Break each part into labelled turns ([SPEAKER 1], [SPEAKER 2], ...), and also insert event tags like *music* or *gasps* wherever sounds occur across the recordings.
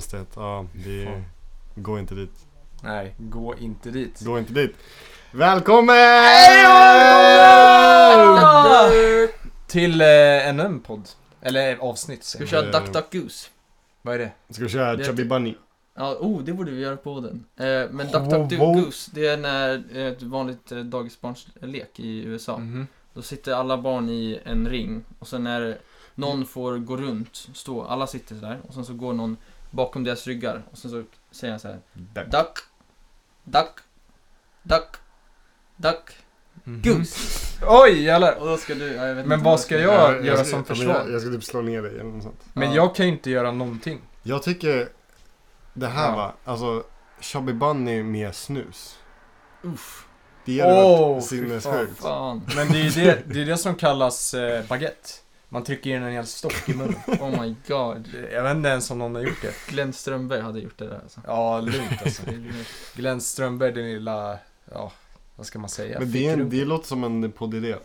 [SPEAKER 1] Stedt, ja vi
[SPEAKER 2] Fan.
[SPEAKER 1] går inte dit.
[SPEAKER 2] Nej, gå inte dit.
[SPEAKER 1] Gå inte dit. Välkommen!
[SPEAKER 2] Till eh, ännu en podd. Eller avsnitt
[SPEAKER 3] Ska vi
[SPEAKER 2] säger jag.
[SPEAKER 1] Eh.
[SPEAKER 3] köra Duck Duck Goose?
[SPEAKER 2] Vad är det?
[SPEAKER 1] Ska vi köra
[SPEAKER 3] Det-
[SPEAKER 1] Chubby Bunny?
[SPEAKER 3] Ja, oh, det borde vi göra på den. Eh, men Duck
[SPEAKER 1] Ho,
[SPEAKER 3] Duck
[SPEAKER 2] Oh,
[SPEAKER 1] ho.
[SPEAKER 3] Duck Goose, det är när eh, ett vanligt eh, dagisbarns lek i USA.
[SPEAKER 2] Mhm.
[SPEAKER 3] Då sitter alla barn i en ring och sen när någon får gå runt, stå, alla sitter där och sen så går någon bakom deras ryggar och sen så säger han så här
[SPEAKER 1] Där.
[SPEAKER 3] Duck, duck, duck, duck,
[SPEAKER 2] Mhm.
[SPEAKER 3] goose.
[SPEAKER 2] Oj jävlar!
[SPEAKER 3] Och då ska du, ja, jag vet
[SPEAKER 2] Mm. Men
[SPEAKER 3] inte
[SPEAKER 2] vad
[SPEAKER 3] jag
[SPEAKER 2] ska jag- göra
[SPEAKER 1] ska-
[SPEAKER 2] som
[SPEAKER 1] ja, men
[SPEAKER 2] försvar.
[SPEAKER 1] Jag, jag ska typ slå ner dig eller något sånt.
[SPEAKER 2] Men
[SPEAKER 3] Ja.
[SPEAKER 2] jag kan ju inte göra någonting.
[SPEAKER 1] Jag tycker det här
[SPEAKER 2] Ja.
[SPEAKER 1] va, alltså Chubby Bunny med snus.
[SPEAKER 3] Uff,
[SPEAKER 1] Det hade
[SPEAKER 2] Åh,
[SPEAKER 1] varit
[SPEAKER 2] fy
[SPEAKER 1] sinnessjukt.
[SPEAKER 3] fan.
[SPEAKER 2] Men det är ju det, det, är det som kallas eh, baguette. Man trycker in en hel stock i munnen.
[SPEAKER 3] Oh my god.
[SPEAKER 2] Jag vet inte ens om någon har gjort det.
[SPEAKER 3] Glenn Strömberg hade gjort det där
[SPEAKER 2] *laughs*
[SPEAKER 3] alltså.
[SPEAKER 2] Ja, lugnt alltså.
[SPEAKER 3] Det är-
[SPEAKER 2] Glenn Strömberg, den lilla, ja, vad ska man säga?
[SPEAKER 1] Men det, är en,
[SPEAKER 2] Fickrumpen.
[SPEAKER 1] det låter som en poddidé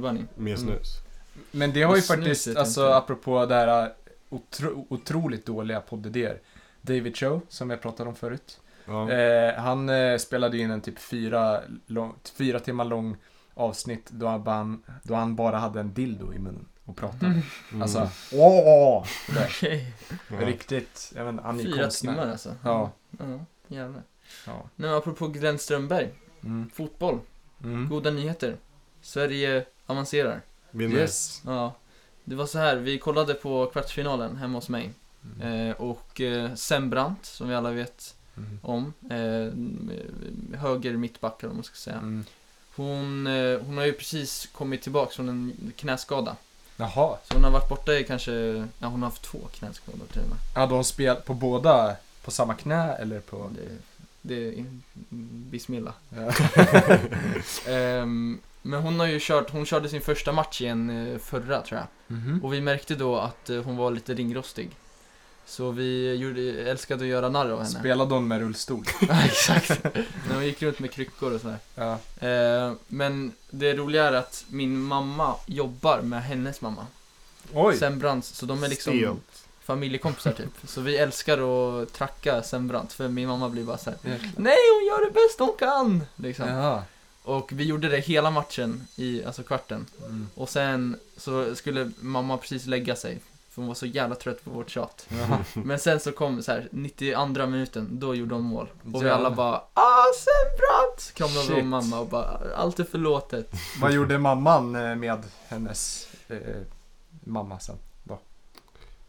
[SPEAKER 2] *laughs*
[SPEAKER 3] Bunny.
[SPEAKER 2] Mm.
[SPEAKER 1] med snus.
[SPEAKER 2] Men det har ju
[SPEAKER 3] Och snuset
[SPEAKER 2] faktiskt,
[SPEAKER 3] inte.
[SPEAKER 2] alltså apropå det här otro, otroligt dåliga poddidéer. David Cho, som jag pratade om förut.
[SPEAKER 1] Ja.
[SPEAKER 2] Eh, han eh, spelade in en typ fyra, lång, fyra timmar lång avsnitt då han, ban, då han bara hade en dildo i munnen och pratade.
[SPEAKER 1] Mm.
[SPEAKER 2] Alltså, åh!
[SPEAKER 3] Okej.
[SPEAKER 1] Ja.
[SPEAKER 2] *laughs* Riktigt, jag vet inte, han är ju
[SPEAKER 3] Fyra
[SPEAKER 2] konstnär.
[SPEAKER 3] timmar alltså.
[SPEAKER 2] Ja.
[SPEAKER 3] ja jävlar.
[SPEAKER 2] Ja.
[SPEAKER 3] Nej, men apropå Glenn Strömberg.
[SPEAKER 2] Mm.
[SPEAKER 3] Fotboll.
[SPEAKER 2] Mm.
[SPEAKER 3] Goda nyheter. Sverige avancerar.
[SPEAKER 1] Vinner.
[SPEAKER 2] Yes.
[SPEAKER 3] Ja. Det var så här, vi kollade på kvartsfinalen hemma hos mig.
[SPEAKER 2] Mm.
[SPEAKER 3] Eh, och eh, Sembrant, som vi alla vet
[SPEAKER 2] Mm.
[SPEAKER 3] om. Eh, höger mittback eller vad man ska säga.
[SPEAKER 2] Mm.
[SPEAKER 3] Hon, eh, hon har ju precis kommit tillbaka från en knäskada.
[SPEAKER 2] Jaha,
[SPEAKER 3] Så hon har varit borta i kanske, ja hon har haft två knäskador till och med.
[SPEAKER 2] hade hon spelat på båda, på samma knä eller på?
[SPEAKER 3] Det, det är bismillah.
[SPEAKER 2] Ja.
[SPEAKER 3] Ehm, men hon har ju kört, hon körde sin första match igen eh, förra tror jag.
[SPEAKER 2] Mhm.
[SPEAKER 3] Och vi märkte då att eh, hon var lite ringrostig. Så vi gjorde, älskade att göra narr av henne.
[SPEAKER 2] Spelade hon med rullstol?
[SPEAKER 3] *laughs* Ja, exakt. När hon gick runt med kryckor och sådär.
[SPEAKER 2] Ja.
[SPEAKER 3] Ehm, men det roliga är att min mamma jobbar med hennes mamma.
[SPEAKER 2] Oj!
[SPEAKER 3] Sembrant, så de är liksom
[SPEAKER 1] Stelt.
[SPEAKER 3] familjekompisar typ. Så vi älskar att tracka Sembrant, för min mamma blir bara såhär
[SPEAKER 2] Jäklar.
[SPEAKER 3] Nej, hon gör det bäst hon kan! Liksom.
[SPEAKER 2] Jaha.
[SPEAKER 3] Och vi gjorde det hela matchen, i, alltså kvarten.
[SPEAKER 2] Mm.
[SPEAKER 3] Och sen så skulle mamma precis lägga sig, för hon var så jävla trött på
[SPEAKER 1] *laughs*
[SPEAKER 3] vårt tjat.
[SPEAKER 2] Jaha.
[SPEAKER 3] Men sen så kom så här, 92 minuten, då gjorde hon mål. Och vi
[SPEAKER 2] Jävlar.
[SPEAKER 3] alla bara ah Sembrant! Kramade
[SPEAKER 2] Shit.
[SPEAKER 3] om mamma och bara allt är förlåtet.
[SPEAKER 2] Vad gjorde mamman eh, med hennes eh, mamma sen? Då?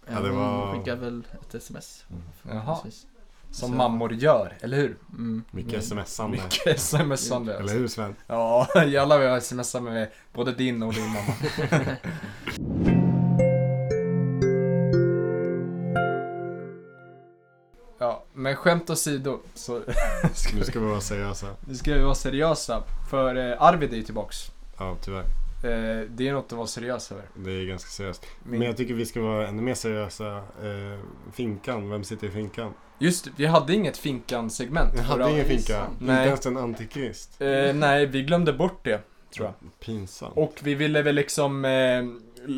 [SPEAKER 1] Ja, det var-
[SPEAKER 3] Hon skickade väl ett sms.
[SPEAKER 2] Jaha.
[SPEAKER 3] förhoppningsvis.
[SPEAKER 2] Som
[SPEAKER 3] Så-
[SPEAKER 2] mammor gör, eller hur?
[SPEAKER 3] Mm. Men-
[SPEAKER 1] Mycket smsande.
[SPEAKER 2] Mycket smsande.
[SPEAKER 1] Eller
[SPEAKER 2] alltså.
[SPEAKER 1] hur Sven?
[SPEAKER 2] Ja, jävlar vad jag smsar med både din och din mamma. *laughs* Ja, men skämt åsido så ska
[SPEAKER 1] Nu
[SPEAKER 2] vi,
[SPEAKER 1] ska vi vara seriösa.
[SPEAKER 2] nu ska vi vara seriösa. För eh, Arvid är ju tillbaks.
[SPEAKER 1] Ja, tyvärr.
[SPEAKER 2] Eh, det är något att vara seriös över.
[SPEAKER 1] Det är ganska seriöst.
[SPEAKER 2] Min-
[SPEAKER 1] Men jag tycker vi ska vara ännu mer seriösa. Eh, finkan, vem sitter i finkan?
[SPEAKER 2] Just det, vi hade inget Finkan-segment.
[SPEAKER 1] Jag hade
[SPEAKER 2] förra-
[SPEAKER 1] ingen
[SPEAKER 3] det är
[SPEAKER 1] finka.
[SPEAKER 3] sant.
[SPEAKER 1] Inte
[SPEAKER 2] Nej.
[SPEAKER 1] ens en antikrist.
[SPEAKER 2] Eh, nej, vi glömde bort det, tror jag.
[SPEAKER 1] Pinsamt.
[SPEAKER 2] Och vi ville väl liksom eh,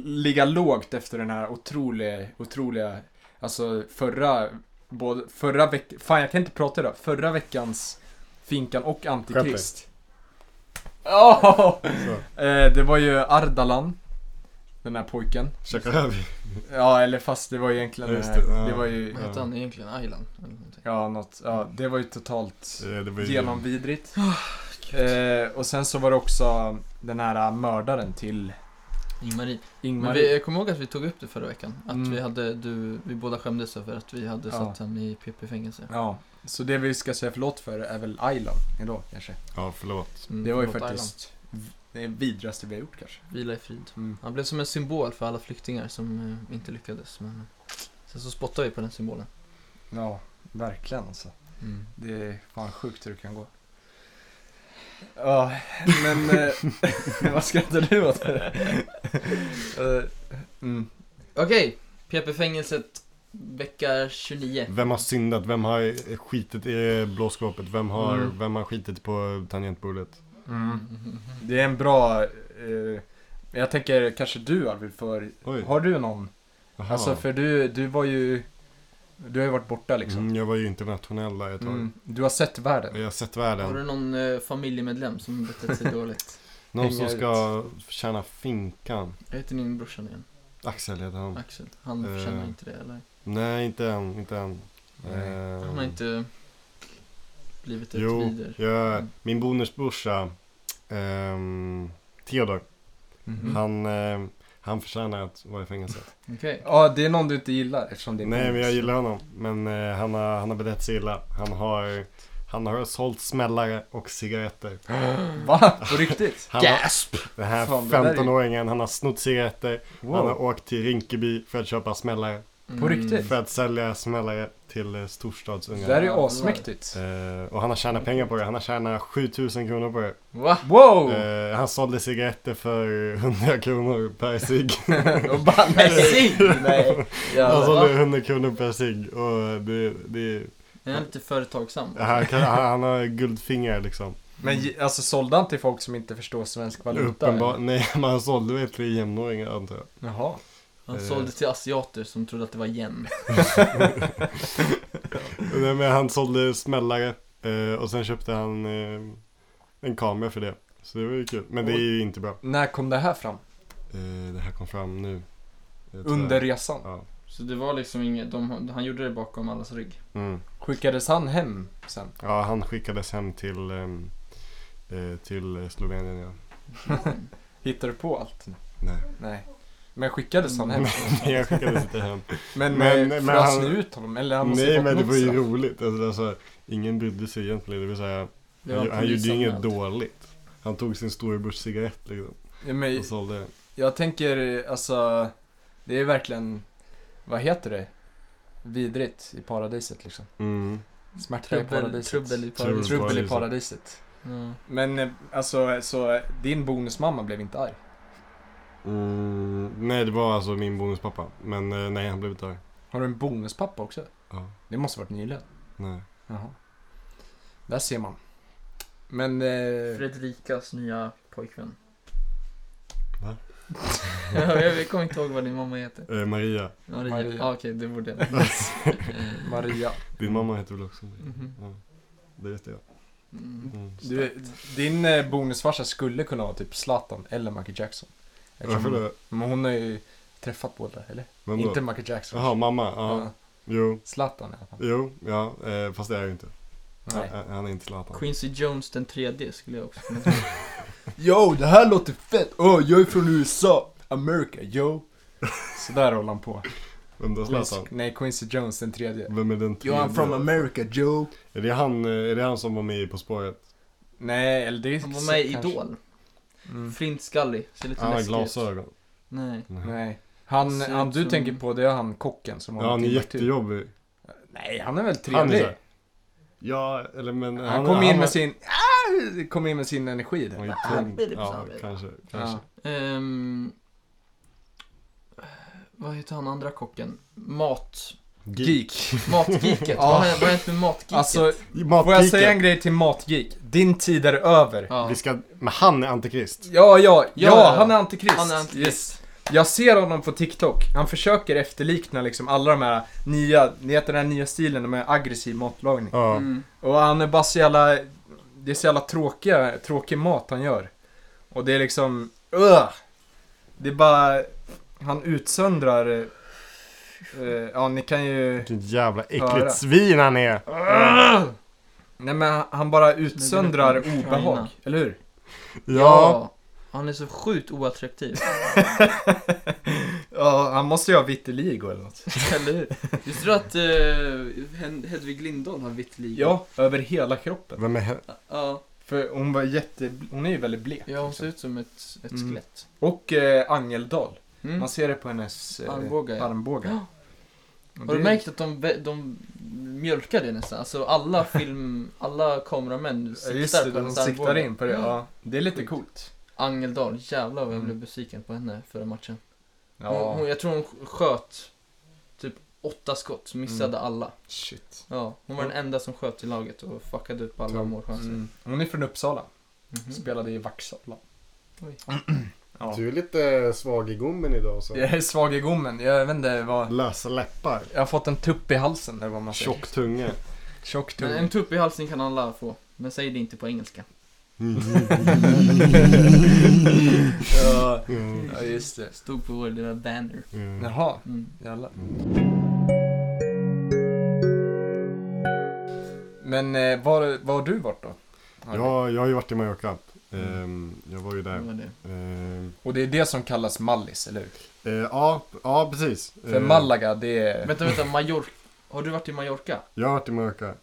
[SPEAKER 2] ligga lågt efter den här otroliga, otroliga, alltså förra, både, förra veckan, fan jag kan inte prata idag, förra veckans Finkan och Antikrist. Ja! *laughs*
[SPEAKER 1] Så,
[SPEAKER 2] eh, det var ju Ardalan, den här pojken.
[SPEAKER 1] käka röv.
[SPEAKER 2] Ja, eller fast det var egentligen den
[SPEAKER 1] Just
[SPEAKER 2] här,
[SPEAKER 1] det, ja.
[SPEAKER 2] det var ju,
[SPEAKER 3] Vad hette han egentligen? Aylan? Eller någonting.
[SPEAKER 2] ja något, ja det var ju totalt
[SPEAKER 1] Eh, Det var ju...
[SPEAKER 2] genomvidrigt. Eh, och sen så var det också den här äh, mördaren till
[SPEAKER 3] Ingmarie. Men
[SPEAKER 2] Ingmar.
[SPEAKER 3] vi, jag kommer ihåg att vi tog upp det förra veckan. Att
[SPEAKER 2] Mm.
[SPEAKER 3] vi hade, du, vi båda skämdes över att vi hade
[SPEAKER 2] Ja.
[SPEAKER 3] satt henne i PP-fängelse.
[SPEAKER 2] Ja, så det vi ska säga förlåt för är väl Aylan idag kanske.
[SPEAKER 1] Ja, förlåt.
[SPEAKER 3] Mm,
[SPEAKER 2] Det var ju
[SPEAKER 3] förlåt,
[SPEAKER 2] faktiskt v- det vidraste vi har gjort kanske.
[SPEAKER 3] Aylan. Vila i frid.
[SPEAKER 2] Mm.
[SPEAKER 3] Han blev som en symbol för alla flyktingar som eh, inte lyckades. Men eh, sen så spottade vi på den symbolen.
[SPEAKER 2] Ja, verkligen alltså. Det är fan sjukt hur det kan gå. Ja, men eh, *laughs* vad skrattar du åt? Eh, mm.
[SPEAKER 3] Okej, PP-fängelset vecka 29.
[SPEAKER 1] Vem har syndat? Vem har skitit i blåskåpet? Vem har,
[SPEAKER 2] Mm.
[SPEAKER 1] vem har skitit på tangentbordet?
[SPEAKER 2] Mm. Det är en bra... Eh, jag tänker kanske du Arvid, för
[SPEAKER 1] Oj.
[SPEAKER 2] har Alltså, du någon?
[SPEAKER 1] Jaha.
[SPEAKER 2] Alltså för du, du var ju... Du har ju varit borta liksom.
[SPEAKER 1] Mm, jag var ju internationell där ett tag.
[SPEAKER 2] Mm. Du har sett världen.
[SPEAKER 1] Jag har sett
[SPEAKER 3] Har
[SPEAKER 1] världen.
[SPEAKER 3] du någon eh, familjemedlem som betett sig dåligt?
[SPEAKER 1] Någon
[SPEAKER 2] Hänga
[SPEAKER 1] som
[SPEAKER 2] ut.
[SPEAKER 1] ska tjäna finkan.
[SPEAKER 3] Jag heter din brorsa nu igen,
[SPEAKER 1] Axel heter han.
[SPEAKER 3] Axel. Han
[SPEAKER 1] Eh.
[SPEAKER 3] förtjänar inte det eller?
[SPEAKER 1] Nej, inte än. Inte än.
[SPEAKER 2] Nej.
[SPEAKER 1] Ehm,
[SPEAKER 3] Han har inte blivit
[SPEAKER 2] typ
[SPEAKER 3] ett
[SPEAKER 1] Jo,
[SPEAKER 3] vider.
[SPEAKER 1] jag,
[SPEAKER 3] Mm.
[SPEAKER 1] min bonusbrorsa ehm, Theodor.
[SPEAKER 2] Mhm.
[SPEAKER 1] Han, ehm, han förtjänar att vara i fängelse.
[SPEAKER 3] Okej.
[SPEAKER 2] *gasps* Ja, det är någon du inte gillar eftersom det är
[SPEAKER 1] Nej,
[SPEAKER 2] polis.
[SPEAKER 1] men jag gillar honom. Men eh, han, har, han har betett sig illa. Han har, han har sålt smällare och cigaretter.
[SPEAKER 2] Va? På riktigt?
[SPEAKER 1] Han har,
[SPEAKER 3] Gasp!
[SPEAKER 1] den här
[SPEAKER 2] Fan, det där är-
[SPEAKER 1] 15-åringen, han har snott cigaretter. *laughs* Han har
[SPEAKER 2] Wow.
[SPEAKER 1] åkt till Rinkeby för att köpa smällare.
[SPEAKER 3] Mm.
[SPEAKER 2] På riktigt?
[SPEAKER 1] För att sälja smällare till eh, storstadsungar.
[SPEAKER 2] Det där är ju asmäktigt.
[SPEAKER 1] Eh, och han har tjänat pengar på det. Han har tjänat 7000 kronor på det.
[SPEAKER 3] Va?
[SPEAKER 2] Wow!
[SPEAKER 1] Eh, han sålde cigaretter för 100 kronor per cigg.
[SPEAKER 2] *laughs* Och bara,
[SPEAKER 3] Nej,
[SPEAKER 1] *laughs*
[SPEAKER 2] nej.
[SPEAKER 3] Nej!
[SPEAKER 1] Han
[SPEAKER 3] Jävlar.
[SPEAKER 1] sålde 100 kronor per cigg. Och det, det,
[SPEAKER 3] Är han lite företagsam?
[SPEAKER 1] han, kan, han har guldfingrar liksom.
[SPEAKER 2] Men ge- alltså sålde han till folk som inte förstår svensk valuta?
[SPEAKER 1] Uppenbar,
[SPEAKER 2] eller?
[SPEAKER 1] nej, men han sålde väl till jämnåringar antar jag.
[SPEAKER 2] Jaha.
[SPEAKER 3] Han
[SPEAKER 1] Eh.
[SPEAKER 3] sålde till asiater som trodde att det var yen.
[SPEAKER 1] Nej, men han sålde smällare eh, och sen köpte han eh, en kamera för det. Så det var ju kul. Men det är ju inte bra.
[SPEAKER 2] När kom det här fram?
[SPEAKER 1] Eh, det här kom fram nu. Eh, tyvärr.
[SPEAKER 2] Under resan?
[SPEAKER 1] Ja.
[SPEAKER 3] Så det var liksom inget, de, han gjorde det bakom allas rygg.
[SPEAKER 1] Mm.
[SPEAKER 2] Skickades han hem sen?
[SPEAKER 1] ja, han skickades hem till, ehm, eh, till Slovenien. Ja.
[SPEAKER 2] Hittade du på allt?
[SPEAKER 1] Nej.
[SPEAKER 2] Nej. Men skickades han
[SPEAKER 1] *laughs*
[SPEAKER 2] hem?
[SPEAKER 1] Nej, jag skickades inte hem.
[SPEAKER 2] Men,
[SPEAKER 1] Men-
[SPEAKER 2] men,
[SPEAKER 1] men
[SPEAKER 2] frös
[SPEAKER 1] han-
[SPEAKER 2] ni ut honom? Eller han måste
[SPEAKER 1] Nej,
[SPEAKER 2] fått
[SPEAKER 1] men det
[SPEAKER 2] något
[SPEAKER 1] var ju
[SPEAKER 2] straff.
[SPEAKER 1] roligt. Alltså, det är så här, ingen brydde sig egentligen. Det vill säga,
[SPEAKER 3] Det var
[SPEAKER 1] han,
[SPEAKER 3] en
[SPEAKER 1] han gjorde ju inget
[SPEAKER 3] polisanmäld.
[SPEAKER 1] dåligt. Han tog sin storebrors cigarett liksom,
[SPEAKER 2] Ja, men
[SPEAKER 1] och sålde den.
[SPEAKER 2] Jag tänker, alltså, det är verkligen, vad heter det? Vidrigt i paradiset liksom.
[SPEAKER 1] Mm.
[SPEAKER 2] Smärta i
[SPEAKER 3] Trubbel,
[SPEAKER 2] paradiset.
[SPEAKER 3] trubbel i
[SPEAKER 1] Trubbel.
[SPEAKER 3] paradiset.
[SPEAKER 2] Trubbel i
[SPEAKER 1] paradiset.
[SPEAKER 2] paradiset.
[SPEAKER 3] Ja.
[SPEAKER 2] Men eh, alltså, så eh, din bonusmamma blev inte arg?
[SPEAKER 1] Mm, nej, det var alltså min bonuspappa. Men eh, nej, han blev inte arg.
[SPEAKER 2] Har du en bonuspappa också?
[SPEAKER 1] Ja,
[SPEAKER 2] Det måste varit nyligen.
[SPEAKER 1] nej.
[SPEAKER 2] Jaha. Där ser man. Men, eh,
[SPEAKER 3] Fredrikas nya pojkvän.
[SPEAKER 1] Va?
[SPEAKER 3] *laughs* jag kommer inte ihåg vad din mamma heter.
[SPEAKER 1] Eh, Maria,
[SPEAKER 3] Maria.
[SPEAKER 2] Maria.
[SPEAKER 3] Ah, Okej, det borde
[SPEAKER 1] *laughs*
[SPEAKER 3] jag. *laughs*
[SPEAKER 2] Maria.
[SPEAKER 1] din mamma heter väl också Maria?
[SPEAKER 3] Mhm.
[SPEAKER 1] Ja, det vet jag.
[SPEAKER 3] Mm.
[SPEAKER 1] Mm.
[SPEAKER 2] Du, din eh, bonusfarsa skulle kunna vara typ Zlatan eller Michael Jackson.
[SPEAKER 1] Varför
[SPEAKER 2] Eftersom,
[SPEAKER 1] det?
[SPEAKER 2] men hon har ju träffat båda, eller?
[SPEAKER 1] Vem då?
[SPEAKER 2] Inte Michael Jackson.
[SPEAKER 1] Jaha, mamma. Ja.
[SPEAKER 2] Ja.
[SPEAKER 1] Jo,
[SPEAKER 2] Zlatan i alla fall.
[SPEAKER 1] jo, ja. Eh, fast det är jag ju inte. Eh,
[SPEAKER 2] Nej.
[SPEAKER 1] Han, han är inte Zlatan.
[SPEAKER 3] Quincy Jones den tredje skulle jag också *laughs* kunna säga.
[SPEAKER 2] Yo, det här låter fett! Åh, jag är från USA! America, yo! Så där håller han på.
[SPEAKER 1] Vem då?
[SPEAKER 2] Quincy,
[SPEAKER 1] Zlatan?
[SPEAKER 2] nej, Quincy Jones den tredje.
[SPEAKER 1] Vem är den
[SPEAKER 2] Yo,
[SPEAKER 1] tredje?
[SPEAKER 2] I'm from America, Joe!
[SPEAKER 1] Är det han, eh, är det han som var med i På spåret?
[SPEAKER 2] Nej, eller det är
[SPEAKER 3] Han var med i
[SPEAKER 2] kanske-
[SPEAKER 3] Idol.
[SPEAKER 2] Mm.
[SPEAKER 3] Flintskallig. Ser lite
[SPEAKER 1] Han har
[SPEAKER 3] läskig ut.
[SPEAKER 1] glasögon. Mm.
[SPEAKER 3] Nej.
[SPEAKER 2] Nej. Han,
[SPEAKER 3] Ser
[SPEAKER 2] han
[SPEAKER 3] ut
[SPEAKER 2] du
[SPEAKER 3] som-
[SPEAKER 2] tänker på, det är han kocken som
[SPEAKER 1] Ja, han är
[SPEAKER 2] till Timbuktu.
[SPEAKER 1] jättejobbig.
[SPEAKER 2] typ- Nej, han är väl
[SPEAKER 1] Han är
[SPEAKER 2] trevlig.
[SPEAKER 1] så här- Ja, eller men...
[SPEAKER 2] han, kom in med sin... Ah, kom in med sin energi
[SPEAKER 1] Han
[SPEAKER 2] där.
[SPEAKER 1] är tung.
[SPEAKER 3] Ja,
[SPEAKER 1] Ja, kanske. kanske.
[SPEAKER 2] Ja.
[SPEAKER 3] Ehm, vad heter han andra kocken? Mat...
[SPEAKER 2] Geek.
[SPEAKER 1] *laughs*
[SPEAKER 3] Matgeeket.
[SPEAKER 2] Ja.
[SPEAKER 3] Vad har vad har hänt med matgeeket?
[SPEAKER 2] Alltså, får jag
[SPEAKER 1] Matgeeken.
[SPEAKER 2] säga en grej till matgeek? Din tid är över.
[SPEAKER 3] ja.
[SPEAKER 1] Vi ska... Men han är antikrist.
[SPEAKER 2] Ja, ja, ja,
[SPEAKER 3] ja, ja.
[SPEAKER 2] han är antikrist.
[SPEAKER 3] Han är antikrist.
[SPEAKER 2] Jag ser honom på TikTok. Han försöker efterlikna liksom alla de här nya, ni vet den här nya stilen med aggressiv matlagning.
[SPEAKER 1] Ja.
[SPEAKER 3] Mm.
[SPEAKER 2] Och han är bara så jävla, det är så jävla tråkiga, tråkig mat han gör. Och det är liksom, Ugh! Det är bara, han utsöndrar, eh, eh, ja ni kan ju,
[SPEAKER 1] Vilket jävla
[SPEAKER 2] Höra.
[SPEAKER 1] äckligt svin han är.
[SPEAKER 2] Ugh! nej men han bara utsöndrar
[SPEAKER 3] Ukraina.
[SPEAKER 2] obehag, eller hur? *laughs*
[SPEAKER 1] Ja.
[SPEAKER 3] Han är så sjukt oattraktiv.
[SPEAKER 2] *laughs* Ja, han måste ju ha vitiligo eller något.
[SPEAKER 3] Eller hur? Visste du att eh, Hen- Hedvig Lindahl har vitiligo?
[SPEAKER 2] Ja, över hela kroppen.
[SPEAKER 1] Vem är he-
[SPEAKER 3] Ja,
[SPEAKER 2] För hon var jätte, hon är ju väldigt blek.
[SPEAKER 3] ja hon
[SPEAKER 2] liksom.
[SPEAKER 3] ser ut som ett, ett
[SPEAKER 2] Mm.
[SPEAKER 3] skelett.
[SPEAKER 2] Och eh, Angeldal.
[SPEAKER 3] Mm.
[SPEAKER 2] Man ser det på hennes eh,
[SPEAKER 3] Armbågar, ja.
[SPEAKER 2] armbågar.
[SPEAKER 3] Ja.
[SPEAKER 2] Och
[SPEAKER 3] Har du
[SPEAKER 2] det-
[SPEAKER 3] märkt att de, vä- de mjölkar det nästan? Alltså alla film, alla kameramän
[SPEAKER 2] Ja,
[SPEAKER 3] siktar
[SPEAKER 2] Just det,
[SPEAKER 3] på
[SPEAKER 2] de
[SPEAKER 3] hennes
[SPEAKER 2] siktar
[SPEAKER 3] armbåge.
[SPEAKER 2] in på det. Ja. Det är lite
[SPEAKER 3] Sjukt.
[SPEAKER 2] coolt.
[SPEAKER 3] Angeldal, jävlar vad jag
[SPEAKER 2] Mm.
[SPEAKER 3] blev besviken på henne förra matchen. Hon,
[SPEAKER 2] Ja.
[SPEAKER 3] hon, jag tror hon sköt typ åtta skott, missade
[SPEAKER 2] Mm.
[SPEAKER 3] alla.
[SPEAKER 2] Shit.
[SPEAKER 3] Ja, hon var den enda som sköt i laget och fuckade upp alla
[SPEAKER 1] Tom.
[SPEAKER 3] målchanser.
[SPEAKER 2] Mm. Hon är från Uppsala.
[SPEAKER 3] Mhm.
[SPEAKER 2] Spelade i Vaxholm.
[SPEAKER 3] Oj.
[SPEAKER 2] Ja.
[SPEAKER 4] Du är lite svag i gommen idag så.
[SPEAKER 2] Jag är svag i gommen. Jag vet inte vad...
[SPEAKER 1] Lösa läppar.
[SPEAKER 2] Jag har fått en tupp i halsen eller vad man säger.
[SPEAKER 1] Tjock
[SPEAKER 2] *laughs*
[SPEAKER 1] tunga.
[SPEAKER 2] Tjock
[SPEAKER 3] Men
[SPEAKER 2] tunga.
[SPEAKER 3] en tupp i halsen kan alla få. Men säg det inte på engelska.
[SPEAKER 2] ja,
[SPEAKER 1] Mm,
[SPEAKER 2] ja, just det.
[SPEAKER 3] Stod på vår lilla banner.
[SPEAKER 1] mm.
[SPEAKER 2] Jaha,
[SPEAKER 3] Mm.
[SPEAKER 2] jävlar. Men eh, var, var har du varit då?
[SPEAKER 1] Jag, jag har ju varit i Mallorca. Ehm, Jag var ju
[SPEAKER 3] Det
[SPEAKER 1] där.
[SPEAKER 3] var det.
[SPEAKER 1] Ehm,
[SPEAKER 2] Och det är det som kallas Mallis, eller hur?
[SPEAKER 1] eh, Ja, ja precis.
[SPEAKER 3] Eh.
[SPEAKER 2] För
[SPEAKER 1] Ehm,
[SPEAKER 2] Malaga, det är...
[SPEAKER 3] Vänta, vänta. Mallorca. Har du varit i Mallorca?
[SPEAKER 1] Jag har varit i Mallorca.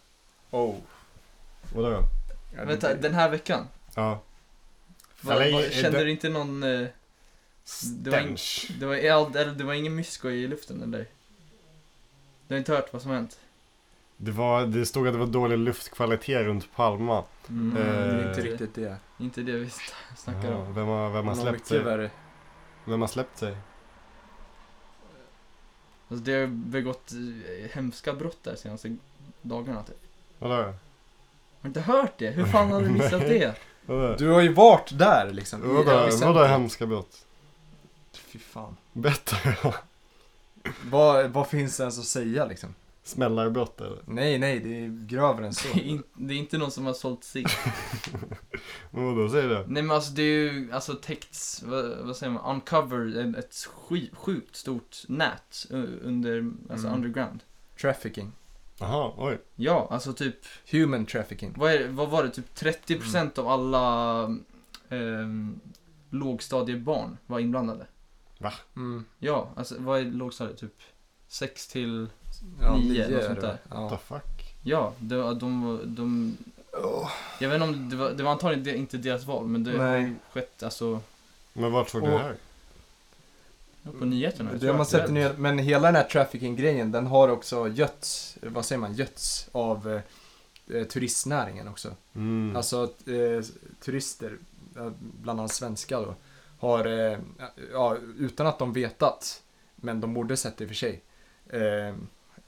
[SPEAKER 2] Oh.
[SPEAKER 1] Vadå?
[SPEAKER 2] Ja, det-
[SPEAKER 3] Vänta, den här veckan?
[SPEAKER 1] Ja.
[SPEAKER 3] Var,
[SPEAKER 1] Eller,
[SPEAKER 3] var,
[SPEAKER 1] eh,
[SPEAKER 3] kände
[SPEAKER 1] det-
[SPEAKER 3] du inte någon... eh, Det var ing-
[SPEAKER 1] Stench.
[SPEAKER 3] det, var, ja, eller, det var ingen mysko i luften eller? Du har inte hört vad som hänt?
[SPEAKER 1] Det, var, det stod att det var dålig luftkvalitet runt Palma.
[SPEAKER 2] Mm,
[SPEAKER 1] Eh,
[SPEAKER 2] det är inte riktigt det.
[SPEAKER 3] Inte det vi sta- snackar
[SPEAKER 1] Ja,
[SPEAKER 3] om.
[SPEAKER 1] Vem har, vem har
[SPEAKER 2] Något
[SPEAKER 1] släppt
[SPEAKER 2] mycket
[SPEAKER 1] sig?
[SPEAKER 2] värre.
[SPEAKER 1] Vem har släppt sig?
[SPEAKER 3] Alltså, det har begått eh, hemska brott där senaste dagarna typ.
[SPEAKER 1] Vadå?
[SPEAKER 3] Har du inte hört det? Hur fan har
[SPEAKER 1] *laughs*
[SPEAKER 3] du missat
[SPEAKER 1] Nej.
[SPEAKER 3] det?
[SPEAKER 1] Vadå?
[SPEAKER 2] Du har ju varit där liksom. i
[SPEAKER 1] Vadå,
[SPEAKER 2] epicentrum.
[SPEAKER 1] vadå hemska brott?
[SPEAKER 2] Fy fan.
[SPEAKER 1] Berätta
[SPEAKER 2] Vad, vad finns det ens att säga liksom?
[SPEAKER 1] Smällarbrott eller?
[SPEAKER 2] Nej, nej, det är grövre än så.
[SPEAKER 3] Det är, *laughs* in, det är inte någon som har sålt sig.
[SPEAKER 1] *laughs* Men vadå, säger du?
[SPEAKER 3] Nej men alltså det är ju, alltså täckts, vad, vad säger man, uncover en- ett sky, sjukt stort nät u- under, alltså
[SPEAKER 2] Mm.
[SPEAKER 3] underground.
[SPEAKER 2] Trafficking.
[SPEAKER 1] Jaha, oj.
[SPEAKER 3] Ja, alltså typ
[SPEAKER 2] Human trafficking.
[SPEAKER 3] Vad, är, det- vad var det? Typ 30% av alla ehm, lågstadiebarn var inblandade.
[SPEAKER 2] Mm.
[SPEAKER 3] Ja, alltså vad är lågstadiet? Typ 6 till...
[SPEAKER 2] Ja,
[SPEAKER 3] Nio,
[SPEAKER 2] nio
[SPEAKER 3] något
[SPEAKER 2] är
[SPEAKER 3] sånt
[SPEAKER 2] det.
[SPEAKER 3] där.
[SPEAKER 1] What the
[SPEAKER 2] Ja.
[SPEAKER 1] fuck?
[SPEAKER 3] Ja, det, var- de, de... Jag vet inte om det var, det var antagligen de- inte deras val, men det har
[SPEAKER 2] Nej.
[SPEAKER 3] ju skett alltså
[SPEAKER 1] Men vart såg du
[SPEAKER 2] Och-
[SPEAKER 1] det här?
[SPEAKER 3] på nyheterna.
[SPEAKER 2] Det har man sett i
[SPEAKER 3] nyheterna.
[SPEAKER 2] nyheterna. Men hela den här trafficking-grejen, den har också götts, vad säger man, götts av eh, eh, turistnäringen också.
[SPEAKER 1] Mm.
[SPEAKER 2] Alltså att, eh, turister, eh, bland annat svenskar då, har, eh, ja, utan att de vetat, men de borde sett det i och för sig. Eh,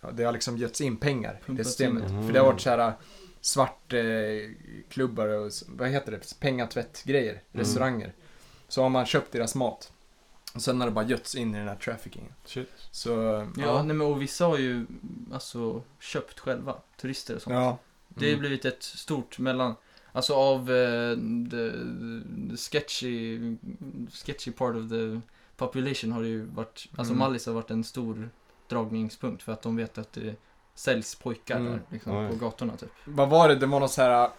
[SPEAKER 2] ja, det har liksom götts in pengar i det
[SPEAKER 3] Pumpats
[SPEAKER 2] systemet.
[SPEAKER 1] in.
[SPEAKER 3] Mm.
[SPEAKER 2] För det har varit så här eh, svartklubbar eh, och s- vad heter det, pengatvättgrejer,
[SPEAKER 3] Mm.
[SPEAKER 2] restauranger. Så har man köpt deras mat. Och sen har det bara götts in i den här traffickingen.
[SPEAKER 1] Shit.
[SPEAKER 2] Så,
[SPEAKER 3] Ja, nej, men, och vissa har ju alltså köpt själva, turister och sånt.
[SPEAKER 2] ja.
[SPEAKER 3] Det har ju
[SPEAKER 2] Mm.
[SPEAKER 3] blivit ett stort mellan, alltså av eh, the, the sketchy, sketchy part of the population har det ju varit, alltså
[SPEAKER 2] Mm.
[SPEAKER 3] Mallis har varit en stor dragningspunkt för att de vet att det säljs pojkar
[SPEAKER 2] Mm.
[SPEAKER 3] där liksom,
[SPEAKER 1] Ja, ja.
[SPEAKER 3] på gatorna typ.
[SPEAKER 2] Vad var det? Det var någon så här... eh,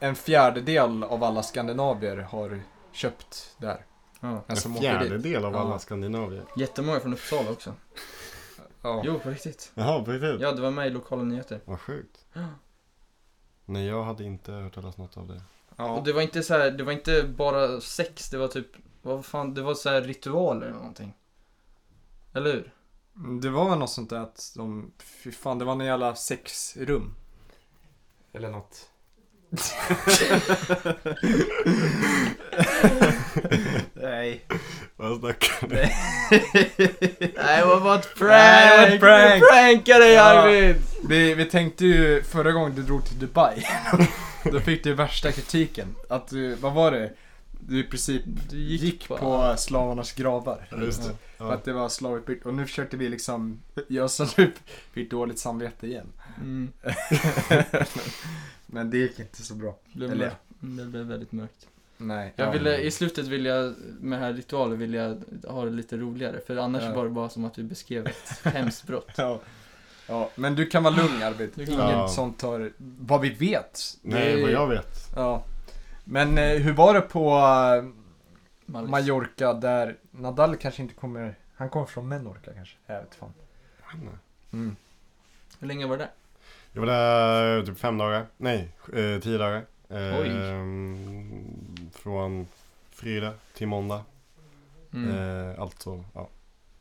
[SPEAKER 2] En fjärdedel av alla skandinavier har köpt där.
[SPEAKER 3] Ja.
[SPEAKER 2] En som
[SPEAKER 1] en
[SPEAKER 2] alltså, åker dit.
[SPEAKER 1] fjärdedel av alla
[SPEAKER 2] Ja.
[SPEAKER 1] skandinavier.
[SPEAKER 3] Jättemånga från Uppsala också.
[SPEAKER 2] Ja.
[SPEAKER 3] Jo, på riktigt.
[SPEAKER 1] Jaha, på riktigt?
[SPEAKER 3] Ja, det var med i lokala nyheter.
[SPEAKER 1] Vad sjukt. Nej, jag hade inte hört talas något av det.
[SPEAKER 2] ja.
[SPEAKER 3] Och det var inte så här, det var inte bara sex, det var typ, vad fan, det var så här ritualer eller någonting. Eller hur?
[SPEAKER 2] Mm, Det var väl något sånt där att de... Fy fan, det var någon jävla sexrum. Eller
[SPEAKER 3] *laughs*
[SPEAKER 2] något. Nej.
[SPEAKER 1] Vad snackar du?
[SPEAKER 3] *laughs* Nej, det var bara ett
[SPEAKER 2] Nej, det var ett
[SPEAKER 3] prank!
[SPEAKER 2] prank.
[SPEAKER 3] Vi prankade dig
[SPEAKER 2] Ja.
[SPEAKER 3] Arvid!
[SPEAKER 2] Vi, vi tänkte ju förra gången du drog till Dubai. *laughs* Då fick du värsta kritiken. Att du, vad var det? Du i princip
[SPEAKER 3] Du
[SPEAKER 2] gick,
[SPEAKER 3] gick
[SPEAKER 2] på,
[SPEAKER 3] på-
[SPEAKER 2] slavarnas gravar.
[SPEAKER 1] Ja, just det.
[SPEAKER 2] För
[SPEAKER 1] Ja.
[SPEAKER 2] att det var slavutbyte. Och nu försökte vi liksom, jag som nu fick dåligt samvete igen.
[SPEAKER 3] Mm,
[SPEAKER 2] *laughs* Men det gick inte så bra.
[SPEAKER 3] blev
[SPEAKER 2] Eller-
[SPEAKER 3] mörkt. Mm, det blev väldigt mörkt.
[SPEAKER 2] Nej.
[SPEAKER 3] Jag
[SPEAKER 2] ja.
[SPEAKER 3] ville, i slutet ville jag, med den här ritualen ville jag ha det lite roligare. För annars
[SPEAKER 2] Ja.
[SPEAKER 3] var det bara som att vi beskrev *laughs* ett hemskt brott.
[SPEAKER 2] Ja. ja. Men du kan vara lugn Arvid.
[SPEAKER 3] Du kan
[SPEAKER 2] Inget
[SPEAKER 1] vara lugn.
[SPEAKER 2] sånt tar, vad vi vet. Det
[SPEAKER 1] Nej,
[SPEAKER 2] är-
[SPEAKER 1] vad jag vet.
[SPEAKER 2] Ja. Men eh, hur var det på eh,
[SPEAKER 3] Mallis.
[SPEAKER 2] Mallorca där Nadal kanske inte kommer, han kommer från Menorca kanske? Jag vet fan. Mm.
[SPEAKER 3] Hur länge var det där?
[SPEAKER 1] Jag var där typ fem dagar. Nej, eh, tio dagar. Eh,
[SPEAKER 3] Oj.
[SPEAKER 1] Från fredag till måndag.
[SPEAKER 3] Mm.
[SPEAKER 1] Eh, alltså, ja.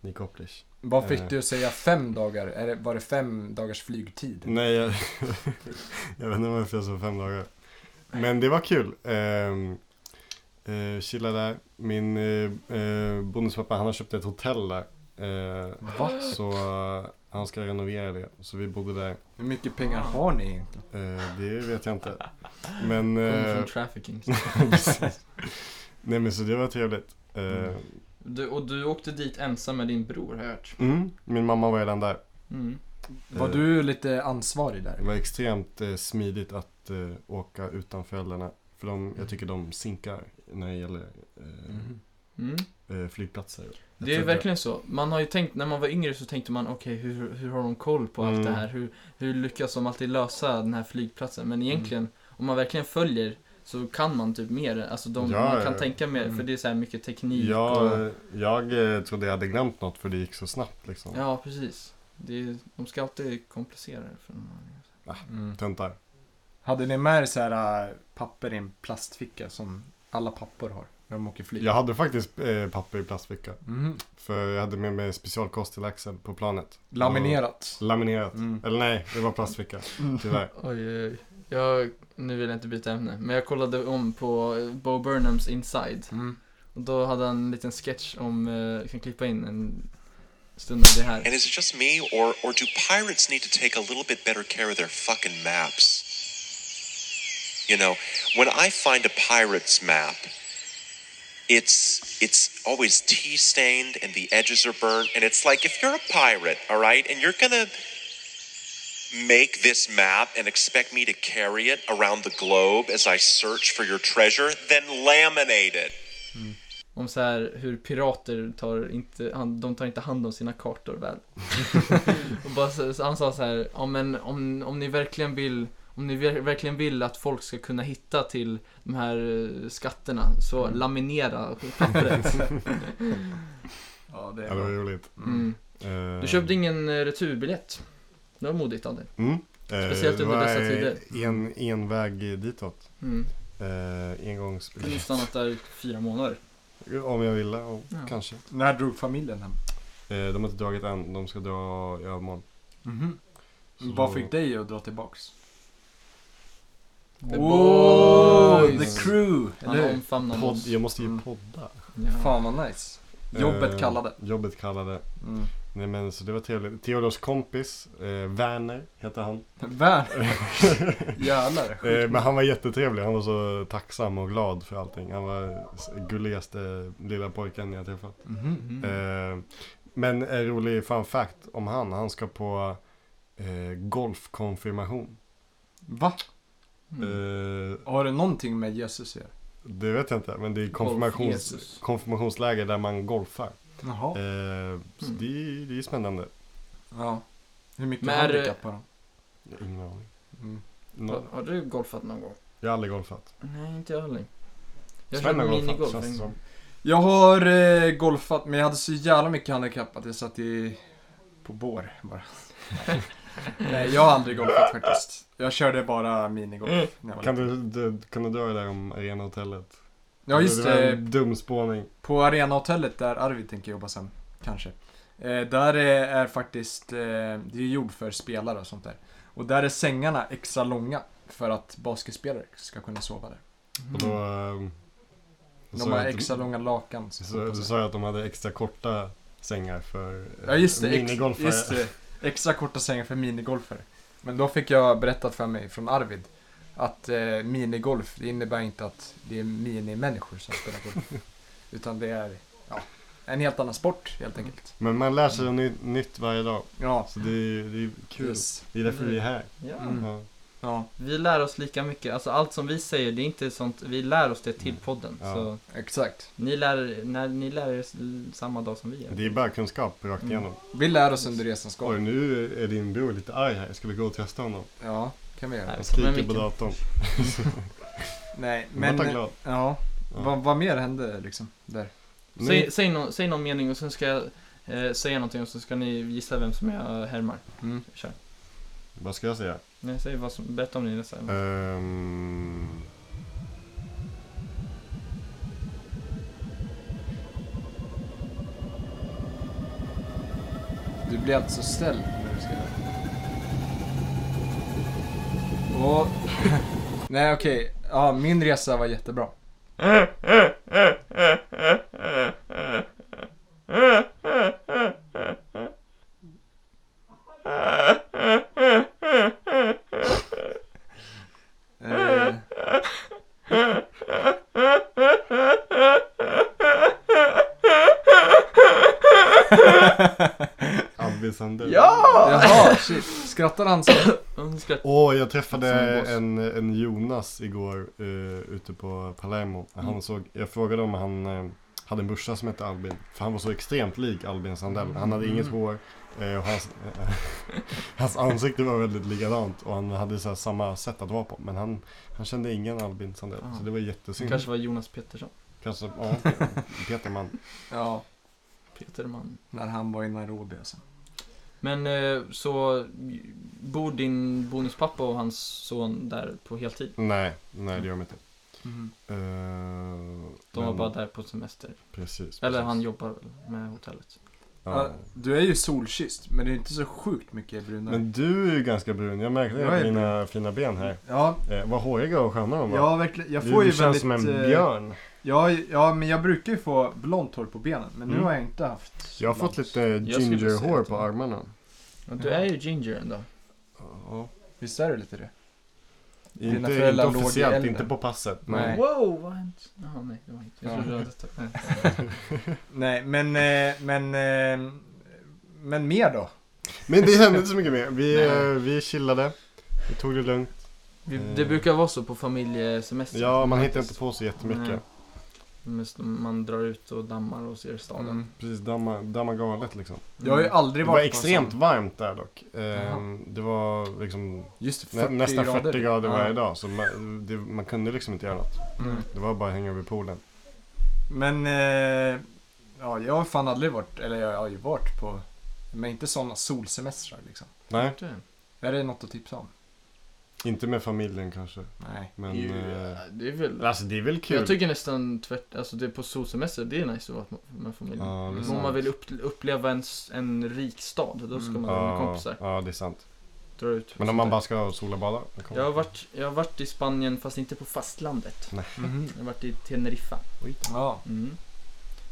[SPEAKER 1] Nikoplish.
[SPEAKER 2] Vad fick
[SPEAKER 1] Eh.
[SPEAKER 2] du att säga fem dagar? Är det, var det fem dagars flygtid?
[SPEAKER 1] Nej, jag, *laughs* jag vet inte varför jag sa fem dagar. Men det var kul. Ehm, eh, chilla där. Min eh, eh, bonuspappa, han har köpt ett hotell där. Eh,
[SPEAKER 2] Va?
[SPEAKER 1] så eh, han ska renovera det. Så vi bodde där.
[SPEAKER 2] Hur mycket pengar har ni egentligen?
[SPEAKER 1] Eh, det vet jag inte. Men... *laughs*
[SPEAKER 3] Kommer
[SPEAKER 1] eh,
[SPEAKER 3] *laughs* från trafficking.
[SPEAKER 1] Precis. Nej men så det var trevligt. Eh,
[SPEAKER 3] Du, och du åkte dit ensam med din bror har jag hört.
[SPEAKER 1] mm, min mamma var redan där.
[SPEAKER 3] Mm.
[SPEAKER 2] Var
[SPEAKER 1] Eh,
[SPEAKER 2] du lite ansvarig där?
[SPEAKER 1] Det var extremt eh, smidigt att eh, åka utan föräldrarna. För de, jag tycker de sinkar när det gäller eh,
[SPEAKER 2] Mhm.
[SPEAKER 3] Mm.
[SPEAKER 1] eh, flygplatser. Jag
[SPEAKER 3] Det är ju
[SPEAKER 1] trodde-
[SPEAKER 3] verkligen så. Man har ju tänkt, när man var yngre så tänkte man okej, hur, hur har de koll på allt
[SPEAKER 1] Mm.
[SPEAKER 3] det här? Hur, hur lyckas de alltid lösa den här flygplatsen?
[SPEAKER 1] Mm.
[SPEAKER 3] Men egentligen, om man verkligen följer så kan man typ mer. Alltså de,
[SPEAKER 1] Ja,
[SPEAKER 3] man
[SPEAKER 1] ja,
[SPEAKER 3] kan
[SPEAKER 1] ja.
[SPEAKER 3] tänka mer,
[SPEAKER 2] Mm.
[SPEAKER 3] för det är så här mycket teknik och...
[SPEAKER 1] Jag, jag eh, trodde jag hade glömt något för det gick så snabbt liksom.
[SPEAKER 3] Ja, precis. Det är, de ska alltid komplicera det för dem.
[SPEAKER 2] Mm.
[SPEAKER 1] Töntar.
[SPEAKER 2] Hade ni med er så här äh, papper i en plastficka som alla pappor har när de åker flyg?
[SPEAKER 3] Mm.
[SPEAKER 1] Jag hade faktiskt eh, papper i plastficka.
[SPEAKER 2] Mhm.
[SPEAKER 1] För jag hade med mig specialkost till Axel på planet.
[SPEAKER 2] Laminerat.
[SPEAKER 1] Och Laminerat.
[SPEAKER 2] Mm.
[SPEAKER 1] Eller nej, det var plastficka. Tyvärr.
[SPEAKER 3] Oj, oj, oj. Jag, nu vill jag inte byta ämne, men jag kollade om på eh, Bo Burnhams Inside.
[SPEAKER 2] Mm.
[SPEAKER 3] Och då hade han en liten sketch om, eh, jag kan klippa in en stund av det här.
[SPEAKER 5] And is it just me, or, or do pirates need to take a little bit better care of their fucking maps? You know, when I find a pirate's map, it's it's always tea stained and the edges are burnt, and it's like if you're a pirate, all right, and you're gonna make this map and expect me to carry it around the globe as I search for your treasure, then laminate it.
[SPEAKER 3] Om så här hur pirater tar inte, han, de tar inte hand om sina
[SPEAKER 1] *laughs*
[SPEAKER 3] kartor väl. och bara, så, så han sa så här, ja men om, om ni verkligen vill, om ni ver, verkligen vill att folk ska kunna hitta till de här eh, skatterna, så
[SPEAKER 1] Mm.
[SPEAKER 3] laminera pappret.
[SPEAKER 2] Ja, det
[SPEAKER 1] Ja, det var roligt.
[SPEAKER 3] Mm.
[SPEAKER 1] Eh,
[SPEAKER 3] Du köpte ingen eh, returbiljett. Det var modigt av dig.
[SPEAKER 1] Mm. Eh,
[SPEAKER 3] Speciellt
[SPEAKER 1] det
[SPEAKER 3] under
[SPEAKER 1] var,
[SPEAKER 3] dessa
[SPEAKER 1] eh,
[SPEAKER 3] tider.
[SPEAKER 1] En, en väg ditåt.
[SPEAKER 3] Mm.
[SPEAKER 1] Eh,
[SPEAKER 3] Du har
[SPEAKER 1] engångsbiljett.
[SPEAKER 3] stannat där i fyra månader.
[SPEAKER 1] *laughs* Om jag ville, och
[SPEAKER 3] Ja.
[SPEAKER 1] kanske.
[SPEAKER 2] När drog familjen hem?
[SPEAKER 1] Eh, de har inte dragit än, de ska dra i övermorgon.
[SPEAKER 2] Mhm.
[SPEAKER 1] Så-
[SPEAKER 2] Vad fick dig att dra tillbaks?
[SPEAKER 3] The
[SPEAKER 2] Wow,
[SPEAKER 3] boys.
[SPEAKER 2] the crew!
[SPEAKER 3] Han
[SPEAKER 2] Eller hur?
[SPEAKER 3] omfamnar
[SPEAKER 1] Podd,
[SPEAKER 3] oss.
[SPEAKER 1] jag måste ju
[SPEAKER 2] Mm.
[SPEAKER 1] podda.
[SPEAKER 3] Ja.
[SPEAKER 2] Fan vad nice. Jobbet
[SPEAKER 1] Eh,
[SPEAKER 2] kallade.
[SPEAKER 1] Jobbet kallade.
[SPEAKER 2] Mm.
[SPEAKER 1] Nej men så det var trevligt. Theodors kompis, eh, Werner heter han.
[SPEAKER 2] Vär.
[SPEAKER 1] *laughs*
[SPEAKER 2] Jävlar.
[SPEAKER 1] Eh, men han var jättetrevlig, han var så tacksam och glad för allting. Han var s- gulligaste lilla pojken jag träffat.
[SPEAKER 2] Mhm.
[SPEAKER 3] Mm.
[SPEAKER 1] Eh, men en rolig fun fact om han, han ska på eh, golfkonfirmation.
[SPEAKER 2] Va?
[SPEAKER 3] Mm.
[SPEAKER 1] Eh,
[SPEAKER 2] Har det någonting med Jesus att göra?
[SPEAKER 1] det vet jag inte, men det är konfirmations,
[SPEAKER 3] Jesus.
[SPEAKER 1] konfirmationsläger där man golfar.
[SPEAKER 2] Jaha.
[SPEAKER 1] Eh, så
[SPEAKER 3] Mm.
[SPEAKER 1] det, är- det är spännande.
[SPEAKER 2] Ja. Hur mycket
[SPEAKER 3] Men är det-
[SPEAKER 2] handikapp har de?
[SPEAKER 1] Jag har Ingen aning.
[SPEAKER 2] Mm.
[SPEAKER 1] Nå-
[SPEAKER 3] Har- Har du golfat någon gång?
[SPEAKER 1] Jag har aldrig golfat.
[SPEAKER 3] Nej, inte jag heller. Jag
[SPEAKER 1] Sven har
[SPEAKER 3] körde
[SPEAKER 1] golfat,
[SPEAKER 3] minigolf
[SPEAKER 1] känns det
[SPEAKER 3] en
[SPEAKER 1] som.
[SPEAKER 3] gång.
[SPEAKER 2] Jag har eh, golfat, men jag hade så jävla mycket handikapp att jag satt i... På bår
[SPEAKER 3] *laughs*
[SPEAKER 2] bara. Nej, jag har aldrig golfat faktiskt. Jag körde bara
[SPEAKER 3] Mm.
[SPEAKER 2] minigolf. när jag var
[SPEAKER 1] Kan
[SPEAKER 2] liten.
[SPEAKER 1] du, du, kan du dra det där om arenahotellet?
[SPEAKER 2] Ja, just
[SPEAKER 1] det. var
[SPEAKER 2] det.
[SPEAKER 1] en Dum spåning.
[SPEAKER 2] På Arenahotellet där Arvid tänker jobba sen, kanske. Eh, där är, är faktiskt, eh, det är ju gjord för spelare och sånt där. Och där är sängarna extra långa för att basketspelare ska kunna sova där.
[SPEAKER 1] Och
[SPEAKER 3] Mm.
[SPEAKER 1] då... ehm, så
[SPEAKER 2] De
[SPEAKER 1] sa
[SPEAKER 2] har
[SPEAKER 1] jag att-
[SPEAKER 2] extra långa lakan. som
[SPEAKER 1] Så,
[SPEAKER 2] hoppar
[SPEAKER 1] så
[SPEAKER 2] sig.
[SPEAKER 1] sa jag att de hade extra korta sängar för eh,
[SPEAKER 2] ja just det, ex,
[SPEAKER 1] minigolfare.
[SPEAKER 2] just det. Extra korta sängar för minigolfare. Men då fick jag berättat för mig från Arvid att eh, minigolf, det innebär inte att det är minimänniskor som spelar golf. Utan det är, ja, en helt annan sport helt enkelt.
[SPEAKER 1] *laughs* Men man lär sig ny, nytt varje dag.
[SPEAKER 2] Ja,
[SPEAKER 1] Så det är, det är kul.
[SPEAKER 2] yes.
[SPEAKER 1] Det är därför vi är här.
[SPEAKER 3] Ja.
[SPEAKER 2] Mm.
[SPEAKER 1] Ja.
[SPEAKER 2] Ja,
[SPEAKER 3] Vi lär oss lika mycket. Alltså allt som vi säger, det är inte sånt. Vi lär oss det till podden.
[SPEAKER 1] Mm. Ja.
[SPEAKER 3] Så
[SPEAKER 2] exakt.
[SPEAKER 3] ni lär, när, ni lär er s- samma dag som vi gör.
[SPEAKER 1] Det är bara kunskap rakt
[SPEAKER 3] Mm.
[SPEAKER 1] igenom.
[SPEAKER 2] Vi lär oss under resans
[SPEAKER 1] Och
[SPEAKER 2] gång.
[SPEAKER 1] nu är din bror lite arg här. Jag skulle gå och testa honom.
[SPEAKER 2] Ja, kan vi göra.
[SPEAKER 3] Nej,
[SPEAKER 1] Han
[SPEAKER 3] ta med
[SPEAKER 1] skriker på
[SPEAKER 3] micken.
[SPEAKER 1] datorn.
[SPEAKER 2] Nej,
[SPEAKER 1] Men...
[SPEAKER 2] men...
[SPEAKER 1] Vart han glad?
[SPEAKER 2] Ja,
[SPEAKER 1] Ja.
[SPEAKER 2] vad, vad mer hände liksom? Där.
[SPEAKER 1] Nu-
[SPEAKER 3] Säg, säg, någon, säg någon mening och sen ska jag eh, säga någonting och så ska ni gissa vem som jag härmar.
[SPEAKER 2] Mm.
[SPEAKER 3] Kör.
[SPEAKER 1] Vad ska jag säga?
[SPEAKER 3] Nej, säg vad som, berätta om ni nästa.
[SPEAKER 1] Eh. Ehm,
[SPEAKER 2] Du blir alltså ställd när du ska Och... *laughs* Nej, okej. Ja, min resa var jättebra. Eh.
[SPEAKER 1] Sandell.
[SPEAKER 3] Ja!
[SPEAKER 2] Jaha, shit. Skrattar han så?
[SPEAKER 3] Hon skrattar.
[SPEAKER 1] Åh, jag träffade
[SPEAKER 3] Som
[SPEAKER 1] en, en Jonas igår eh, ute på Palermo. Han
[SPEAKER 3] Mm.
[SPEAKER 1] såg, jag frågade om han eh, hade en brorsa som hette Albin. För han var så extremt lik Albin Sandell. Han hade inget
[SPEAKER 3] Mm.
[SPEAKER 1] hår. Eh, och hans, *laughs* eh, hans ansikte var väldigt likadant. Och han hade så här, samma sätt att vara på. Men han, han kände ingen Albin Sandell.
[SPEAKER 3] Ah.
[SPEAKER 1] Så det var jättesynd.
[SPEAKER 3] kanske var Jonas Pettersson.
[SPEAKER 1] Kanske, ja, Peterman.
[SPEAKER 2] Ja,
[SPEAKER 3] Peterman.
[SPEAKER 2] när han var i Nairobi alltså.
[SPEAKER 3] Men eh, så bor din bonuspappa och hans son där på heltid?
[SPEAKER 1] Nej, nej det gör de inte.
[SPEAKER 2] Mhm.
[SPEAKER 1] Eh,
[SPEAKER 3] De var
[SPEAKER 1] men-
[SPEAKER 3] bara där på semester?
[SPEAKER 1] Precis.
[SPEAKER 3] Eller
[SPEAKER 1] Mm. precis.
[SPEAKER 3] han jobbar väl med hotellet?
[SPEAKER 1] Ja.
[SPEAKER 2] Du är ju solkysst, men det är inte så sjukt mycket brunare.
[SPEAKER 1] Men du är ju ganska brun, jag märkte
[SPEAKER 2] Jag
[SPEAKER 1] det
[SPEAKER 2] är
[SPEAKER 1] på dina fina ben här.
[SPEAKER 2] Ja,
[SPEAKER 1] Eh, vad håriga och sköna de var.
[SPEAKER 2] ja, verkligen. Jag
[SPEAKER 1] Du-
[SPEAKER 2] får
[SPEAKER 1] du
[SPEAKER 2] ju
[SPEAKER 1] känns
[SPEAKER 2] väldigt...
[SPEAKER 1] som en
[SPEAKER 2] eh,
[SPEAKER 1] björn.
[SPEAKER 2] Ja, ja, men jag brukar ju få blont hår på benen. Men nu
[SPEAKER 1] Mm.
[SPEAKER 2] har jag inte haft.
[SPEAKER 1] Jag har fått
[SPEAKER 2] blont.
[SPEAKER 1] lite
[SPEAKER 3] skulle säga
[SPEAKER 1] gingerhår
[SPEAKER 3] att-
[SPEAKER 1] på armarna.
[SPEAKER 3] Men du är ju ginger ändå.
[SPEAKER 1] Ja.
[SPEAKER 2] Visst är det lite det? Dina
[SPEAKER 1] Inte, inte
[SPEAKER 2] föräldrar låg i
[SPEAKER 1] officiellt,
[SPEAKER 2] elden.
[SPEAKER 1] inte på passet. Men
[SPEAKER 2] Nej.
[SPEAKER 3] Wow, vad har hänt? Jaha, nej, det var inte. Jag
[SPEAKER 2] Ja.
[SPEAKER 3] trodde du hade tagit med.
[SPEAKER 2] Nej, men... eh, Men... eh, Men mer då?
[SPEAKER 1] Men det hände inte så mycket mer. Vi,
[SPEAKER 2] Nej.
[SPEAKER 1] eh, vi chillade, vi tog det lugnt.
[SPEAKER 3] Vi,
[SPEAKER 1] Eh.
[SPEAKER 3] det brukar vara så på familjesemester.
[SPEAKER 1] Ja, man hittar
[SPEAKER 3] Faktiskt.
[SPEAKER 1] inte på så jättemycket.
[SPEAKER 3] Nej. Mest Man drar ut och dammar och ser staden. Mm.
[SPEAKER 2] Mm.
[SPEAKER 1] Precis, damma, damma galet liksom.
[SPEAKER 2] Jag har ju
[SPEAKER 1] Det
[SPEAKER 2] aldrig
[SPEAKER 1] var
[SPEAKER 2] varit på en
[SPEAKER 1] extremt
[SPEAKER 2] sån-
[SPEAKER 1] varmt där dock. Eh,
[SPEAKER 2] Jaha.
[SPEAKER 1] det var liksom nä-
[SPEAKER 2] Just det, 40
[SPEAKER 1] nästan 40
[SPEAKER 2] grader.
[SPEAKER 1] grader,
[SPEAKER 2] Ja.
[SPEAKER 1] varje dag. Så man, det, man kunde liksom inte göra något.
[SPEAKER 2] Mm.
[SPEAKER 1] Det var bara att hänga vid poolen.
[SPEAKER 2] Men eh, ja, jag har fan aldrig varit, eller jag har ju varit på, men inte sådana solsemestrar liksom.
[SPEAKER 1] Nej,
[SPEAKER 3] Det.
[SPEAKER 2] Är det något att tipsa om?
[SPEAKER 1] inte med familjen kanske.
[SPEAKER 2] Nej.
[SPEAKER 1] Men...
[SPEAKER 3] Ju,
[SPEAKER 1] eh,
[SPEAKER 3] det är väl...
[SPEAKER 1] Alltså det är väl kul?
[SPEAKER 3] Jag tycker nästan tvärt, alltså det är på solsemester, det är nice att vara med familjen.
[SPEAKER 1] Ja, det är
[SPEAKER 2] Mm.
[SPEAKER 3] Om man
[SPEAKER 1] sant.
[SPEAKER 3] vill upp, uppleva en, s- en rik stad, då ska
[SPEAKER 2] Mm.
[SPEAKER 3] man vara med
[SPEAKER 1] ja,
[SPEAKER 3] kompisar.
[SPEAKER 1] ja, det är sant.
[SPEAKER 3] Dra ut.
[SPEAKER 1] Men om man bara ska sola och bada? då kommer-
[SPEAKER 3] jag, har varit, jag har varit i Spanien fast inte på fastlandet.
[SPEAKER 2] Mm-hmm.
[SPEAKER 3] Jag har varit i Teneriffa.
[SPEAKER 1] Oj.
[SPEAKER 2] Ja,
[SPEAKER 3] Mm.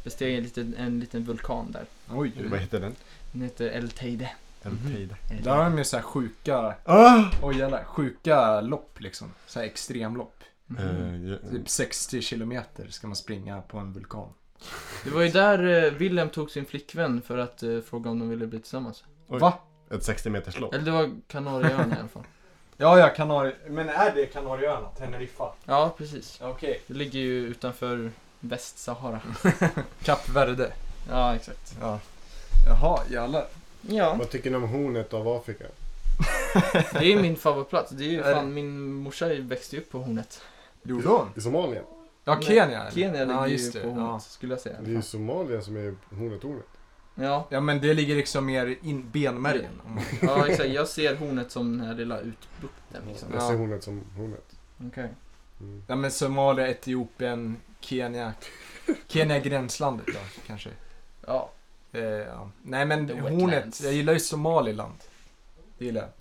[SPEAKER 3] Besteg en liten, en liten vulkan där.
[SPEAKER 2] oj.
[SPEAKER 1] Vad heter den?
[SPEAKER 3] Den heter El Teide.
[SPEAKER 1] El
[SPEAKER 2] Mhm.
[SPEAKER 1] Teide.
[SPEAKER 3] El-
[SPEAKER 2] Där har de ju så här sjuka,
[SPEAKER 1] Ah!
[SPEAKER 2] oj jävlar, sjuka lopp liksom. Så här extremlopp.
[SPEAKER 3] Mhm.
[SPEAKER 1] Eh, ja,
[SPEAKER 2] Typ 60 kilometer ska man springa på en vulkan.
[SPEAKER 3] Det var ju där eh, Wilhelm tog sin flickvän för att eh, fråga om de ville bli tillsammans.
[SPEAKER 1] Oj.
[SPEAKER 2] Va?
[SPEAKER 1] Ett 60 meters lopp.
[SPEAKER 3] Eller det var Kanarieöarna i alla fall.
[SPEAKER 2] Ja, ja, Kanari... Men är det Kanarieöarna? Teneriffa?
[SPEAKER 3] Ja, precis.
[SPEAKER 2] Okej.
[SPEAKER 3] Det ligger ju utanför Västsahara.
[SPEAKER 2] Kap Verde.
[SPEAKER 3] Ja, exakt.
[SPEAKER 2] Ja. Jaha, jävlar.
[SPEAKER 3] Ja.
[SPEAKER 4] Vad tycker ni om hornet av Afrika?
[SPEAKER 3] Det är min favoritplats. Det är ju
[SPEAKER 2] Är det?
[SPEAKER 3] fan, min morsa växte ju upp på Hornet.
[SPEAKER 2] Gjorde hon?
[SPEAKER 4] I Somalia?
[SPEAKER 2] Ja,
[SPEAKER 3] Nej,
[SPEAKER 2] Kenya. eller?
[SPEAKER 3] Kenya ligger
[SPEAKER 2] ja,
[SPEAKER 3] ju
[SPEAKER 2] just det.
[SPEAKER 3] på Hornet,
[SPEAKER 2] Ja.
[SPEAKER 3] skulle jag säga.
[SPEAKER 4] Det är ju Somalia som är hornet-hornet.
[SPEAKER 3] Ja,
[SPEAKER 2] ja, men det ligger liksom mer i benmärgen. om man-
[SPEAKER 3] ja, exakt. Jag ser Hornet som den här lilla utbukten liksom.
[SPEAKER 1] Mm.
[SPEAKER 4] Jag ser hornet som hornet.
[SPEAKER 3] Okej.
[SPEAKER 4] Mm.
[SPEAKER 2] Ja men Somalia, Etiopien, Kenya. Kenya är gränslandet då kanske.
[SPEAKER 3] Ja.
[SPEAKER 2] Eh, ja. Nej men
[SPEAKER 3] The
[SPEAKER 2] hornet,
[SPEAKER 3] wetlands.
[SPEAKER 2] jag gillar ju Somaliland. Det gillar jag.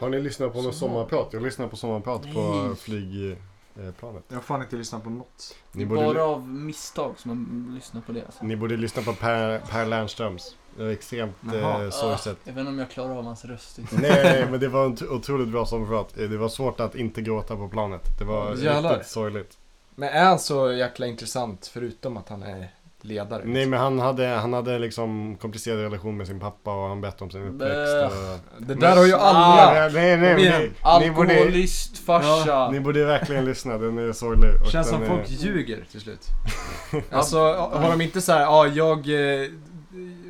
[SPEAKER 4] Har ni lyssnat på något
[SPEAKER 3] Somal-
[SPEAKER 4] sommarprat? Jag lyssnade på sommarprat på
[SPEAKER 3] Nej.
[SPEAKER 1] flygplanet.
[SPEAKER 2] Jag har fan inte lyssnat på något.
[SPEAKER 1] eh,
[SPEAKER 3] Det
[SPEAKER 1] Ni
[SPEAKER 3] är
[SPEAKER 1] borde,
[SPEAKER 3] bara av misstag som man lyssnar på det alltså.
[SPEAKER 1] ni borde lyssna på Per, per Lernströms. Det var extremt
[SPEAKER 2] Jaha.
[SPEAKER 1] eh, sorgset.
[SPEAKER 3] Jag vet inte om jag klarar av hans röst. typ.
[SPEAKER 1] Nej, men det var en t- otroligt bra sommarprat. Eh, Det var svårt att inte gråta på planet. Det var
[SPEAKER 2] Jävlar.
[SPEAKER 1] riktigt sorgligt.
[SPEAKER 2] Men är han så jäkla intressant förutom att han är ledare?
[SPEAKER 1] Nej men han hade, han hade liksom komplicerad relation med sin pappa och han berättade om sin uppväxt.
[SPEAKER 3] Bäh.
[SPEAKER 1] Och...
[SPEAKER 2] Det där
[SPEAKER 3] Ah,
[SPEAKER 2] har ju alla!
[SPEAKER 1] Nej nej, nej
[SPEAKER 2] Kom igen.
[SPEAKER 1] men ni, ni, borde,
[SPEAKER 3] Alkoholist farsa.
[SPEAKER 1] ni borde verkligen lyssna, den är sorglig. och eh,
[SPEAKER 2] Känns
[SPEAKER 1] den
[SPEAKER 2] som
[SPEAKER 1] är...
[SPEAKER 2] folk ljuger
[SPEAKER 1] *laughs*
[SPEAKER 2] till slut. Alltså har de inte så här, ja jag eh,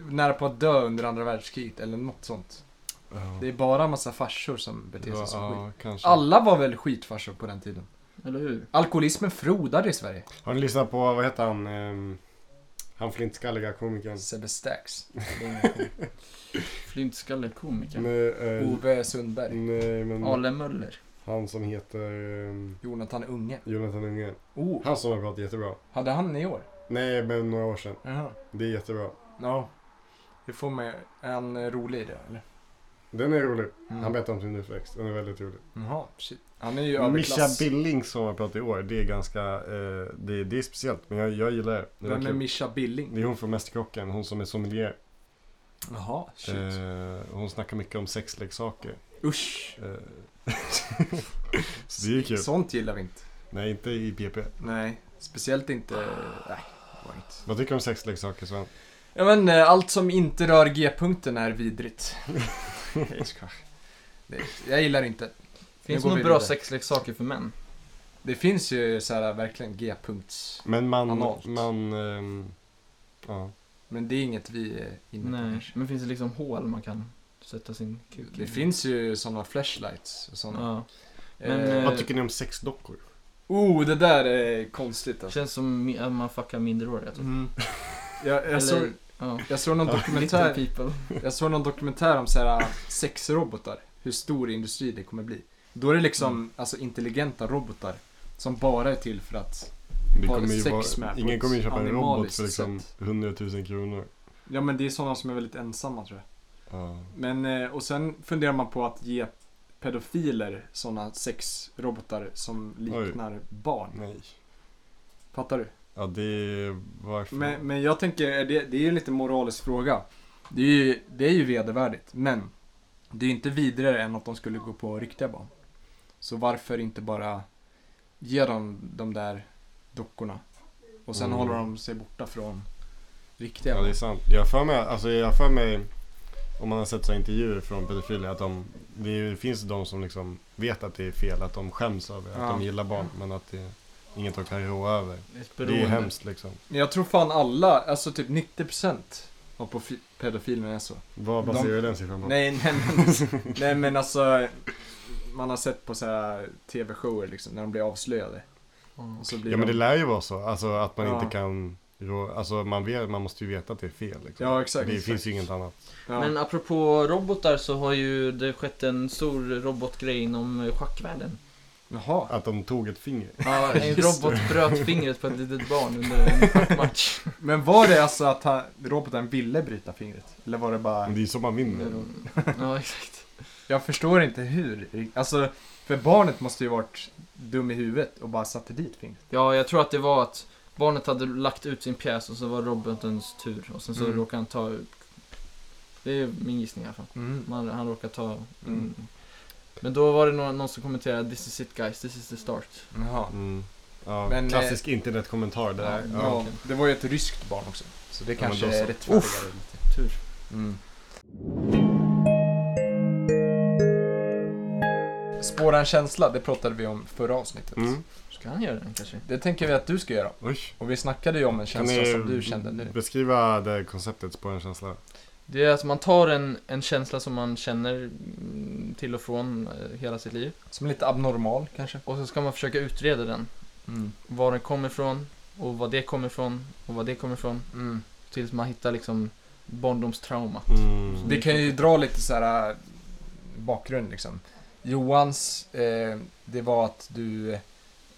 [SPEAKER 2] nära på att dö under andra världskriget eller något sånt.
[SPEAKER 1] Ja,
[SPEAKER 2] Det är bara en massa farsor som
[SPEAKER 1] det
[SPEAKER 2] beter
[SPEAKER 1] var-
[SPEAKER 2] sig som skit.
[SPEAKER 1] ja, kanske.
[SPEAKER 2] Alla var väl skitfarsor på den tiden?
[SPEAKER 3] Eller hur?
[SPEAKER 2] Alkoholismen frodade i Sverige.
[SPEAKER 1] Har ni lyssnat på, vad heter han? ehm, han flintskalliga komikern.
[SPEAKER 2] Sebbe Stax.
[SPEAKER 3] Flintskalle komiker.
[SPEAKER 1] Nej, eh,
[SPEAKER 2] Ove Sundberg.
[SPEAKER 1] nej men
[SPEAKER 3] Ale Möller.
[SPEAKER 1] han som heter um,
[SPEAKER 2] Jonathan Unge.
[SPEAKER 1] Jonathan Unge.
[SPEAKER 2] Oh,
[SPEAKER 1] Han som har pratat jättebra.
[SPEAKER 2] hade han i år?
[SPEAKER 1] Nej men några år sedan.
[SPEAKER 2] Jaha.
[SPEAKER 1] Det är jättebra.
[SPEAKER 2] Ja. Det får mig... Är han eh, rolig i det eller?
[SPEAKER 1] Den är rolig.
[SPEAKER 2] Mm.
[SPEAKER 1] Han berättar om sin uppväxt. Den är väldigt rolig.
[SPEAKER 2] Jaha, shit. Han är ju
[SPEAKER 1] Mischa
[SPEAKER 2] överklass.
[SPEAKER 1] Billings som har pratat i år, det är ganska, eh, det, det är speciellt. Men jag, jag gillar det. Det, var
[SPEAKER 2] Vem är
[SPEAKER 1] kul. Mm.
[SPEAKER 2] Mischa Billing?
[SPEAKER 1] det är hon från Mästerkocken, hon som är sommelier.
[SPEAKER 2] Jaha, shit.
[SPEAKER 1] Eh, hon snackar mycket om sexleksaker.
[SPEAKER 2] Usch.
[SPEAKER 1] Eh, *laughs* så det är ju kul.
[SPEAKER 2] Sånt gillar vi inte.
[SPEAKER 1] Nej, inte i PP. Ah.
[SPEAKER 2] Nej. Speciellt inte... Nej. varit.
[SPEAKER 1] Vad tycker du om sexleksaker Sven?
[SPEAKER 2] Ja men eh, allt som inte rör G-punkten
[SPEAKER 1] *laughs*
[SPEAKER 2] är vidrigt. jag skojar. Det- Jag gillar inte.
[SPEAKER 3] Finns
[SPEAKER 2] Nu
[SPEAKER 3] det
[SPEAKER 2] går vi
[SPEAKER 3] några bra
[SPEAKER 2] vidare.
[SPEAKER 3] sexleksaker för män?
[SPEAKER 2] Det finns ju så här eh, verkligen G-punkts.
[SPEAKER 1] Men man...
[SPEAKER 2] Analt.
[SPEAKER 1] man ehm, ja.
[SPEAKER 2] Men det är inget vi är inne på
[SPEAKER 3] Nej,
[SPEAKER 2] kanske.
[SPEAKER 3] men finns det liksom hål man kan sätta sin kuk i?
[SPEAKER 2] Det finns ju sådana flashlights och sådana.
[SPEAKER 3] Ja.
[SPEAKER 2] Eh,
[SPEAKER 3] men,
[SPEAKER 1] Vad tycker ni om sexdockor?
[SPEAKER 2] oh, det där är konstigt alltså.
[SPEAKER 3] Känns som mi- att man fuckar minderåriga typ.
[SPEAKER 2] Mm. Jag, jag, såg,
[SPEAKER 3] ja.
[SPEAKER 2] jag såg någon
[SPEAKER 3] Little
[SPEAKER 2] dokumentär
[SPEAKER 3] people.
[SPEAKER 2] Jag såg någon dokumentär om så här äh, sexrobotar, hur stor industri det kommer bli. Då är det liksom alltså, intelligenta robotar som bara är till för att,
[SPEAKER 1] Det
[SPEAKER 2] Har
[SPEAKER 1] kommer ju
[SPEAKER 2] sex
[SPEAKER 1] vara,
[SPEAKER 2] med
[SPEAKER 1] ingen
[SPEAKER 2] på
[SPEAKER 1] kommer ju
[SPEAKER 2] ett
[SPEAKER 1] köpa en robot
[SPEAKER 2] animaliskt
[SPEAKER 1] för liksom
[SPEAKER 2] sätt.
[SPEAKER 1] 100 000 kronor.
[SPEAKER 2] ja men det är sådana som är väldigt ensamma tror jag.
[SPEAKER 1] Ja.
[SPEAKER 2] Men, eh, och sen funderar man på att ge pedofiler sådana sexrobotar som liknar barn.
[SPEAKER 1] Nej.
[SPEAKER 2] Fattar du?
[SPEAKER 1] Ja, det är... Varför?
[SPEAKER 2] Men, men jag tänker, är det, det är ju en lite moralisk fråga. Det är ju, det är ju vedervärdigt, men det är ju inte vidare än att de skulle gå på riktiga barn. Så varför inte bara ge dem de där dockorna? Och sen
[SPEAKER 1] Mm.
[SPEAKER 2] håller de sig borta från riktiga
[SPEAKER 1] Ja, det är
[SPEAKER 2] barn.
[SPEAKER 1] sant. Jag har för mig, alltså jag har för mig, om man har sett så här intervjuer från pedofiler, att de, det är, ju- finns de som liksom vet att det är fel, att de skäms över,
[SPEAKER 2] Ja.
[SPEAKER 1] att de gillar barn, men att det är inget de kan rå över.
[SPEAKER 3] Ett
[SPEAKER 1] Det är ju hemskt liksom.
[SPEAKER 2] Men jag tror fan alla, alltså typ 90% av profi- pedofilerna är så.
[SPEAKER 1] Vad
[SPEAKER 2] De-
[SPEAKER 1] baserar du den siffran på?
[SPEAKER 2] Nej, nej,
[SPEAKER 1] *laughs*
[SPEAKER 2] men, nej men alltså, man har sett på så här TV-shower liksom, när de blir avslöjade. Och så blir
[SPEAKER 1] Ja men det
[SPEAKER 2] de...
[SPEAKER 1] lär ju vara så, alltså att man
[SPEAKER 2] Ja.
[SPEAKER 1] inte kan rå, alltså man, vet, man måste ju veta att det är fel liksom.
[SPEAKER 2] Ja, exakt,
[SPEAKER 1] Det
[SPEAKER 2] exakt.
[SPEAKER 1] finns ju inget annat.
[SPEAKER 2] Ja.
[SPEAKER 6] Men apropå robotar så har ju det skett en stor robotgrej inom eh, schackvärlden.
[SPEAKER 2] Jaha.
[SPEAKER 1] Att de tog ett finger.
[SPEAKER 3] Ja, en robot bröt fingret på ett litet barn under en schackmatch.
[SPEAKER 2] Men var det alltså att han, roboten ville bryta fingret? Eller var det bara...
[SPEAKER 1] Det är ju så man vinner.
[SPEAKER 3] Mm, ja, exakt.
[SPEAKER 2] Jag förstår inte hur. Alltså, för barnet måste ju varit dum i huvudet och bara satte dit fingret.
[SPEAKER 3] Ja, jag tror att det var att barnet hade lagt ut sin pjäs och så var robotens tur och sen så
[SPEAKER 2] Mm.
[SPEAKER 3] råkade han ta ut... Det är min gissning i alla fall. Man, han råkade ta...
[SPEAKER 2] Mm.
[SPEAKER 3] Men då var det någon, någon som kommenterade This is it guys, this is the start.
[SPEAKER 2] Jaha.
[SPEAKER 1] Mm. Ja,
[SPEAKER 2] Men, eh,
[SPEAKER 1] klassisk internetkommentar det där.
[SPEAKER 3] Ja.
[SPEAKER 2] Ja, det var ju ett ryskt barn också. Så det
[SPEAKER 1] men
[SPEAKER 2] kanske
[SPEAKER 1] då så.
[SPEAKER 2] är rättfärdigare lite.
[SPEAKER 3] Tur.
[SPEAKER 2] Mm. Spåra en känsla, det pratade vi om förra avsnittet.
[SPEAKER 1] Mm.
[SPEAKER 3] Ska han göra den kanske?
[SPEAKER 2] Det tänker vi att du ska göra.
[SPEAKER 1] Oj.
[SPEAKER 2] Och vi snackade ju om
[SPEAKER 1] Kan
[SPEAKER 2] en känsla
[SPEAKER 1] ni
[SPEAKER 2] som du kände nu.
[SPEAKER 1] beskriva det konceptet på en känsla?
[SPEAKER 3] Det är att man tar en, en känsla som man känner mm, till och från eh, hela sitt liv.
[SPEAKER 2] Som är lite abnormal kanske.
[SPEAKER 3] Och så ska man försöka utreda den.
[SPEAKER 2] Mm.
[SPEAKER 3] Var den kommer ifrån och vad det kommer ifrån och vad det kommer ifrån.
[SPEAKER 2] Mm.
[SPEAKER 3] Tills man hittar liksom barndomstraumat.
[SPEAKER 1] Mm.
[SPEAKER 2] Vi kan ju dra lite så här äh, bakgrund liksom. Johans, eh, det var att du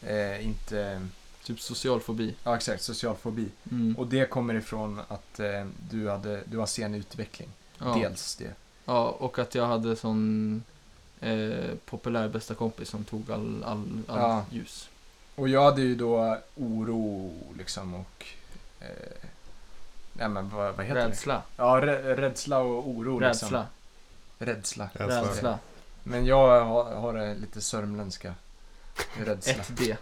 [SPEAKER 2] eh, inte,
[SPEAKER 3] Typ social fobi.
[SPEAKER 2] ja exakt, social fobi.
[SPEAKER 3] Mm.
[SPEAKER 2] Och det kommer ifrån att eh, du, hade, du har sen utveckling.
[SPEAKER 3] ja.
[SPEAKER 2] Dels det.
[SPEAKER 3] ja, och att jag hade sån eh, populär bästa kompis som tog all, all, all
[SPEAKER 2] Ja.
[SPEAKER 3] ljus.
[SPEAKER 2] Och jag hade ju då oro liksom och, eh, nej men vad, vad heter
[SPEAKER 3] Rädsla.
[SPEAKER 2] det? Ja, rä- rädsla och oro liksom.
[SPEAKER 3] Rädsla.
[SPEAKER 2] Rädsla.
[SPEAKER 1] Rädsla.
[SPEAKER 3] Rädsla.
[SPEAKER 2] Men jag har, har det lite sörmländska. Rädsla.
[SPEAKER 3] 1D.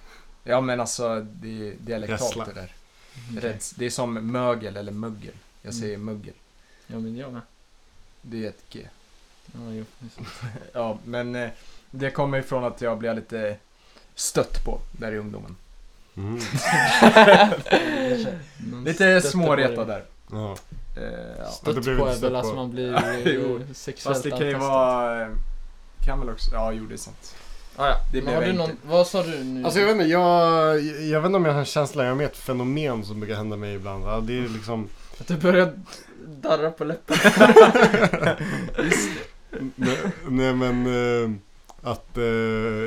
[SPEAKER 2] Ja men alltså det är dialektalt
[SPEAKER 1] Rädsla.
[SPEAKER 2] det där.
[SPEAKER 3] Okej.
[SPEAKER 2] Räds, det är som mögel eller mögel. Jag
[SPEAKER 3] Mm.
[SPEAKER 2] säger mögel.
[SPEAKER 3] Ja, men jag med.
[SPEAKER 2] Det är ett G.
[SPEAKER 3] Ja, jo. det är sant.
[SPEAKER 2] Ja, men eh, det kommer ifrån att jag blev lite stött på där i ungdomen.
[SPEAKER 1] Mm.
[SPEAKER 2] *laughs*
[SPEAKER 3] Man
[SPEAKER 2] Lite
[SPEAKER 3] stötte på
[SPEAKER 2] småretad
[SPEAKER 3] det.
[SPEAKER 2] där.
[SPEAKER 1] Ja.
[SPEAKER 2] Eh, ja.
[SPEAKER 1] Ja, det
[SPEAKER 3] Stött
[SPEAKER 1] blev
[SPEAKER 3] på
[SPEAKER 1] inte
[SPEAKER 3] är
[SPEAKER 1] stött
[SPEAKER 3] väl alltså
[SPEAKER 1] på.
[SPEAKER 3] man *laughs* blir
[SPEAKER 2] Jo.
[SPEAKER 3] eh, sexuellt
[SPEAKER 2] Fast det kan ju
[SPEAKER 3] antastad.
[SPEAKER 2] vara... eh, Kan väl också... Ja, jo det är sant.
[SPEAKER 3] Ah, ja.
[SPEAKER 2] det
[SPEAKER 3] Men
[SPEAKER 2] blev
[SPEAKER 3] har du
[SPEAKER 2] jag
[SPEAKER 3] någon,
[SPEAKER 2] inte.
[SPEAKER 3] Vad sa du nu?
[SPEAKER 1] Alltså jag vet inte, jag, jag vet inte om jag har en känsla, jag har med ett fenomen som brukar hända mig ibland. Ja, det är
[SPEAKER 2] Mm.
[SPEAKER 1] liksom,
[SPEAKER 3] Att du börjar darra på läppen.
[SPEAKER 1] nej, nej men eh, att eh,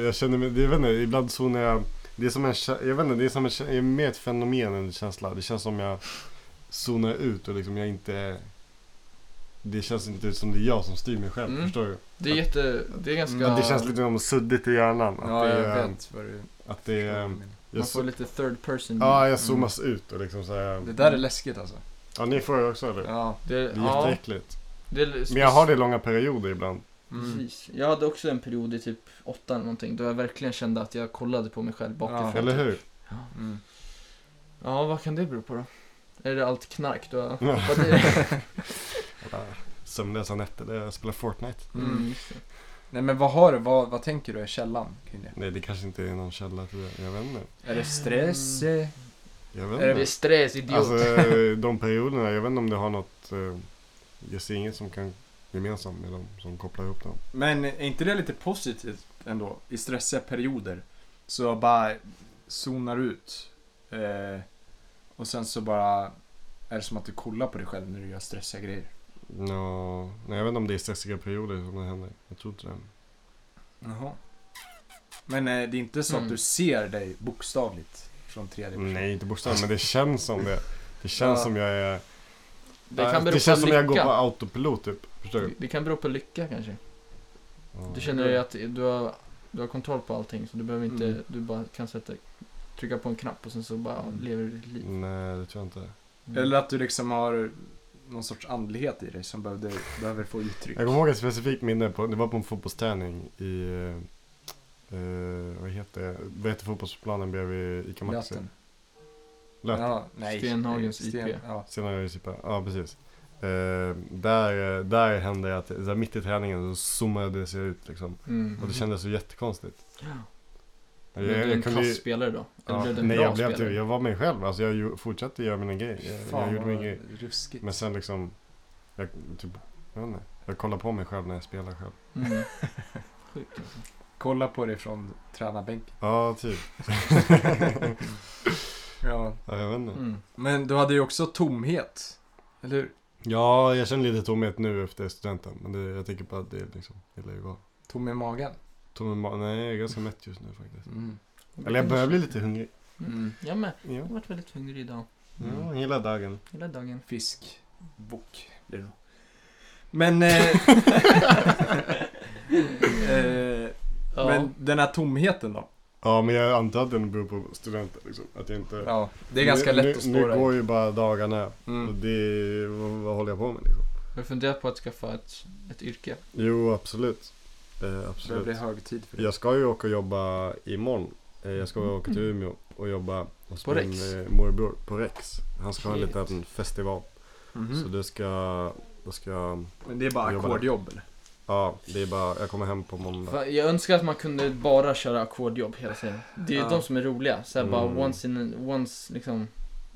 [SPEAKER 1] jag känner mig, det, jag vet inte, ibland så när jag, det är som en, kä- jag vet inte, det är som en, kä- jag är mer ett fenomen än en känsla. Det känns som jag zonar ut och liksom jag inte, det känns inte ut som det är jag som styr mig själv,
[SPEAKER 3] Mm.
[SPEAKER 1] förstår du?
[SPEAKER 3] Det är jätte, det är ganska...
[SPEAKER 2] Mm,
[SPEAKER 1] Att det känns lite som suddigt i hjärnan. Att
[SPEAKER 2] Ja,
[SPEAKER 1] det,
[SPEAKER 2] jag
[SPEAKER 1] är-
[SPEAKER 2] vet vad du...
[SPEAKER 1] Att det, är-
[SPEAKER 3] Man
[SPEAKER 1] jag,
[SPEAKER 3] får lite third person.
[SPEAKER 1] ja, jag zoomas ut och liksom så här,
[SPEAKER 2] Mm. Det där är läskigt alltså.
[SPEAKER 1] Ja, ni får det också eller?
[SPEAKER 2] Ja.
[SPEAKER 3] Det,
[SPEAKER 1] Det är
[SPEAKER 3] ja,
[SPEAKER 1] jätteäckligt.
[SPEAKER 3] det är,
[SPEAKER 1] Men jag har det i långa perioder ibland.
[SPEAKER 2] Mm.
[SPEAKER 3] Precis. Jag hade också en period i typ åtta eller någonting då jag verkligen
[SPEAKER 2] *laughs*
[SPEAKER 3] kände att jag kollade på mig själv bakifrån.
[SPEAKER 2] Ja.
[SPEAKER 1] Eller hur?
[SPEAKER 2] Mm.
[SPEAKER 3] Ja, vad kan det bero på då? Är det allt knark du har?
[SPEAKER 1] Ja.
[SPEAKER 3] Vad det-
[SPEAKER 1] *laughs* Sömnlösa nätter, det är att spela Fortnite.
[SPEAKER 2] Mm.
[SPEAKER 3] Mm, just det.
[SPEAKER 2] Nej men vad har du, vad, vad tänker du är källan kring det?
[SPEAKER 1] Nej, det kanske inte är någon källa till det. Jag vet inte.
[SPEAKER 2] Är det stress? eh?
[SPEAKER 1] Jag
[SPEAKER 2] Är
[SPEAKER 1] vet
[SPEAKER 2] det
[SPEAKER 1] inte.
[SPEAKER 6] stress, idiot.
[SPEAKER 1] Alltså eh, de perioderna, jag vet inte om det har något... Eh, jag ser inget som kan gemensamt med dem som kopplar ihop dem.
[SPEAKER 2] Men är inte det lite positivt ändå? I stressiga perioder så bara zonar ut. Eh, och sen så bara är det som att du kollar på dig själv när du gör stressiga grejer.
[SPEAKER 1] Nå, nej, jag vet inte om det är stressiga perioder som det händer. Jag tror inte det.
[SPEAKER 2] Jaha. Men eh, det är inte så att
[SPEAKER 3] Mm.
[SPEAKER 2] du ser dig bokstavligt från tredje person?
[SPEAKER 1] Nej, inte bokstavligt, men det känns som det. Det känns
[SPEAKER 3] Ja.
[SPEAKER 1] som jag är...
[SPEAKER 3] Det kan bero
[SPEAKER 1] det känns
[SPEAKER 3] på
[SPEAKER 1] som jag går på Mm.
[SPEAKER 3] lycka.
[SPEAKER 1] autopilot typ. Förstår du?
[SPEAKER 3] Det- Det kan bero på lycka kanske.
[SPEAKER 1] Ja.
[SPEAKER 3] Du känner dig att du har, du har kontroll på allting så du behöver inte,
[SPEAKER 2] Mm.
[SPEAKER 3] du bara kan sätta, trycka på en knapp och sen så bara
[SPEAKER 2] Mm.
[SPEAKER 3] lever du ditt liv.
[SPEAKER 1] Nej, det tror jag inte.
[SPEAKER 3] Mm.
[SPEAKER 2] Eller att du liksom har någon sorts andlighet i dig som behövde, behöver få uttryck.
[SPEAKER 1] Jag kommer ihåg ett specifikt minne, på, det var på en fotbollsträning i, eh, eh, vad heter det, vad heter fotbollsplanen bredvid ICA Maxi?
[SPEAKER 2] Löten.
[SPEAKER 1] Löten.
[SPEAKER 2] Ja, nej.
[SPEAKER 3] Stenhagens IP.
[SPEAKER 2] Ja.
[SPEAKER 1] Senare i Sippa, ja precis. Eh, där, eh, där hände det att, så här, mitt i träningen så zoomade det sig ut liksom.
[SPEAKER 3] Mm.
[SPEAKER 1] Och det kändes så jättekonstigt.
[SPEAKER 3] Blev du en kass spelare då? Eller
[SPEAKER 1] ja,
[SPEAKER 3] blev du en
[SPEAKER 1] nej,
[SPEAKER 3] bra
[SPEAKER 1] jag blev
[SPEAKER 3] spelare?
[SPEAKER 1] typ, jag var mig själv. Alltså jag ju- fortsatte göra mina grejer. Jag, jag
[SPEAKER 2] Fan
[SPEAKER 1] gjorde
[SPEAKER 2] vad
[SPEAKER 1] min grej.
[SPEAKER 2] ruskigt.
[SPEAKER 1] Men sen liksom, jag typ, jag vet inte. Jag kollar på mig själv när jag spelar själv.
[SPEAKER 3] Mm. Sjukt alltså.
[SPEAKER 2] Kolla på det från
[SPEAKER 1] *laughs*
[SPEAKER 2] tränarbänken.
[SPEAKER 1] Ja, typ.
[SPEAKER 2] Ja.
[SPEAKER 1] ja, jag vet inte.
[SPEAKER 3] Mm.
[SPEAKER 2] Men du hade ju också tomhet. Eller hur?
[SPEAKER 1] Ja, jag känner lite tomhet nu efter studenten. Men det, jag tänker på att det liksom, det lär ju vara.
[SPEAKER 2] Tom i magen.
[SPEAKER 1] Tom i ma- nej jag är ganska mätt just nu faktiskt.
[SPEAKER 2] Mm.
[SPEAKER 1] Eller jag börjar bli lite hungrig.
[SPEAKER 2] Mm.
[SPEAKER 3] Ja men,
[SPEAKER 1] Ja,
[SPEAKER 3] jag har varit väldigt hungrig idag.
[SPEAKER 1] ja hela dagen.
[SPEAKER 3] Hela dagen.
[SPEAKER 2] Fisk. Bock. blir det nog. Men... Eh, *laughs* eh,
[SPEAKER 3] Ja.
[SPEAKER 2] Men den här tomheten då?
[SPEAKER 1] Ja, men jag antar att den beror på studenten liksom. Att jag inte...
[SPEAKER 2] Ja, det är ganska
[SPEAKER 1] nu,
[SPEAKER 2] lätt
[SPEAKER 1] nu,
[SPEAKER 2] att
[SPEAKER 1] Nu
[SPEAKER 2] spåra.
[SPEAKER 1] går ju bara dagarna. Och
[SPEAKER 2] Mm.
[SPEAKER 1] det, är- vad, vad håller jag på med liksom?
[SPEAKER 3] Har du funderat på att skaffa ett, ett yrke?
[SPEAKER 1] Jo, absolut. Eh,
[SPEAKER 2] Det börjar bli
[SPEAKER 1] absolut.
[SPEAKER 2] hög tid för det.
[SPEAKER 1] Jag ska ju åka och jobba imorgon. Eh, jag ska
[SPEAKER 2] Mm.
[SPEAKER 1] åka till Umeå och jobba hos
[SPEAKER 3] På
[SPEAKER 1] min
[SPEAKER 3] Rex?
[SPEAKER 1] eh, morbror på Rex. Han ska ha en
[SPEAKER 3] Shit.
[SPEAKER 1] liten festival.
[SPEAKER 2] Mhm.
[SPEAKER 1] Så det ska, då ska jag...
[SPEAKER 2] Men det är bara
[SPEAKER 1] Jobba
[SPEAKER 2] ackordjobb eller?
[SPEAKER 1] Ja, det är bara, jag kommer hem på måndag.
[SPEAKER 3] Fan, Jag önskar att man kunde bara köra ackordjobb hela tiden. Det är ju
[SPEAKER 2] Ja.
[SPEAKER 3] de som är roliga. Så här,
[SPEAKER 1] Mm.
[SPEAKER 3] bara once in, a- once liksom.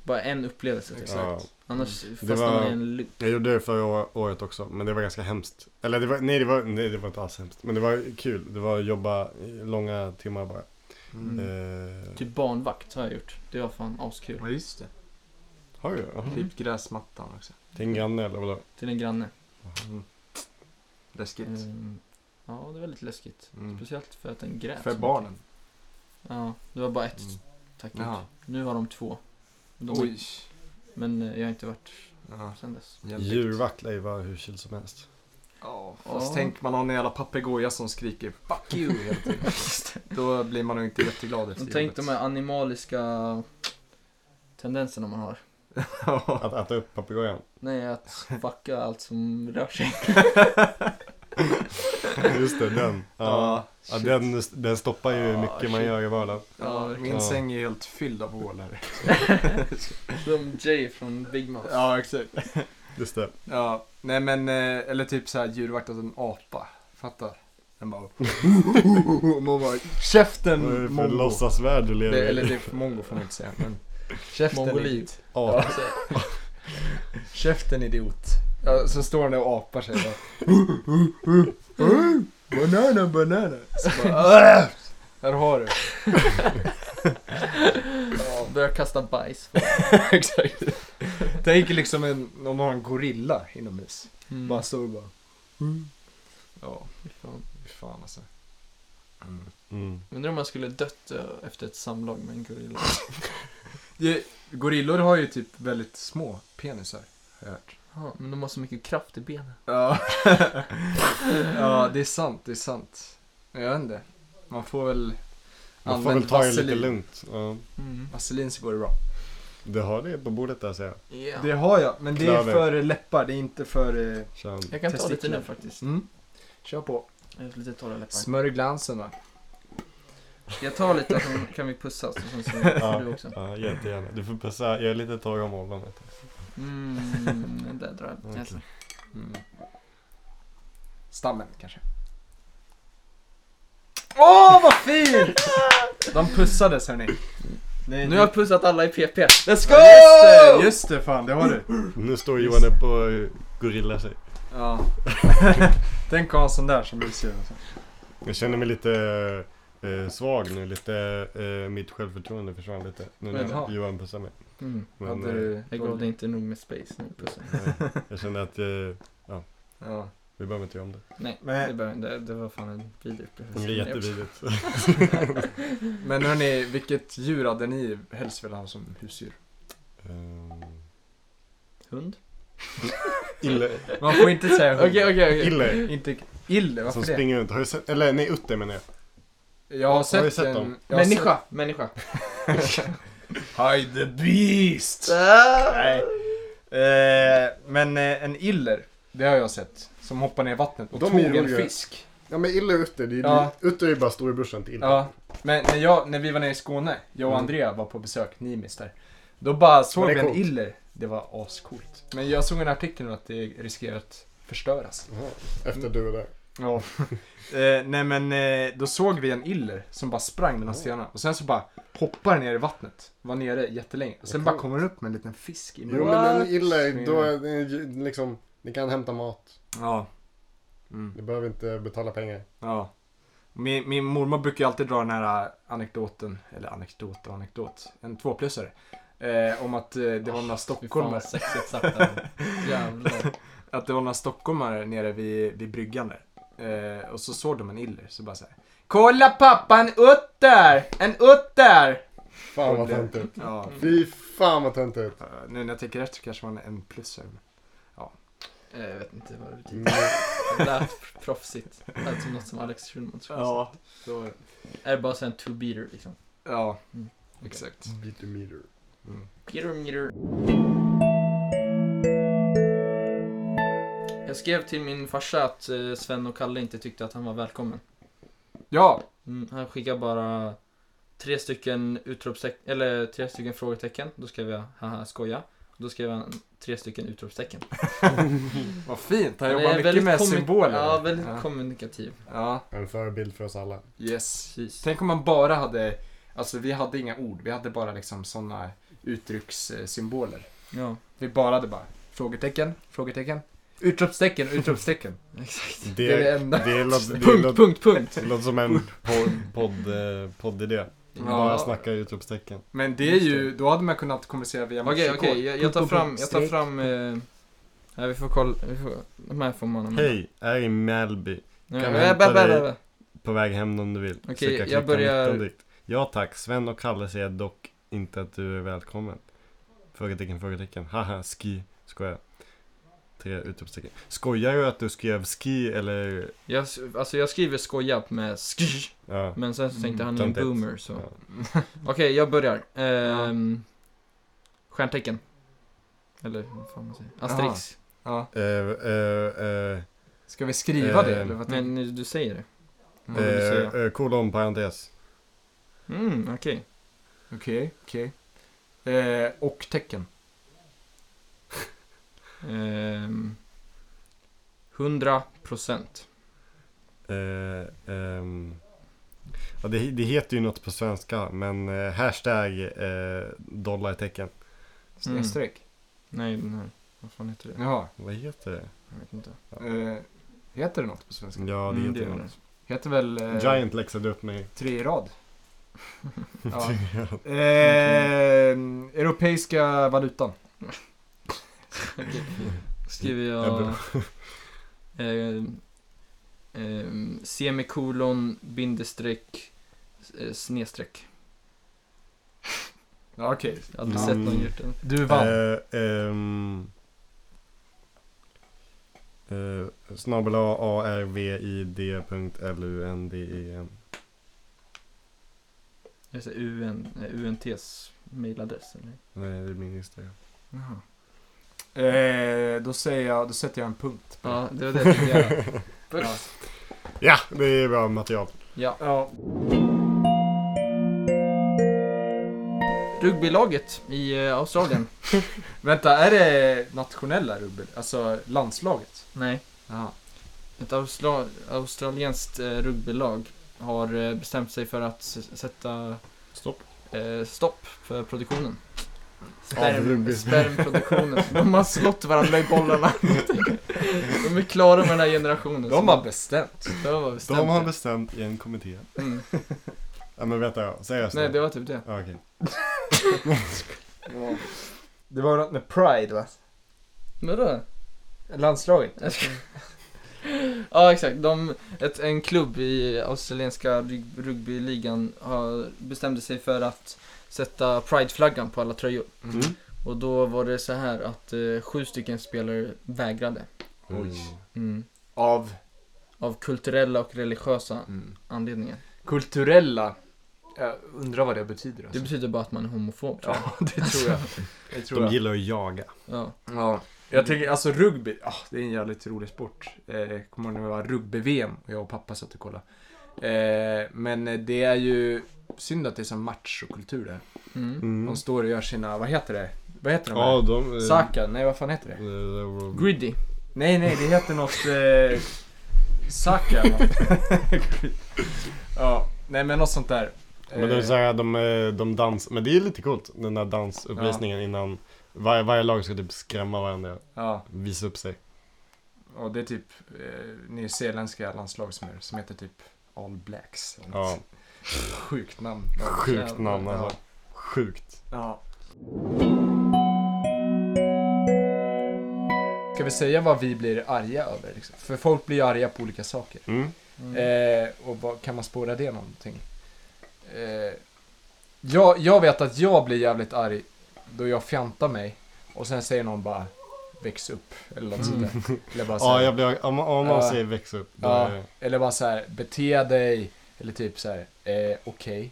[SPEAKER 3] Bara en upplevelse. Typ.
[SPEAKER 1] Ja.
[SPEAKER 3] Annars
[SPEAKER 2] Mm.
[SPEAKER 1] Det
[SPEAKER 3] fastnar
[SPEAKER 1] var-
[SPEAKER 3] man i en loop.
[SPEAKER 1] Jag gjorde det förra å- året också, men det var ganska hemskt. Eller det var, nej, det var, nej det var inte alls hemskt. Men det var kul. Det var att jobba i långa timmar bara.
[SPEAKER 2] Mm.
[SPEAKER 1] Eh,
[SPEAKER 3] Typ barnvakt har jag gjort. Det var fan askul.
[SPEAKER 2] Ja just det.
[SPEAKER 1] Har du? Jaha.
[SPEAKER 2] Typ gräsmattan också.
[SPEAKER 1] Till en granne eller vadå?
[SPEAKER 3] Till en granne.
[SPEAKER 2] Mm. Läskigt.
[SPEAKER 3] Ehm, ja, det var lite läskigt.
[SPEAKER 2] Mm.
[SPEAKER 3] Speciellt för att den grät. så
[SPEAKER 2] För
[SPEAKER 3] mycket.
[SPEAKER 2] barnen.
[SPEAKER 3] Ja, det var bara ett
[SPEAKER 1] Mm.
[SPEAKER 3] tack
[SPEAKER 2] Jaha.
[SPEAKER 3] ut. Nu har de två. De,
[SPEAKER 2] Mm. Oj.
[SPEAKER 3] Men eh, jag har inte varit
[SPEAKER 2] Ja, *laughs*
[SPEAKER 3] sen dess.
[SPEAKER 2] jävligt.
[SPEAKER 1] Djurvakt lär ju vara hur kyl som helst.
[SPEAKER 2] Ja, fast
[SPEAKER 3] Ja.
[SPEAKER 2] tänk man har en jävla papegoja som skriker 'fuck you' hela tiden. Då blir man nog inte jätteglad efter
[SPEAKER 3] Och tänk de här animaliska tendenserna man har.
[SPEAKER 2] Ja.
[SPEAKER 1] Att äta upp papegojan.
[SPEAKER 3] Nej,
[SPEAKER 2] *laughs*
[SPEAKER 3] att fucka allt som rör sig.
[SPEAKER 1] Just det, den. Ja.
[SPEAKER 2] *laughs*
[SPEAKER 1] Ja,
[SPEAKER 2] Ja,
[SPEAKER 1] den, den stoppar ju
[SPEAKER 2] Ja,
[SPEAKER 1] mycket man
[SPEAKER 2] shit.
[SPEAKER 1] gör i vardagen.
[SPEAKER 3] Ja,
[SPEAKER 2] ja, min
[SPEAKER 1] ja.
[SPEAKER 2] säng är helt fylld av hål här.
[SPEAKER 3] Som Jay från Big Mouth.
[SPEAKER 2] Ja, exakt.
[SPEAKER 1] Just det.
[SPEAKER 2] Ja, nej men, eh, eller typ så här djurvakt åt en apa. Fattar? Den bara... Man bara
[SPEAKER 1] Vad är det
[SPEAKER 2] käften
[SPEAKER 1] för
[SPEAKER 2] mongo.
[SPEAKER 1] låtsasvärld du
[SPEAKER 2] Det,
[SPEAKER 1] lever
[SPEAKER 2] eller
[SPEAKER 1] i?
[SPEAKER 2] typ mongo får man inte säga men. Käften
[SPEAKER 3] Mongolid.
[SPEAKER 2] idiot.
[SPEAKER 1] Ja,
[SPEAKER 2] Käften idiot. Ja, så står han där och apar sig. Bara, banana, banana. Så bara, "Åh!" här har du.
[SPEAKER 3] *laughs* Börjar kasta bajs.
[SPEAKER 2] *laughs* Exakt. Tänk liksom en, någon har en gorilla inomhus.
[SPEAKER 3] Mm.
[SPEAKER 2] Bara står och bara. Ja,
[SPEAKER 3] Fan.
[SPEAKER 2] fy fan alltså.
[SPEAKER 1] Mm.
[SPEAKER 3] Undrar om man skulle dött eh, efter ett samlag med en gorilla.
[SPEAKER 2] Det, gorillor har ju typ väldigt små penisar. Har jag hört.
[SPEAKER 3] Ja, men de har så mycket kraft i benen.
[SPEAKER 2] Ja. *laughs* ja, det är sant, det är sant. Men Jag vet inte. Man får väl
[SPEAKER 1] Man får
[SPEAKER 2] Använd
[SPEAKER 1] väl ta det lite
[SPEAKER 2] vaselin.
[SPEAKER 1] lugnt. Ja.
[SPEAKER 3] Mm.
[SPEAKER 2] vaselin så går det bra.
[SPEAKER 1] Du har det på bordet där ser jag.
[SPEAKER 3] Yeah.
[SPEAKER 2] Det har jag, men det är
[SPEAKER 1] Klöver.
[SPEAKER 2] för läppar, det är inte för... eh,
[SPEAKER 1] Kör.
[SPEAKER 3] Jag kan ta lite
[SPEAKER 2] Testiklar.
[SPEAKER 3] nu faktiskt.
[SPEAKER 2] Mm. Kör på.
[SPEAKER 3] Jag har lite torra läppar.
[SPEAKER 2] Smörj glansen va.
[SPEAKER 3] Ska jag ta lite så kan vi pussas och
[SPEAKER 2] *laughs*
[SPEAKER 3] sen så får du också.
[SPEAKER 1] Ja, jättegärna. Du får pussa. Jag är lite torr om åldern. vet du.
[SPEAKER 3] Mm, det där drar jag. Yes.
[SPEAKER 2] Mm. Stammen kanske. Åh, vad fint! *laughs* De pussades hörni. Det är-
[SPEAKER 3] Nu har jag pussat alla i PP. Let's go!
[SPEAKER 2] Ja, Just det, just det fan, det har du.
[SPEAKER 1] Nu står Johan upp och eh, gorillar sig.
[SPEAKER 2] *laughs* Ja. Tänk att ha en sån där som du ser. alltså.
[SPEAKER 1] Jag känner mig lite eh, svag nu. Lite, eh, mitt självförtroende försvann lite. Nu när
[SPEAKER 2] Jaha.
[SPEAKER 1] Johan pussar mig.
[SPEAKER 3] Mm.
[SPEAKER 1] Men,
[SPEAKER 2] Hade
[SPEAKER 1] eh,
[SPEAKER 2] du...
[SPEAKER 3] Jag gav dig inte nog med space nu pussen.
[SPEAKER 1] eh, jag kände att eh,
[SPEAKER 2] Ja.
[SPEAKER 1] vi behöver inte göra om det.
[SPEAKER 3] Nej,
[SPEAKER 2] Men-
[SPEAKER 3] det, bör, det, det var fan en vidrig upplevelse.
[SPEAKER 1] Det blir jättevidrigt.
[SPEAKER 2] Men hörni, vilket djur hade ni helst velat ha som husdjur?
[SPEAKER 1] Ehm,
[SPEAKER 3] Hund?
[SPEAKER 1] Ille.
[SPEAKER 2] Man får inte säga hund.
[SPEAKER 3] *laughs* Okej, okej, okej.
[SPEAKER 1] Ille.
[SPEAKER 2] Inte ille,
[SPEAKER 1] Som
[SPEAKER 2] varför det?
[SPEAKER 1] springer runt. Har du sett? Eller nej, Utter menar jag.
[SPEAKER 2] Jag har sett,
[SPEAKER 1] Har du sett
[SPEAKER 2] en...
[SPEAKER 1] dem?
[SPEAKER 2] jag har
[SPEAKER 3] Människa, människa.
[SPEAKER 2] Sett... *laughs* Hide the beast! Nej. Eh, men eh, en iller, det har jag sett. Som hoppar ner i vattnet och
[SPEAKER 4] De är
[SPEAKER 2] tog en
[SPEAKER 4] roliga.
[SPEAKER 2] fisk.
[SPEAKER 4] Ja men Ille och Utter, det är, ju-
[SPEAKER 2] Ja.
[SPEAKER 4] Utter är ju bara storebrorsan till Ille.
[SPEAKER 2] Ja, men när, jag, när vi var nere i Skåne, jag och
[SPEAKER 4] Mm.
[SPEAKER 2] Andrea var på besök, Nimis där. Då bara såg
[SPEAKER 4] det
[SPEAKER 2] vi en
[SPEAKER 4] coolt?
[SPEAKER 2] iller. Det var ascoolt. Men jag såg en artikel om att det riskerar att förstöras.
[SPEAKER 4] Jaha, Efter du var där.
[SPEAKER 2] Ja. *laughs* eh, nej men eh, då såg vi en iller som bara sprang mellan stenarna och sen så bara hoppar ner i vattnet. Var nere jättelänge. Och sen bara kommer den upp med en liten fisk i
[SPEAKER 4] Jo
[SPEAKER 2] munnen.
[SPEAKER 4] men
[SPEAKER 3] What?
[SPEAKER 4] en Ille, då är det ju liksom, ni kan hämta mat.
[SPEAKER 2] Ja.
[SPEAKER 4] Ni behöver inte betala pengar.
[SPEAKER 2] ja. Min, min mormor brukar ju alltid dra den här eh, anekdoten, eller anekdot och anekdot, en tvåplussare. Eh, om att eh, det var några
[SPEAKER 3] Fy fan
[SPEAKER 2] stockholmare.
[SPEAKER 3] vad sexigt sagt det här. Jävlar.
[SPEAKER 2] Att det var några stockholmare nere vid, vid bryggan där. Eh, och så såg de en iller, så bara såhär. Kolla pappa, en utter! En utter!
[SPEAKER 4] Fan vad
[SPEAKER 2] Och det-
[SPEAKER 1] typ.
[SPEAKER 4] töntigt.
[SPEAKER 2] Ja,
[SPEAKER 4] Fy fan vad töntigt.
[SPEAKER 2] eh,
[SPEAKER 3] Mm.
[SPEAKER 2] nu när jag tänker efter kanske man är en plussare. men-
[SPEAKER 3] Eh, Jag vet inte vad det betyder.
[SPEAKER 4] Mm.
[SPEAKER 3] Det lät proffsigt. Det lät som något som Alex Schulman skulle säga.
[SPEAKER 2] Ja, så,
[SPEAKER 3] Är det bara så en two-beater liksom?
[SPEAKER 2] ja exakt.
[SPEAKER 4] Beat the meter.
[SPEAKER 3] Peter Meter. Jag skrev till min farsa att eh, Sven och Kalle inte tyckte att han var välkommen.
[SPEAKER 2] Ja,
[SPEAKER 3] Mm, han skickar bara tre stycken utropstecken, eller tre stycken frågetecken. Då skrev jag haha skoja. Då skrev han tre stycken utropstecken.
[SPEAKER 2] vad fint. Han
[SPEAKER 3] är
[SPEAKER 2] jobbar mycket
[SPEAKER 3] väldigt
[SPEAKER 2] med
[SPEAKER 3] kommuni-
[SPEAKER 2] symboler.
[SPEAKER 3] Ja, väldigt
[SPEAKER 2] Ja.
[SPEAKER 3] kommunikativ.
[SPEAKER 2] Ja,
[SPEAKER 4] En förebild för oss alla.
[SPEAKER 2] yes.
[SPEAKER 3] Precis.
[SPEAKER 2] Tänk om man bara hade, alltså vi hade inga ord, vi hade bara liksom sådana uttryckssymboler.
[SPEAKER 3] Ja,
[SPEAKER 2] Vi bara hade bara frågetecken, frågetecken, utropstecken,
[SPEAKER 3] *laughs*
[SPEAKER 2] utropstecken.
[SPEAKER 3] exakt.
[SPEAKER 1] Det,
[SPEAKER 2] Det är det enda.
[SPEAKER 1] det låter, det
[SPEAKER 3] Punkt,
[SPEAKER 1] låter, *laughs*
[SPEAKER 3] punkt, punkt.
[SPEAKER 1] det låter som en pod- podd, eh, poddidé. Bara snacka utropstecken.
[SPEAKER 2] Men det är ju, då hade man kunnat kommunicera via
[SPEAKER 3] Okej,
[SPEAKER 2] morsekod.
[SPEAKER 3] okej, jag, jag tar fram, jag tar fram, eh, nej vi får kolla, vi får, de här får man använda.
[SPEAKER 1] Hej, jag är i Mälby.
[SPEAKER 3] Nej,
[SPEAKER 1] kan
[SPEAKER 3] nej,
[SPEAKER 1] vi
[SPEAKER 3] nej,
[SPEAKER 1] hämta
[SPEAKER 3] nej,
[SPEAKER 1] dig?
[SPEAKER 3] nej,
[SPEAKER 1] På väg hem om du vill.
[SPEAKER 3] Okej,
[SPEAKER 1] Försöka
[SPEAKER 3] jag
[SPEAKER 1] klicka
[SPEAKER 3] börjar-
[SPEAKER 1] nitton direkt. Ja tack, Sven och Kalle säger dock inte att du är välkommen. Frågetecken, frågetecken. Haha, ski. Skojar. Tre utropstecken. Skojar du att du skrev ski eller?
[SPEAKER 3] Jag, s- alltså jag skriver skoja med skr,
[SPEAKER 1] Ja.
[SPEAKER 3] men sen så tänkte
[SPEAKER 2] Mm,
[SPEAKER 3] han är en
[SPEAKER 1] töntigt.
[SPEAKER 3] boomer så.
[SPEAKER 1] Ja.
[SPEAKER 3] *laughs* Okej, jag börjar. Ehm, stjärntecken. Eller vad fan man säger. Asterix.
[SPEAKER 2] Ja.
[SPEAKER 1] Eh, eh, eh,
[SPEAKER 2] Ska vi skriva
[SPEAKER 1] Eh,
[SPEAKER 2] det eller vad tänker
[SPEAKER 3] Men nu- du säger det.
[SPEAKER 2] du?
[SPEAKER 3] eh,
[SPEAKER 2] Mm,
[SPEAKER 1] eh, eh, kolon, parentes.
[SPEAKER 3] Mm, okej.
[SPEAKER 2] Okej, okej. Eh, och tecken.
[SPEAKER 3] Mm. Ehm, 100 procent.
[SPEAKER 1] Eh, ehm. ja, det, det heter ju något på svenska men eh, hashtag eh, dollartecken.
[SPEAKER 2] Snedstreck.
[SPEAKER 3] Nej, den här. Vad fan heter det?
[SPEAKER 2] Jaha.
[SPEAKER 1] Vad heter det?
[SPEAKER 3] Jag vet inte.
[SPEAKER 2] Eh, heter det något på svenska?
[SPEAKER 1] Ja, det
[SPEAKER 3] Mm,
[SPEAKER 1] heter
[SPEAKER 3] det gör
[SPEAKER 1] något.
[SPEAKER 2] Heter väl... Eh,
[SPEAKER 1] Giant läxade upp mig.
[SPEAKER 2] Tre
[SPEAKER 1] *laughs*
[SPEAKER 2] i rad. ja. eh, europeiska valutan.
[SPEAKER 3] Okej. Skriver
[SPEAKER 1] Ja,
[SPEAKER 3] jag...
[SPEAKER 1] bra.
[SPEAKER 3] *laughs* ehm, ehm, semikolon, bindestreck, eh, snedstreck. *laughs*
[SPEAKER 2] Ja, okej.
[SPEAKER 3] Jag har aldrig sett någon
[SPEAKER 1] Mm.
[SPEAKER 3] gjort det.
[SPEAKER 2] Du vann.
[SPEAKER 1] Eh, ehm, eh, snabel A A R V I D punkt L U N D E N.
[SPEAKER 3] Jag säger UN, eh, UNTs mailadress eller?
[SPEAKER 1] Nej, det är min Instagram.
[SPEAKER 2] Jaha. Eh, då säger jag, då sätter jag en punkt.
[SPEAKER 3] Ja, det var det jag tänkte göra.
[SPEAKER 2] Ja.
[SPEAKER 1] Ja, det är bra material.
[SPEAKER 3] Ja.
[SPEAKER 2] Ja.
[SPEAKER 3] *laughs* Rugbylaget i eh, *laughs* Australien.
[SPEAKER 2] Vänta, är det nationella rubbel? Alltså landslaget?
[SPEAKER 3] Nej,
[SPEAKER 2] Ja.
[SPEAKER 3] ett austra- australienskt eh, rugbylag har eh, bestämt sig för att s- sätta
[SPEAKER 1] Stopp.
[SPEAKER 3] eh, stopp för produktionen.
[SPEAKER 4] Av
[SPEAKER 3] Sperm,
[SPEAKER 4] rugby.
[SPEAKER 3] *laughs* spermproduktionen. De har slått varandra i bollarna. De är klara med den här generationen.
[SPEAKER 2] De har bestämt.
[SPEAKER 3] De har bestämt
[SPEAKER 1] De har
[SPEAKER 3] det.
[SPEAKER 1] bestämt i en kommitté.
[SPEAKER 3] Mm.
[SPEAKER 1] Ja men vänta, ja. seriöst
[SPEAKER 3] Nej,
[SPEAKER 1] nu.
[SPEAKER 3] det var typ det.
[SPEAKER 1] Ja, okej.
[SPEAKER 2] Det var något med Pride va?
[SPEAKER 3] Vadå?
[SPEAKER 2] Landslaget?
[SPEAKER 3] Jag ska- ja, exakt. De, ett, en klubb i australienska rug- rugbyligan har, bestämde sig för att sätta Pride-flaggan på alla tröjor.
[SPEAKER 1] Mm.
[SPEAKER 3] Och då var det så här att eh, sju stycken spelare vägrade.
[SPEAKER 1] Oj.
[SPEAKER 2] Mm. Av
[SPEAKER 3] Av kulturella och religiösa
[SPEAKER 2] Mm.
[SPEAKER 3] anledningar.
[SPEAKER 2] kulturella. Jag undrar vad det betyder
[SPEAKER 3] Det
[SPEAKER 2] alltså.
[SPEAKER 3] betyder bara att man är homofob. tror jag.
[SPEAKER 2] Ja, *laughs* det tror jag. Det tror
[SPEAKER 1] De
[SPEAKER 2] jag.
[SPEAKER 1] gillar att jaga.
[SPEAKER 3] Ja.
[SPEAKER 2] Ja. Jag tänker, alltså rugby, ah, det är en jävligt rolig sport. Eh, jag kommer ihåg när det var rugby-VM och jag och pappa satt och kollade. Eh, men det är ju synd att det är sån machokultur där.
[SPEAKER 3] Mm.
[SPEAKER 1] Mm.
[SPEAKER 2] De står och gör sina, vad heter det? Vad heter de här?
[SPEAKER 1] Ja, de... eh,
[SPEAKER 2] Saka? Nej, vad fan heter det?
[SPEAKER 1] eh, de-
[SPEAKER 3] Griddy.
[SPEAKER 2] Nej, nej, det heter något... Eh,
[SPEAKER 1] *laughs*
[SPEAKER 2] Saka eller något. *laughs* Ja, nej men något sånt där.
[SPEAKER 1] Men det är så här, de, eh, de dans... Men det är lite coolt, den där dansuppvisningen innan varje, varje lag ska typ skrämma varandra,
[SPEAKER 2] Ja,
[SPEAKER 1] visa upp sig.
[SPEAKER 2] och det är typ eh, nyzeeländska landslag som, är, som heter typ All Blacks. eller något.
[SPEAKER 1] Ja,
[SPEAKER 2] Sjukt namn.
[SPEAKER 1] sjukt
[SPEAKER 3] jävlar.
[SPEAKER 1] namn alltså. Sjukt.
[SPEAKER 2] Ja. Ska vi säga vad vi blir arga över? Liksom? För folk blir ju arga på olika saker.
[SPEAKER 1] Mm.
[SPEAKER 2] Eh, och vad, kan man spåra det någonting? Eh, jag, jag vet att jag blir jävligt arg då jag fjantar mig och sen säger någon bara väx upp eller något sånt där. Eller bara, så
[SPEAKER 1] Mm.
[SPEAKER 2] här,
[SPEAKER 1] Ja,
[SPEAKER 3] Alltså,
[SPEAKER 1] jag blir, om, om man
[SPEAKER 2] Ja.
[SPEAKER 1] säger väx upp, då
[SPEAKER 2] Ja.
[SPEAKER 1] är det...
[SPEAKER 2] eller bara så här bete dig eller typ så här eh, okej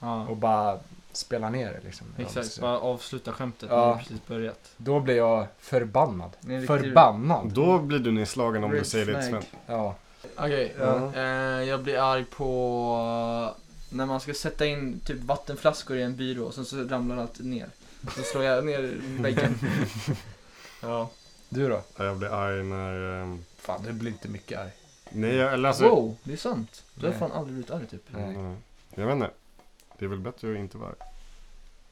[SPEAKER 3] Ja.
[SPEAKER 2] och bara spela ner det liksom.
[SPEAKER 3] Exakt,
[SPEAKER 2] Ja,
[SPEAKER 3] bara avsluta skämtet.
[SPEAKER 2] Ja.
[SPEAKER 3] Ja. precis börjat.
[SPEAKER 2] Då blir jag förbannad.
[SPEAKER 3] Det är en riktig-
[SPEAKER 2] Förbannad!
[SPEAKER 1] Då blir du nedslagen om du
[SPEAKER 3] Red
[SPEAKER 1] säger det till
[SPEAKER 3] flag.
[SPEAKER 1] Sven.
[SPEAKER 2] Ja.
[SPEAKER 3] Okej,
[SPEAKER 1] Ja.
[SPEAKER 3] eh, jag blir arg på när man ska sätta in typ vattenflaskor i en byrå och sen så ramlar allt ner. Då slår jag ner *laughs* väggen. ja.
[SPEAKER 2] Du då?
[SPEAKER 1] Ja, Jag blir arg när... ehm,
[SPEAKER 2] Fan, du blir inte mycket arg.
[SPEAKER 1] Nej, jag, eller alltså...
[SPEAKER 3] Wow, det är sant. Du har
[SPEAKER 2] Nej.
[SPEAKER 3] fan aldrig blivit arg typ.
[SPEAKER 2] Nej.
[SPEAKER 1] Nej. Jag vet inte. Det är väl bättre att inte vara arg.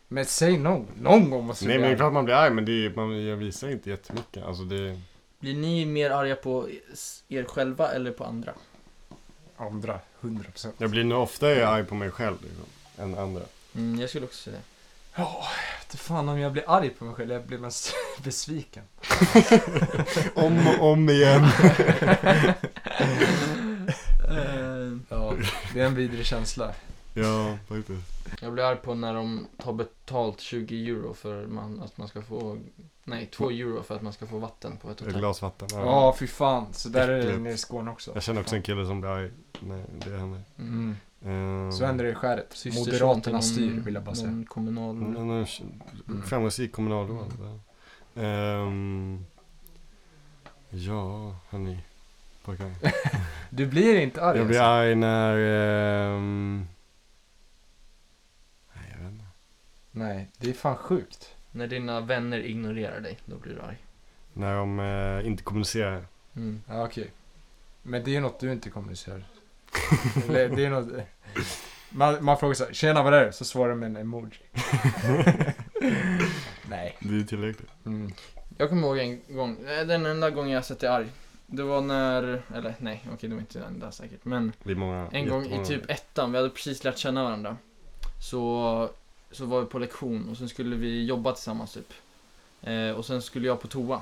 [SPEAKER 2] Men säg någon, någon gång måste du
[SPEAKER 1] Nej,
[SPEAKER 2] bli
[SPEAKER 1] men det är
[SPEAKER 2] arg.
[SPEAKER 1] klart man blir arg, men det är, man, jag visar inte jättemycket. Alltså det...
[SPEAKER 3] Blir ni mer arga på s- er själva eller på andra?
[SPEAKER 2] Andra, 100%.
[SPEAKER 1] Jag blir nog oftare arg på mig själv, liksom, än andra.
[SPEAKER 3] Mm, jag skulle också säga det.
[SPEAKER 2] Ja, jag vet inte fan om jag blir arg på mig själv, jag blir mest *laughs* besviken.
[SPEAKER 1] Om och om igen.
[SPEAKER 3] *laughs* Eh,
[SPEAKER 2] Ja, det är en vidrig känsla.
[SPEAKER 1] *laughs* ja, faktiskt.
[SPEAKER 3] jag blir arg på när de tar betalt 20 euro för man, att man ska få, nej 2 euro för att man ska få vatten på ett
[SPEAKER 1] Ett
[SPEAKER 3] hotell.
[SPEAKER 1] glas vatten. Ja.
[SPEAKER 2] Ja, fy fan. Så där är det
[SPEAKER 1] Äckligt.
[SPEAKER 2] nere i Skåne också.
[SPEAKER 1] Jag känner också en kille som blir arg när det händer.
[SPEAKER 3] Mm.
[SPEAKER 2] Mm.
[SPEAKER 1] Ehm,
[SPEAKER 2] Så händer det i skäret.
[SPEAKER 3] Systerson till
[SPEAKER 2] Moderaterna
[SPEAKER 3] någon-
[SPEAKER 2] styr, vill jag bara säga.
[SPEAKER 3] Någon kommunal...
[SPEAKER 1] mm, Han är
[SPEAKER 3] Mm.
[SPEAKER 1] en framgångsrik kommunalråd. Ehm, ja, hörni. Pojkar.
[SPEAKER 2] Du blir inte arg
[SPEAKER 1] Jag blir
[SPEAKER 2] alltså.
[SPEAKER 1] arg när... ehm, nej, jag vet inte.
[SPEAKER 2] Nej, det är fan sjukt.
[SPEAKER 3] När dina vänner ignorerar dig, då blir du arg.
[SPEAKER 1] När de eh, inte kommunicerar.
[SPEAKER 3] Mm.
[SPEAKER 2] Ja, okej. Men det är något du inte *laughs* kommunicerar. Eller det är något... Man, man frågar så här, tjena vad är det? Så svarar de med en *laughs* emoji. Nej.
[SPEAKER 1] *laughs* Det är tillräckligt.
[SPEAKER 2] Mm.
[SPEAKER 3] Jag kommer ihåg en gång, eh, den enda gången jag sett dig arg. Det var när, eller nej, okej det var inte den enda säkert. Men
[SPEAKER 1] Det är många.
[SPEAKER 3] en gång i
[SPEAKER 1] jättemånga.
[SPEAKER 3] typ ettan, vi hade precis lärt känna varandra. Så, så var vi på lektion och sen skulle vi jobba tillsammans typ. Eh, och sen skulle jag på toa.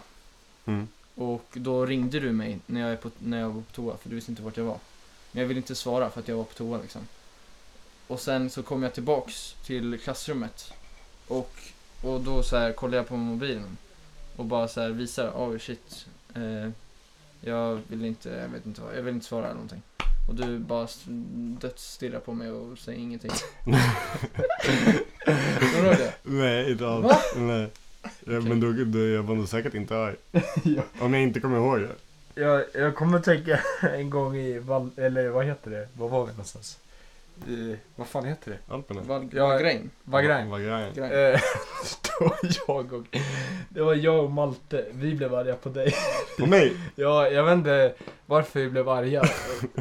[SPEAKER 1] Mm.
[SPEAKER 3] Och då ringde du mig när jag, är på, när jag var på toa, för du visste inte vart jag var. Men jag ville inte svara för att jag var på toa liksom. Och sen så kom jag tillbaks till klassrummet. Och, och då så här kollade jag på mobilen. Och bara så här visade, oh shit. Eh, jag vill inte, jag vet inte vad, jag vill inte svara eller någonting. Och du bara s- dödsstirrar på mig och säger ingenting. Kommer du ihåg det?
[SPEAKER 1] Nej, inte alls.
[SPEAKER 3] Va?
[SPEAKER 1] Nej. Ja, Men då, då, jag var nog säkert inte arg. Om jag inte kommer ihåg det.
[SPEAKER 2] *laughs* Jag, jag kommer tänka en gång i, Val- eller vad heter det? Var var vi någonstans? i, vad fan heter det?
[SPEAKER 1] Alperna.
[SPEAKER 3] Val-
[SPEAKER 2] Ja,
[SPEAKER 3] Valgren.
[SPEAKER 2] Wagrain.
[SPEAKER 1] Vagrein. *laughs*
[SPEAKER 3] Valgren.
[SPEAKER 2] Eh, *laughs* då var jag och, det var jag och Malte, vi blev arga på dig.
[SPEAKER 1] På mig?
[SPEAKER 2] Ja, jag vet inte varför vi blev arga.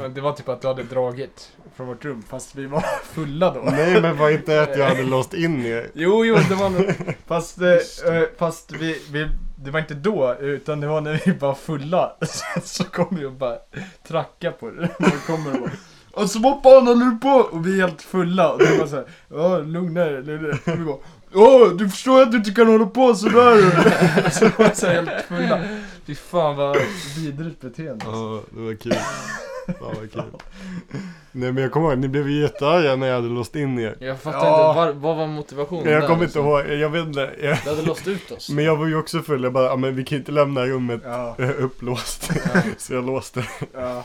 [SPEAKER 2] Det var typ att du hade dragit från vårt rum, fast vi var fulla då.
[SPEAKER 1] Nej men var inte att jag hade låst in er.
[SPEAKER 2] Jo, jo, det var nog...
[SPEAKER 1] *laughs*
[SPEAKER 2] Fast, eh, eh, fast vi, vi, det var inte då, utan det var när vi var fulla. *laughs* Så, så kom vi och bara tracka på det. Man kommer och bara... Och så vad fan håller du på? Och vi är helt fulla. Och det var såhär, ja lugna er. lugna er." Och vi bara, åh du förstår att du inte kan hålla på sådär. *laughs* Så var vi såhär helt fulla. Fy fan vad vidrigt beteende.
[SPEAKER 1] Ja, det var kul. Fan vad kul. Nej men jag kommer ihåg, ni blev ju jättearga när jag hade låst in er.
[SPEAKER 3] Jag fattar
[SPEAKER 1] Ja.
[SPEAKER 3] inte, var, vad var motivationen
[SPEAKER 1] Jag
[SPEAKER 3] där,
[SPEAKER 1] kommer inte
[SPEAKER 3] liksom?
[SPEAKER 1] ihåg, jag vet inte. Jag,
[SPEAKER 6] Du hade låst ut oss.
[SPEAKER 1] men jag var ju också full, jag bara, "Ja, men vi kan ju inte lämna rummet
[SPEAKER 2] Ja,
[SPEAKER 1] eh, upplåst. *laughs* Så jag låste.
[SPEAKER 2] ja.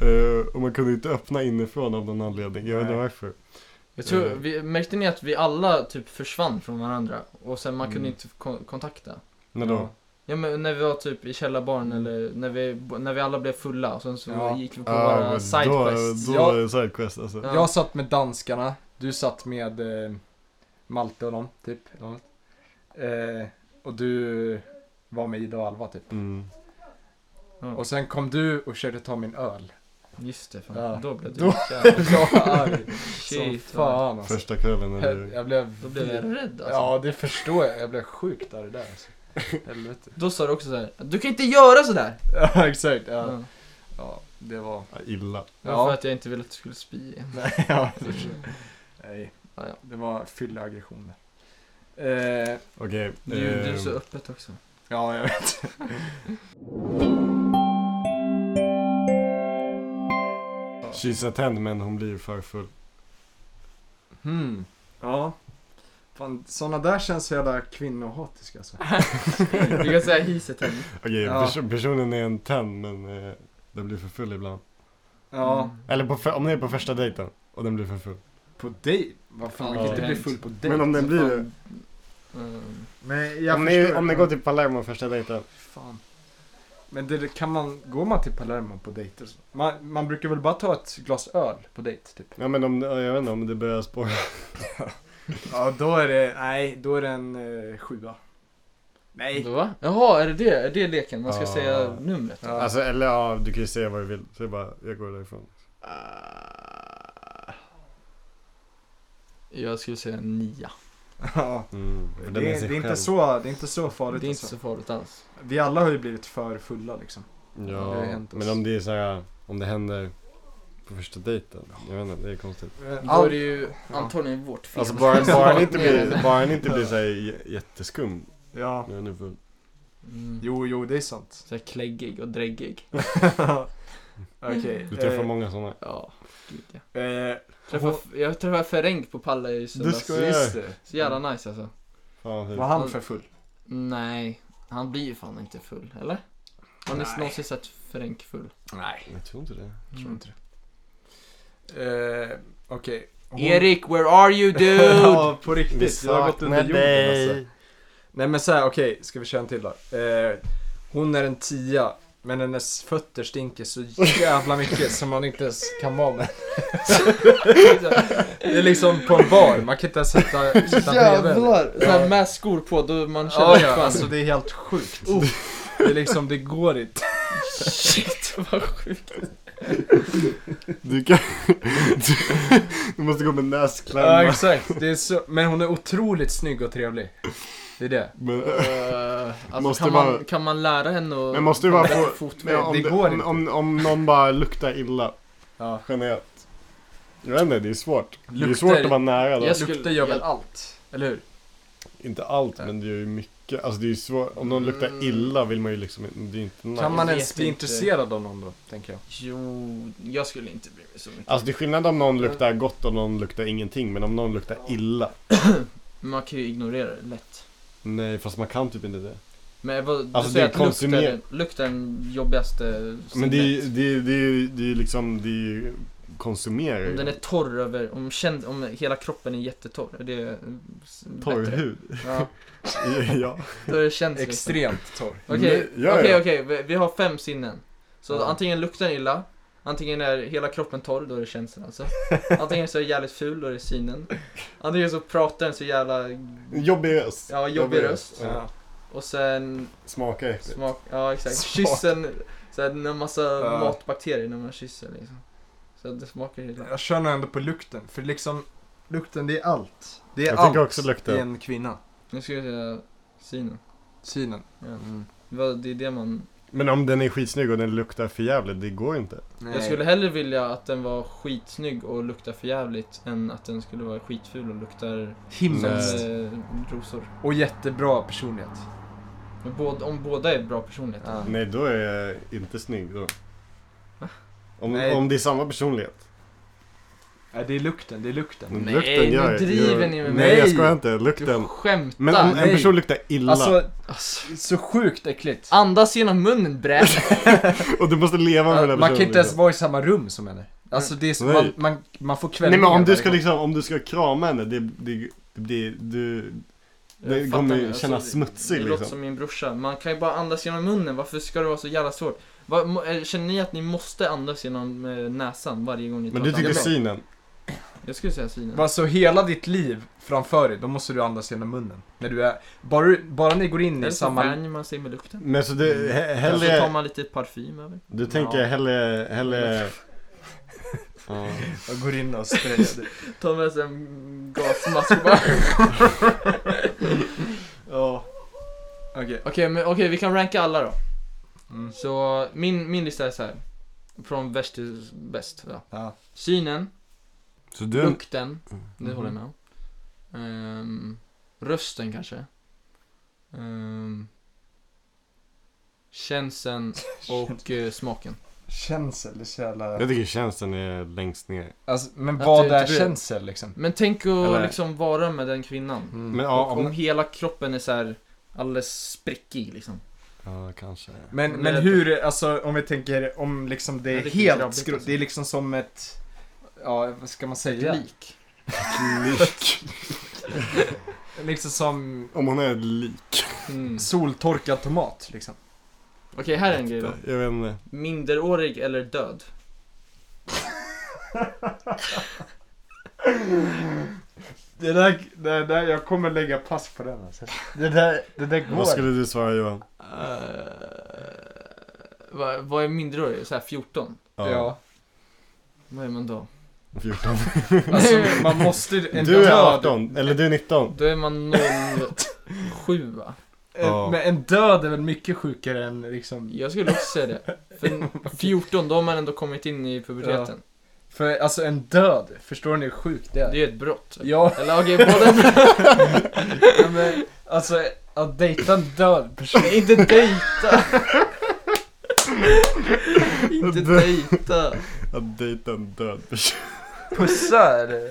[SPEAKER 1] Eh, och man kunde inte öppna inifrån av någon anledning, jag vet inte
[SPEAKER 2] Nej. Mm.
[SPEAKER 1] varför.
[SPEAKER 3] Jag tror,
[SPEAKER 1] Eh.
[SPEAKER 3] vi, märkte ni att vi alla typ försvann från varandra? Och sen man kunde
[SPEAKER 1] Mm.
[SPEAKER 3] inte kon- kontakta?
[SPEAKER 1] När då?
[SPEAKER 3] Ja men när vi var typ i källarbaren eller när vi, när vi alla blev fulla och sen så
[SPEAKER 2] Mm. Ja.
[SPEAKER 3] gick vi på
[SPEAKER 1] Ja, Ah, men
[SPEAKER 3] våra sidequests.
[SPEAKER 1] Då, då
[SPEAKER 2] Ja.
[SPEAKER 1] är det sidequest alltså.
[SPEAKER 3] Ja.
[SPEAKER 2] Jag satt med danskarna, du satt med eh, Malte och dem, typ. eller något. Eh, och du var med Ida och Alva, typ.
[SPEAKER 1] Mm.
[SPEAKER 3] Ja.
[SPEAKER 2] Och sen kom du och körde ta min öl.
[SPEAKER 3] Just det, fan.
[SPEAKER 2] Ja.
[SPEAKER 3] då blev det
[SPEAKER 2] Då-
[SPEAKER 1] *laughs*
[SPEAKER 3] jävla
[SPEAKER 2] *laughs* Jag var arg som
[SPEAKER 3] *laughs* shit. va.
[SPEAKER 2] fan alltså.
[SPEAKER 1] Första kvällen när
[SPEAKER 2] Jag,
[SPEAKER 1] du...
[SPEAKER 2] jag blev...
[SPEAKER 3] Då blev jag rädd alltså.
[SPEAKER 2] Ja, det förstår jag. Jag blev sjukt arg där
[SPEAKER 3] *laughs*
[SPEAKER 2] alltså. Helvete.
[SPEAKER 3] Då sa du också så här. du kan inte göra sådär!
[SPEAKER 2] Ja, *laughs* exakt.
[SPEAKER 3] Ja.
[SPEAKER 2] Ja, ja det var...
[SPEAKER 1] Ja, Ah, illa.
[SPEAKER 3] Det var för
[SPEAKER 2] Ja.
[SPEAKER 3] att jag inte ville att du skulle spy.
[SPEAKER 2] *laughs* Nej, ja. det förstår jag. Nej.
[SPEAKER 3] Ja, ja.
[SPEAKER 2] Det var fylla aggressioner. Eh,
[SPEAKER 1] Okej.
[SPEAKER 3] Du gjorde det så
[SPEAKER 1] ehm,
[SPEAKER 3] öppet också. *laughs*
[SPEAKER 2] ja, jag vet.
[SPEAKER 1] Kyssa tänd men hon blir för full.
[SPEAKER 2] Hmm. Ja. Fan, såna där känns så jävla kvinnohatiska
[SPEAKER 3] *laughs*
[SPEAKER 2] alltså.
[SPEAKER 3] Du kan säga hiset här.
[SPEAKER 1] Okej,
[SPEAKER 2] Ja.
[SPEAKER 1] perso- personen är en tänd men eh, den blir för full ibland.
[SPEAKER 2] Ja.
[SPEAKER 3] Mm.
[SPEAKER 1] Eller på fe- om den är på första dejten och den blir för full.
[SPEAKER 2] På dejt? Vad fan, man
[SPEAKER 1] Ja.
[SPEAKER 2] kan inte bli full på dejt. alltså.
[SPEAKER 1] Men om den blir det?
[SPEAKER 3] Mm.
[SPEAKER 2] Men jag
[SPEAKER 1] om, ni,
[SPEAKER 2] förstår.
[SPEAKER 1] om ni går till Palermo första dejten.
[SPEAKER 2] Fan. Men det, kan man, går man till Palermo på dejter? och så? Man, man brukar väl bara ta ett glas öl på dejt typ?
[SPEAKER 1] Ja men om, ja, jag vet inte om det börjar spåra.
[SPEAKER 2] Ja, då är det, nej, då är det en eh, sjua. Nej.
[SPEAKER 3] Då, va? Jaha, är det det? Är det leken? Man ska
[SPEAKER 1] Ja.
[SPEAKER 3] säga numret?
[SPEAKER 2] Ah. Ja.
[SPEAKER 1] Alltså eller ja, du kan ju säga vad du vill. Så jag bara, jag går därifrån.
[SPEAKER 3] Jag skulle säga nia.
[SPEAKER 2] *laughs* Ja.
[SPEAKER 1] Mm, för
[SPEAKER 2] Det,
[SPEAKER 1] den
[SPEAKER 2] det,
[SPEAKER 1] sig
[SPEAKER 2] är inte
[SPEAKER 1] själv.
[SPEAKER 2] så, det är inte så
[SPEAKER 3] Det
[SPEAKER 2] farligt
[SPEAKER 3] är inte
[SPEAKER 2] alltså.
[SPEAKER 3] så farligt alls.
[SPEAKER 2] Vi alla har ju blivit för fulla liksom.
[SPEAKER 1] Ja,
[SPEAKER 2] har ju hänt oss.
[SPEAKER 1] men om det är så här, om det händer på första dejten. Jag vet inte, det är konstigt.
[SPEAKER 3] Då är det ju antagligen vårt fel.
[SPEAKER 1] Alltså bara, bara han inte blir,
[SPEAKER 3] Mm.
[SPEAKER 1] bara han inte blir så här j- jätteskum
[SPEAKER 2] Ja.
[SPEAKER 1] när han är full.
[SPEAKER 3] Mm.
[SPEAKER 2] Jo, jo, det är sant.
[SPEAKER 3] Så här kläggig och dräggig.
[SPEAKER 2] *laughs* Okej.
[SPEAKER 1] Du träffar
[SPEAKER 2] eh,
[SPEAKER 1] många sådana.
[SPEAKER 3] Ja, gud ja.
[SPEAKER 2] Eh,
[SPEAKER 3] Träffa, jag träffade Ferenc på Palla i
[SPEAKER 1] Du
[SPEAKER 3] söndags.
[SPEAKER 1] skojar.
[SPEAKER 2] just det.
[SPEAKER 3] Så jävla nice alltså.
[SPEAKER 1] Fan vad
[SPEAKER 2] Var
[SPEAKER 1] fint.
[SPEAKER 2] han för full?
[SPEAKER 3] Nej, han blir ju fan inte full, eller? Har ni
[SPEAKER 2] Nej. Mm.
[SPEAKER 3] någonsin sett Ferenc full?
[SPEAKER 2] Nej.
[SPEAKER 1] Jag tror inte det.
[SPEAKER 2] Tror inte det. Eh, Okej. Hon- *laughs*
[SPEAKER 3] Erik, where are you dude?
[SPEAKER 2] ja, på riktigt. Jag har gått under jorden alltså. Nej men såhär, okej. ska vi köra en till då? Eh, hon är en tia. Men hennes fötter stinker så jävla mycket som man inte ens kan vara med. det är liksom på en bar, man kan inte ens sitta, sitta bredvid.
[SPEAKER 3] Jävlar! Såhär med skor på, då man känner
[SPEAKER 2] Ja, ja,
[SPEAKER 3] fan-
[SPEAKER 2] alltså det är helt sjukt. Det är liksom, det går inte.
[SPEAKER 3] *laughs* Shit vad sjukt.
[SPEAKER 1] Du kan... *laughs* Du, du måste gå med
[SPEAKER 2] Ja,
[SPEAKER 1] näsklämmar.
[SPEAKER 2] exakt. Det är så... Men hon är otroligt snygg och trevlig. Det är det.
[SPEAKER 1] Men, *laughs*
[SPEAKER 3] Eh, alltså
[SPEAKER 1] Måste
[SPEAKER 3] kan,
[SPEAKER 1] vara-
[SPEAKER 3] man, kan man lära henne att...
[SPEAKER 1] men måste ju vara
[SPEAKER 3] bättre
[SPEAKER 1] på...
[SPEAKER 3] fotväg?
[SPEAKER 1] Men om,
[SPEAKER 2] det
[SPEAKER 1] det-
[SPEAKER 2] går
[SPEAKER 1] om,
[SPEAKER 2] inte.
[SPEAKER 1] om, om någon bara luktar illa
[SPEAKER 2] Ja.
[SPEAKER 1] generellt. Jag vet inte, det är svårt. det är
[SPEAKER 2] Luktar-
[SPEAKER 1] svårt att vara nära då.
[SPEAKER 3] Jag skulle-
[SPEAKER 2] Lukter gör väl
[SPEAKER 3] jag-
[SPEAKER 2] allt? Eller hur?
[SPEAKER 1] Inte allt, men det är ju mycket. Alltså det är ju svårt. Om någon luktar
[SPEAKER 3] Mm.
[SPEAKER 1] illa vill man ju liksom Det är inte nice.
[SPEAKER 2] Kan man
[SPEAKER 3] vet
[SPEAKER 2] ens bli
[SPEAKER 3] inte.
[SPEAKER 2] intresserad av någon då, tänker jag?
[SPEAKER 3] Jo, jag skulle inte bry mig så mycket.
[SPEAKER 1] Alltså det är skillnad om någon
[SPEAKER 3] Mm.
[SPEAKER 1] luktar gott och någon luktar ingenting. Men om någon luktar illa.
[SPEAKER 3] Men Man kan ju ignorera det lätt.
[SPEAKER 1] Nej, fast man kan typ inte det.
[SPEAKER 3] Men vad,
[SPEAKER 1] Alltså,
[SPEAKER 3] du säger
[SPEAKER 1] det
[SPEAKER 3] att
[SPEAKER 1] är konsumer-
[SPEAKER 3] lukt är, lukt är den jobbigaste
[SPEAKER 1] Men det är ju
[SPEAKER 3] sinnet.
[SPEAKER 1] det är, det är, det är liksom, det är ju konsumerar ju.
[SPEAKER 3] Om den är torr över, om, känd, om hela kroppen är jättetorr, det är s-
[SPEAKER 1] torr
[SPEAKER 3] bättre.
[SPEAKER 1] hud.
[SPEAKER 2] Ja.
[SPEAKER 1] *laughs* ja.
[SPEAKER 3] Då är
[SPEAKER 2] *laughs*
[SPEAKER 3] det liksom. känsligt.
[SPEAKER 2] Extremt torr.
[SPEAKER 3] Okej,
[SPEAKER 1] Ja, ja.
[SPEAKER 3] okej, okej, vi- vi har fem sinnen. Så
[SPEAKER 2] Ja.
[SPEAKER 3] antingen luktar den illa, Antingen är hela kroppen torr, då är det känslan alltså. Antingen så är det jävligt ful, då är det synen. Antingen så pratar den så jävla
[SPEAKER 4] Jobbig röst.
[SPEAKER 3] ja, jobbig röst.
[SPEAKER 4] Ja.
[SPEAKER 3] Och sen
[SPEAKER 4] Smakar äckligt.
[SPEAKER 3] smak, ja exakt.
[SPEAKER 2] Smak.
[SPEAKER 3] Kyssen, så här, en massa
[SPEAKER 2] Ja.
[SPEAKER 3] matbakterier när man kysser liksom. Så att det smakar helt
[SPEAKER 2] Jag kör nog ändå på lukten, för liksom lukten det är allt. Det är
[SPEAKER 1] Jag
[SPEAKER 2] allt
[SPEAKER 1] tycker också lukten.
[SPEAKER 2] i en kvinna.
[SPEAKER 3] Nu ska jag säga synen.
[SPEAKER 2] Synen.
[SPEAKER 3] Ja.
[SPEAKER 2] Mm.
[SPEAKER 3] Det var- Det är det man...
[SPEAKER 1] Men om den är skitsnygg och den luktar för jävligt, det går inte.
[SPEAKER 3] Jag skulle hellre vilja att den var skitsnygg och luktar för jävligt än att den skulle vara skitful och luktar som
[SPEAKER 2] Himlen.
[SPEAKER 1] Nej.
[SPEAKER 3] eh, rosor.
[SPEAKER 2] Och jättebra personlighet.
[SPEAKER 3] Men båda, om båda är bra personligheter.
[SPEAKER 2] Ja.
[SPEAKER 1] Nej, då är jag inte snygg då. Om,
[SPEAKER 2] Nej.
[SPEAKER 1] om det är samma personlighet.
[SPEAKER 2] Nej, det är lukten, det är lukten.
[SPEAKER 1] Men
[SPEAKER 3] Nej,
[SPEAKER 1] lukten
[SPEAKER 3] nu
[SPEAKER 1] gör,
[SPEAKER 3] driver
[SPEAKER 1] gör,
[SPEAKER 3] ni med
[SPEAKER 1] Nej,
[SPEAKER 2] mig.
[SPEAKER 1] jag skojar inte.
[SPEAKER 3] Du
[SPEAKER 1] Lukten.
[SPEAKER 3] skämtar!
[SPEAKER 1] Men om en
[SPEAKER 2] Nej.
[SPEAKER 1] person luktar illa
[SPEAKER 2] Alltså,
[SPEAKER 3] Alltså,
[SPEAKER 2] så sjukt äckligt.
[SPEAKER 3] andas genom munnen bräd!
[SPEAKER 1] och du måste leva med den här
[SPEAKER 2] Man kan
[SPEAKER 1] personen,
[SPEAKER 2] inte ens
[SPEAKER 1] liksom.
[SPEAKER 2] vara i samma rum som henne. Alltså det är så,
[SPEAKER 1] Nej.
[SPEAKER 2] man, man, man får kväll
[SPEAKER 1] Nej men om du ska liksom, om du ska krama henne, det, det, det, du, Det
[SPEAKER 3] Jag
[SPEAKER 1] kommer
[SPEAKER 3] fattar, Alltså,
[SPEAKER 1] ju kännas smutsig,
[SPEAKER 3] Det låter
[SPEAKER 1] liksom.
[SPEAKER 3] som min brorsa. Man kan ju bara andas genom munnen. Varför ska det vara så jävla svårt? Vad- må- eh, Känner ni att ni måste andas genom eh, näsan varje gång ni
[SPEAKER 1] men
[SPEAKER 3] tar
[SPEAKER 1] du
[SPEAKER 3] ett
[SPEAKER 1] tycker
[SPEAKER 3] andetag?
[SPEAKER 1] synen.
[SPEAKER 3] Jag skulle säga synen.
[SPEAKER 2] Alltså hela ditt liv framför dig, då måste du andas genom munnen. När du är, bara, du- bara ni går in
[SPEAKER 3] Eller
[SPEAKER 2] i
[SPEAKER 3] så
[SPEAKER 2] samma...
[SPEAKER 3] vänjer man sig med lukten.
[SPEAKER 1] Men så du, he,
[SPEAKER 3] Eller så tar
[SPEAKER 1] hellre,
[SPEAKER 3] man lite parfym över.
[SPEAKER 1] du tänker
[SPEAKER 2] Ja.
[SPEAKER 1] hellre, hellre... Ja.
[SPEAKER 2] Jag går in och sprayar dig.
[SPEAKER 3] Ta med sig en gasmask och bara.
[SPEAKER 2] Ja. Okej.
[SPEAKER 3] *laughs* Okej, men okej, vi kan ranka alla då.
[SPEAKER 2] Mm.
[SPEAKER 3] Så min, min lista är så här. Från värst till bäst. Ja.
[SPEAKER 2] Ja.
[SPEAKER 3] Synen,
[SPEAKER 1] Så du,
[SPEAKER 3] lukten, det
[SPEAKER 2] Mhm.
[SPEAKER 3] håller jag med om. Ehm, rösten kanske. Um, känslan och eh, smaken.
[SPEAKER 2] Känsel, det är så jävla...
[SPEAKER 1] jag tycker tjänsten är längst ner.
[SPEAKER 2] Alltså, men
[SPEAKER 3] Att
[SPEAKER 2] vad
[SPEAKER 3] du-
[SPEAKER 2] är
[SPEAKER 3] du-
[SPEAKER 2] känsel liksom?
[SPEAKER 3] Men tänk att
[SPEAKER 2] Eller- Mm.
[SPEAKER 3] liksom vara med den kvinnan.
[SPEAKER 1] Men
[SPEAKER 2] Men,
[SPEAKER 1] ja,
[SPEAKER 3] och om
[SPEAKER 1] om,
[SPEAKER 3] hela kroppen är så här alldeles sprickig liksom.
[SPEAKER 1] ja kanske.
[SPEAKER 2] men,
[SPEAKER 3] Men-
[SPEAKER 2] hur, alltså om vi tänker om liksom det
[SPEAKER 3] Ja,
[SPEAKER 2] är
[SPEAKER 3] det är
[SPEAKER 2] helt
[SPEAKER 3] grabbigt,
[SPEAKER 2] skro-
[SPEAKER 3] alltså.
[SPEAKER 2] Det är liksom som ett... Ja, vad ska man säga?
[SPEAKER 3] Lik.
[SPEAKER 2] Liksom som
[SPEAKER 1] *laughs* Om hon är ett lik.
[SPEAKER 3] Mm.
[SPEAKER 2] soltorkad tomat liksom.
[SPEAKER 3] Okej, här är en grej då.
[SPEAKER 1] Jag vet inte.
[SPEAKER 3] Minderårig eller död?
[SPEAKER 2] Det där, det där, jag kommer lägga pass på den alltså. Det där, det där går.
[SPEAKER 1] Vad skulle du svara Johan?
[SPEAKER 3] vad, vad är minderårig? Så här 14?
[SPEAKER 2] Ja.
[SPEAKER 3] Vad är man då?
[SPEAKER 1] 14.
[SPEAKER 2] Alltså man måste... En
[SPEAKER 1] Du är
[SPEAKER 2] död,
[SPEAKER 1] 18, eller du är 19.
[SPEAKER 3] Då är man 07 va?
[SPEAKER 1] Ja.
[SPEAKER 2] en, eh, men en död är väl mycket sjukare än liksom...
[SPEAKER 3] Jag skulle också säga det.
[SPEAKER 2] *laughs*
[SPEAKER 3] För 14, då har man ändå kommit in i puberteten.
[SPEAKER 2] För alltså en död, förstår ni hur sjukt det är?
[SPEAKER 3] Det är ett brott.
[SPEAKER 2] Ja, *laughs*
[SPEAKER 3] Eller okej, båda...
[SPEAKER 2] men alltså att dejta en död person.
[SPEAKER 3] Inte
[SPEAKER 2] *laughs*
[SPEAKER 3] dejta! Inte dejta!
[SPEAKER 1] Att dejta en död
[SPEAKER 3] *laughs*
[SPEAKER 1] person.
[SPEAKER 2] Pussa eller?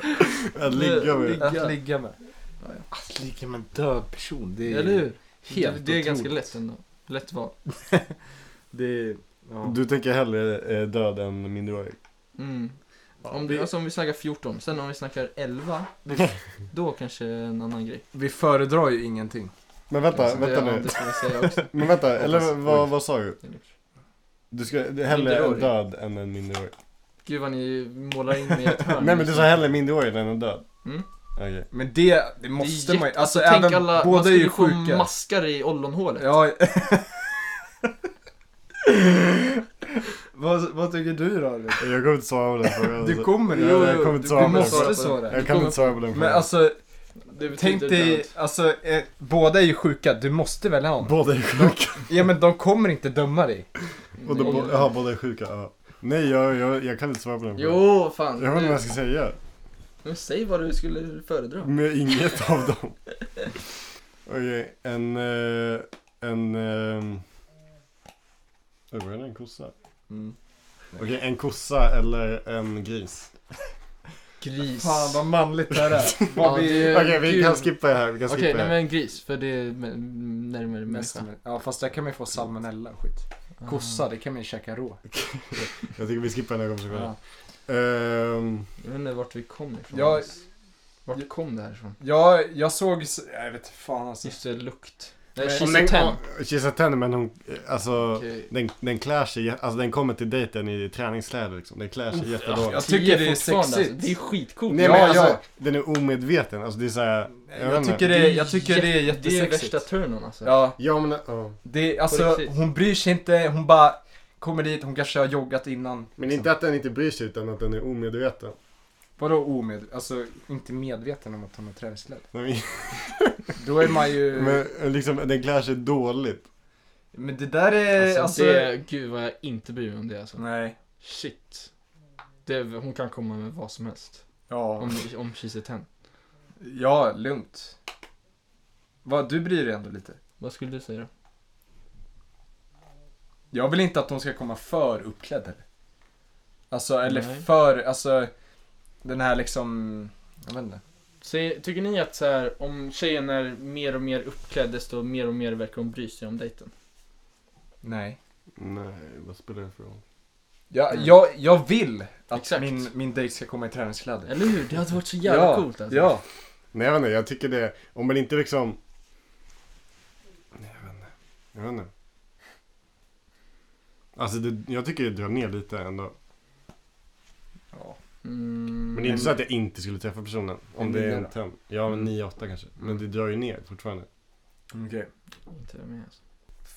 [SPEAKER 1] Att ligga med.
[SPEAKER 3] Ligga.
[SPEAKER 2] Att ligga med.
[SPEAKER 3] Ja, ja.
[SPEAKER 2] Att ligga med en död person, det är
[SPEAKER 3] Eller hur?
[SPEAKER 2] helt
[SPEAKER 3] det, det är ganska
[SPEAKER 2] otroligt.
[SPEAKER 3] lätt ändå. Lätt val.
[SPEAKER 2] Det är... Ja.
[SPEAKER 1] Du tänker hellre eh, död än minderårig?
[SPEAKER 3] Mm.
[SPEAKER 2] Ja,
[SPEAKER 3] Om,
[SPEAKER 2] vi,
[SPEAKER 3] alltså, om vi snackar 14, sen om vi snackar 11, *laughs* då kanske en annan grej.
[SPEAKER 2] vi föredrar ju ingenting.
[SPEAKER 1] Men vänta,
[SPEAKER 3] Alltså,
[SPEAKER 1] vänta
[SPEAKER 3] det, ja,
[SPEAKER 1] nu.
[SPEAKER 3] Det ska vi säga också.
[SPEAKER 1] Men vänta, eller
[SPEAKER 2] Hoppas-
[SPEAKER 1] vad,
[SPEAKER 2] oj.
[SPEAKER 1] vad sa du? Du ska hellre en
[SPEAKER 3] Minderårig.
[SPEAKER 1] död än en
[SPEAKER 3] *laughs*
[SPEAKER 1] minderårig?
[SPEAKER 3] Gud vad ni målar in mig i ett hörn.
[SPEAKER 1] Nej men du sa hellre minderårig än en död?
[SPEAKER 3] Mm.
[SPEAKER 1] Okej.
[SPEAKER 2] Men det, det
[SPEAKER 3] Det är
[SPEAKER 2] måste man ju.
[SPEAKER 3] jätte-
[SPEAKER 2] Alltså
[SPEAKER 3] tänk
[SPEAKER 2] även,
[SPEAKER 3] alla, man
[SPEAKER 2] båda är
[SPEAKER 3] skulle
[SPEAKER 2] ju
[SPEAKER 3] få
[SPEAKER 2] sjuka.
[SPEAKER 3] maskar i ollonhålet.
[SPEAKER 2] Ja. *laughs* vad, vad tycker du då? Albin?
[SPEAKER 1] Jag kommer inte svara på den frågan.
[SPEAKER 2] Du
[SPEAKER 1] alltså.
[SPEAKER 2] kommer
[SPEAKER 1] Jag-
[SPEAKER 2] jo,
[SPEAKER 1] jag
[SPEAKER 2] jo,
[SPEAKER 1] kommer inte
[SPEAKER 2] du
[SPEAKER 1] svara på den
[SPEAKER 2] måste
[SPEAKER 1] frågan.
[SPEAKER 2] svara.
[SPEAKER 1] Jag kan inte svara på den
[SPEAKER 2] Men
[SPEAKER 1] frågan.
[SPEAKER 2] alltså,
[SPEAKER 3] Mm. Det betyder
[SPEAKER 2] tänk dig,
[SPEAKER 3] död.
[SPEAKER 2] alltså, eh, båda är ju sjuka, du måste välja någon.
[SPEAKER 1] Båda är sjuka.
[SPEAKER 2] Ja men de kommer inte döma dig.
[SPEAKER 1] Och då,
[SPEAKER 3] Nej.
[SPEAKER 1] bo- jaha, båda är sjuka. Ja. Nej, jag, jag, jag kan inte svara på den frågan.
[SPEAKER 3] Jo, fan.
[SPEAKER 1] Jag vet inte vad
[SPEAKER 3] Nu,
[SPEAKER 1] jag ska säga. Mm.
[SPEAKER 3] nu säg vad du skulle föredra.
[SPEAKER 1] Med inget av dem. Okej, en... eh, En... eh, Oj, var det en kossa?
[SPEAKER 3] Mm.
[SPEAKER 1] Okej, en kossa eller en gris?
[SPEAKER 3] Gris.
[SPEAKER 2] Fan vad manligt det här är.
[SPEAKER 3] Ja,
[SPEAKER 2] *laughs* Vad vi...
[SPEAKER 3] det är-
[SPEAKER 1] Okej, vi
[SPEAKER 3] gud.
[SPEAKER 1] kan skippa det här. Vi kan skippa
[SPEAKER 3] Okej,
[SPEAKER 1] det
[SPEAKER 3] nej
[SPEAKER 1] här.
[SPEAKER 3] men gris, för det är me- närmare
[SPEAKER 2] Mest-
[SPEAKER 3] människa.
[SPEAKER 2] Ja fast där kan man ju få salmonella och skit.
[SPEAKER 3] Ah.
[SPEAKER 2] Kossa, det kan man ju käka rå.
[SPEAKER 1] Jag tycker vi skippar den här konversationen.
[SPEAKER 2] Ja.
[SPEAKER 1] Ehm,
[SPEAKER 3] Jag vet inte vart vi kom ifrån.
[SPEAKER 2] Jag,
[SPEAKER 3] Vart kom det här ifrån?
[SPEAKER 2] jag, jag såg, s- jag vet inte fan alltså.
[SPEAKER 3] Just det, lukt. Nej,
[SPEAKER 1] Om
[SPEAKER 3] She's
[SPEAKER 1] den-
[SPEAKER 3] a 10.
[SPEAKER 1] om- She's a 10, men hon, alltså,
[SPEAKER 2] Eh, Okej.
[SPEAKER 1] den, den klär sig, jä- alltså den kommer till dejten i träningskläder liksom. Den klär sig jättedåligt.
[SPEAKER 2] Jag tycker det är
[SPEAKER 3] fortfarande,
[SPEAKER 2] sexigt.
[SPEAKER 3] Alltså. Det är skitcoolt.
[SPEAKER 1] Nej
[SPEAKER 2] Ja,
[SPEAKER 1] men alltså,
[SPEAKER 2] alltså-
[SPEAKER 1] den är omedveten. Alltså det är såhär,
[SPEAKER 2] Jag,
[SPEAKER 1] vet inte.
[SPEAKER 2] tycker det, jag tycker det är
[SPEAKER 3] jä-
[SPEAKER 2] jättesexigt.
[SPEAKER 3] Det är värsta turnon alltså.
[SPEAKER 2] Ja,
[SPEAKER 4] Ja men, ja.
[SPEAKER 2] det,
[SPEAKER 3] På
[SPEAKER 2] alltså
[SPEAKER 3] riktigt.
[SPEAKER 2] hon bryr sig inte, hon bara kommer dit, hon kanske har joggat innan.
[SPEAKER 4] Men inte att den inte bryr sig utan att den är omedveten.
[SPEAKER 2] Vadå omed... Alltså inte medveten om att hon har träningskläder.
[SPEAKER 1] Nej,
[SPEAKER 2] Då är man ju... Men,
[SPEAKER 1] Men liksom, den klär sig dåligt.
[SPEAKER 2] det där är
[SPEAKER 3] Alltså,
[SPEAKER 2] alltså...
[SPEAKER 3] det, gud vad jag inte bryr mig om det alltså.
[SPEAKER 2] Nej.
[SPEAKER 3] Shit. Det, hon kan komma med vad som helst.
[SPEAKER 2] Ja.
[SPEAKER 3] Om, om She's a 10.
[SPEAKER 2] Ja, lugnt. Vad, du bryr dig ändå lite.
[SPEAKER 3] Vad skulle du säga då?
[SPEAKER 2] Jag vill inte att de ska komma för uppklädd heller. Alltså, eller
[SPEAKER 3] Nej.
[SPEAKER 2] för, alltså den här liksom, jag vet inte.
[SPEAKER 3] Se, tycker ni att så här, om tjejen är mer och mer uppklädd desto mer och mer verkar hon bry sig om dejten?
[SPEAKER 2] Nej.
[SPEAKER 1] Nej, vad spelar det för roll?
[SPEAKER 2] Jag,
[SPEAKER 3] Mm.
[SPEAKER 2] jag, jag vill att
[SPEAKER 3] Exakt.
[SPEAKER 2] min, min dejt ska komma i träningskläder.
[SPEAKER 3] Eller hur? Det hade varit så jävla
[SPEAKER 2] ja,
[SPEAKER 3] coolt alltså.
[SPEAKER 2] Ja.
[SPEAKER 1] Nej jag vet inte, jag tycker det, om man inte liksom... Nej jag vet inte. Jag vet inte. Alltså det, jag tycker det drar ner lite ändå.
[SPEAKER 2] ja.
[SPEAKER 3] Mm,
[SPEAKER 1] Men det är inte så att jag inte skulle träffa personen. Om
[SPEAKER 2] En
[SPEAKER 1] det är
[SPEAKER 2] nia
[SPEAKER 1] en Mm.
[SPEAKER 2] då?
[SPEAKER 1] töm. Ja, men 9-8 kanske. Men det drar ju ner fortfarande.
[SPEAKER 2] Okej.
[SPEAKER 3] Inte med, alltså.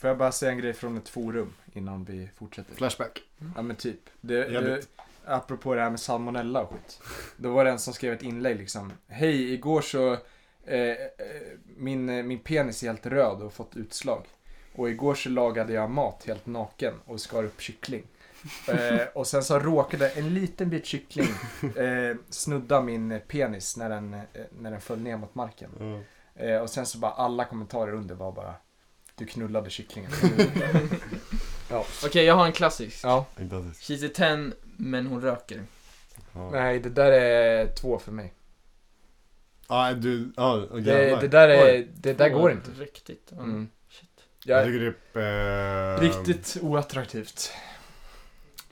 [SPEAKER 2] Får jag bara säga en grej från ett forum innan vi fortsätter?
[SPEAKER 1] Flashback.
[SPEAKER 2] Ja men typ. Det, det,
[SPEAKER 1] Jävligt.
[SPEAKER 2] apropå det här med salmonella och skit. Då var det en som skrev ett inlägg liksom. Hej, igår så... Eh, eh, min, eh, min penis är helt röd och fått utslag. Och igår så lagade jag mat helt naken och skar upp kyckling. Eh, och sen så råkade en liten bit kyckling eh, snudda min penis när den, eh, när den föll ner mot marken.
[SPEAKER 1] Ja.
[SPEAKER 2] Eh, och sen så bara alla kommentarer under var bara Du knullade *laughs* kycklingen.
[SPEAKER 3] Okej, jag har en klassisk.
[SPEAKER 2] ja.
[SPEAKER 1] Fantastiskt.
[SPEAKER 3] She's a 10 men hon röker.
[SPEAKER 1] Ja,
[SPEAKER 2] Nej, det där är två för mig.
[SPEAKER 1] ah, du, ja, oh,
[SPEAKER 2] Det, det där, är, det där
[SPEAKER 3] Åh,
[SPEAKER 2] går inte.
[SPEAKER 3] Riktigt. Ja.
[SPEAKER 2] Mm.
[SPEAKER 3] Shit.
[SPEAKER 1] Jag
[SPEAKER 2] Jag,
[SPEAKER 1] tycker det är... Eh,
[SPEAKER 2] riktigt oattraktivt.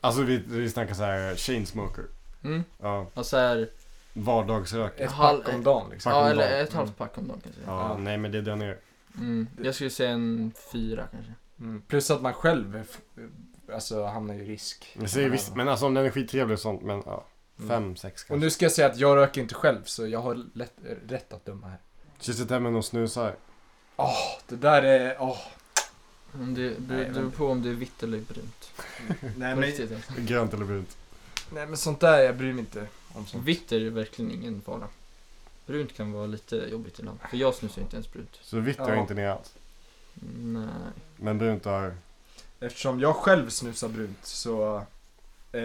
[SPEAKER 1] Alltså vi, vi snackar så här chainsmoker.
[SPEAKER 3] Mm.
[SPEAKER 1] Ja,
[SPEAKER 3] Och så här,
[SPEAKER 1] vardagsrök.
[SPEAKER 2] Ett
[SPEAKER 3] Halv-
[SPEAKER 2] pack om dagen liksom.
[SPEAKER 1] Pack
[SPEAKER 3] ja,
[SPEAKER 1] om
[SPEAKER 3] eller
[SPEAKER 1] dagen.
[SPEAKER 3] ett halvt pack om dagen kanske.
[SPEAKER 1] Ja, nej men det drar ner.
[SPEAKER 3] Mm. Jag skulle säga en fyra kanske.
[SPEAKER 2] Mm. Plus att man själv f- alltså, hamnar i risk.
[SPEAKER 1] Jag säger visst, men alltså om den är skittrevlig och sånt, men ja.
[SPEAKER 2] Mm.
[SPEAKER 1] Fem, sex
[SPEAKER 2] Och
[SPEAKER 1] kanske.
[SPEAKER 2] nu ska jag säga att jag röker inte själv, så jag har lätt, rätt att döma här.
[SPEAKER 1] Kysser tämmen och snusar.
[SPEAKER 2] Det där är... åh.
[SPEAKER 3] Om det det
[SPEAKER 2] Nej,
[SPEAKER 3] beror
[SPEAKER 2] men-
[SPEAKER 3] på om det är vitt eller brunt.
[SPEAKER 2] Nej,
[SPEAKER 3] På
[SPEAKER 2] men,
[SPEAKER 3] riktigt, alltså.
[SPEAKER 1] Grönt eller brunt.
[SPEAKER 2] nej men sånt där, jag bryr mig inte om sånt.
[SPEAKER 3] Vitt är verkligen ingen fara. Brunt kan vara lite jobbigt ibland. För jag snusar inte ens brunt.
[SPEAKER 1] Så vitt drar
[SPEAKER 2] Ja.
[SPEAKER 1] inte ner alls.
[SPEAKER 3] Nej.
[SPEAKER 1] Men brunt har...
[SPEAKER 2] Eftersom jag själv snusar brunt så... Eh,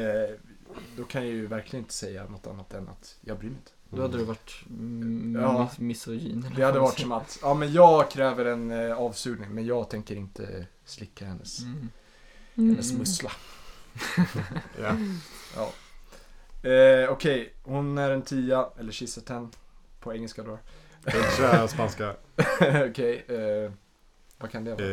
[SPEAKER 2] då kan jag ju verkligen inte säga något annat än att jag bryr mig inte.
[SPEAKER 3] Då hade du varit mm,
[SPEAKER 2] Ja.
[SPEAKER 3] mis- misogyn. eller
[SPEAKER 2] Det hade
[SPEAKER 3] vad man
[SPEAKER 2] varit som att, ja men jag kräver en eh, avsugning men jag tänker inte slicka hennes,
[SPEAKER 3] säger. Mm.
[SPEAKER 2] hennes mussla.
[SPEAKER 1] Ja.
[SPEAKER 2] Ja. Eh, Okej, hon är en tia, eller she's a ten, på engelska då. *laughs*
[SPEAKER 1] Kör spanska.
[SPEAKER 2] Okej, eh, vad kan det vara?
[SPEAKER 1] Eh,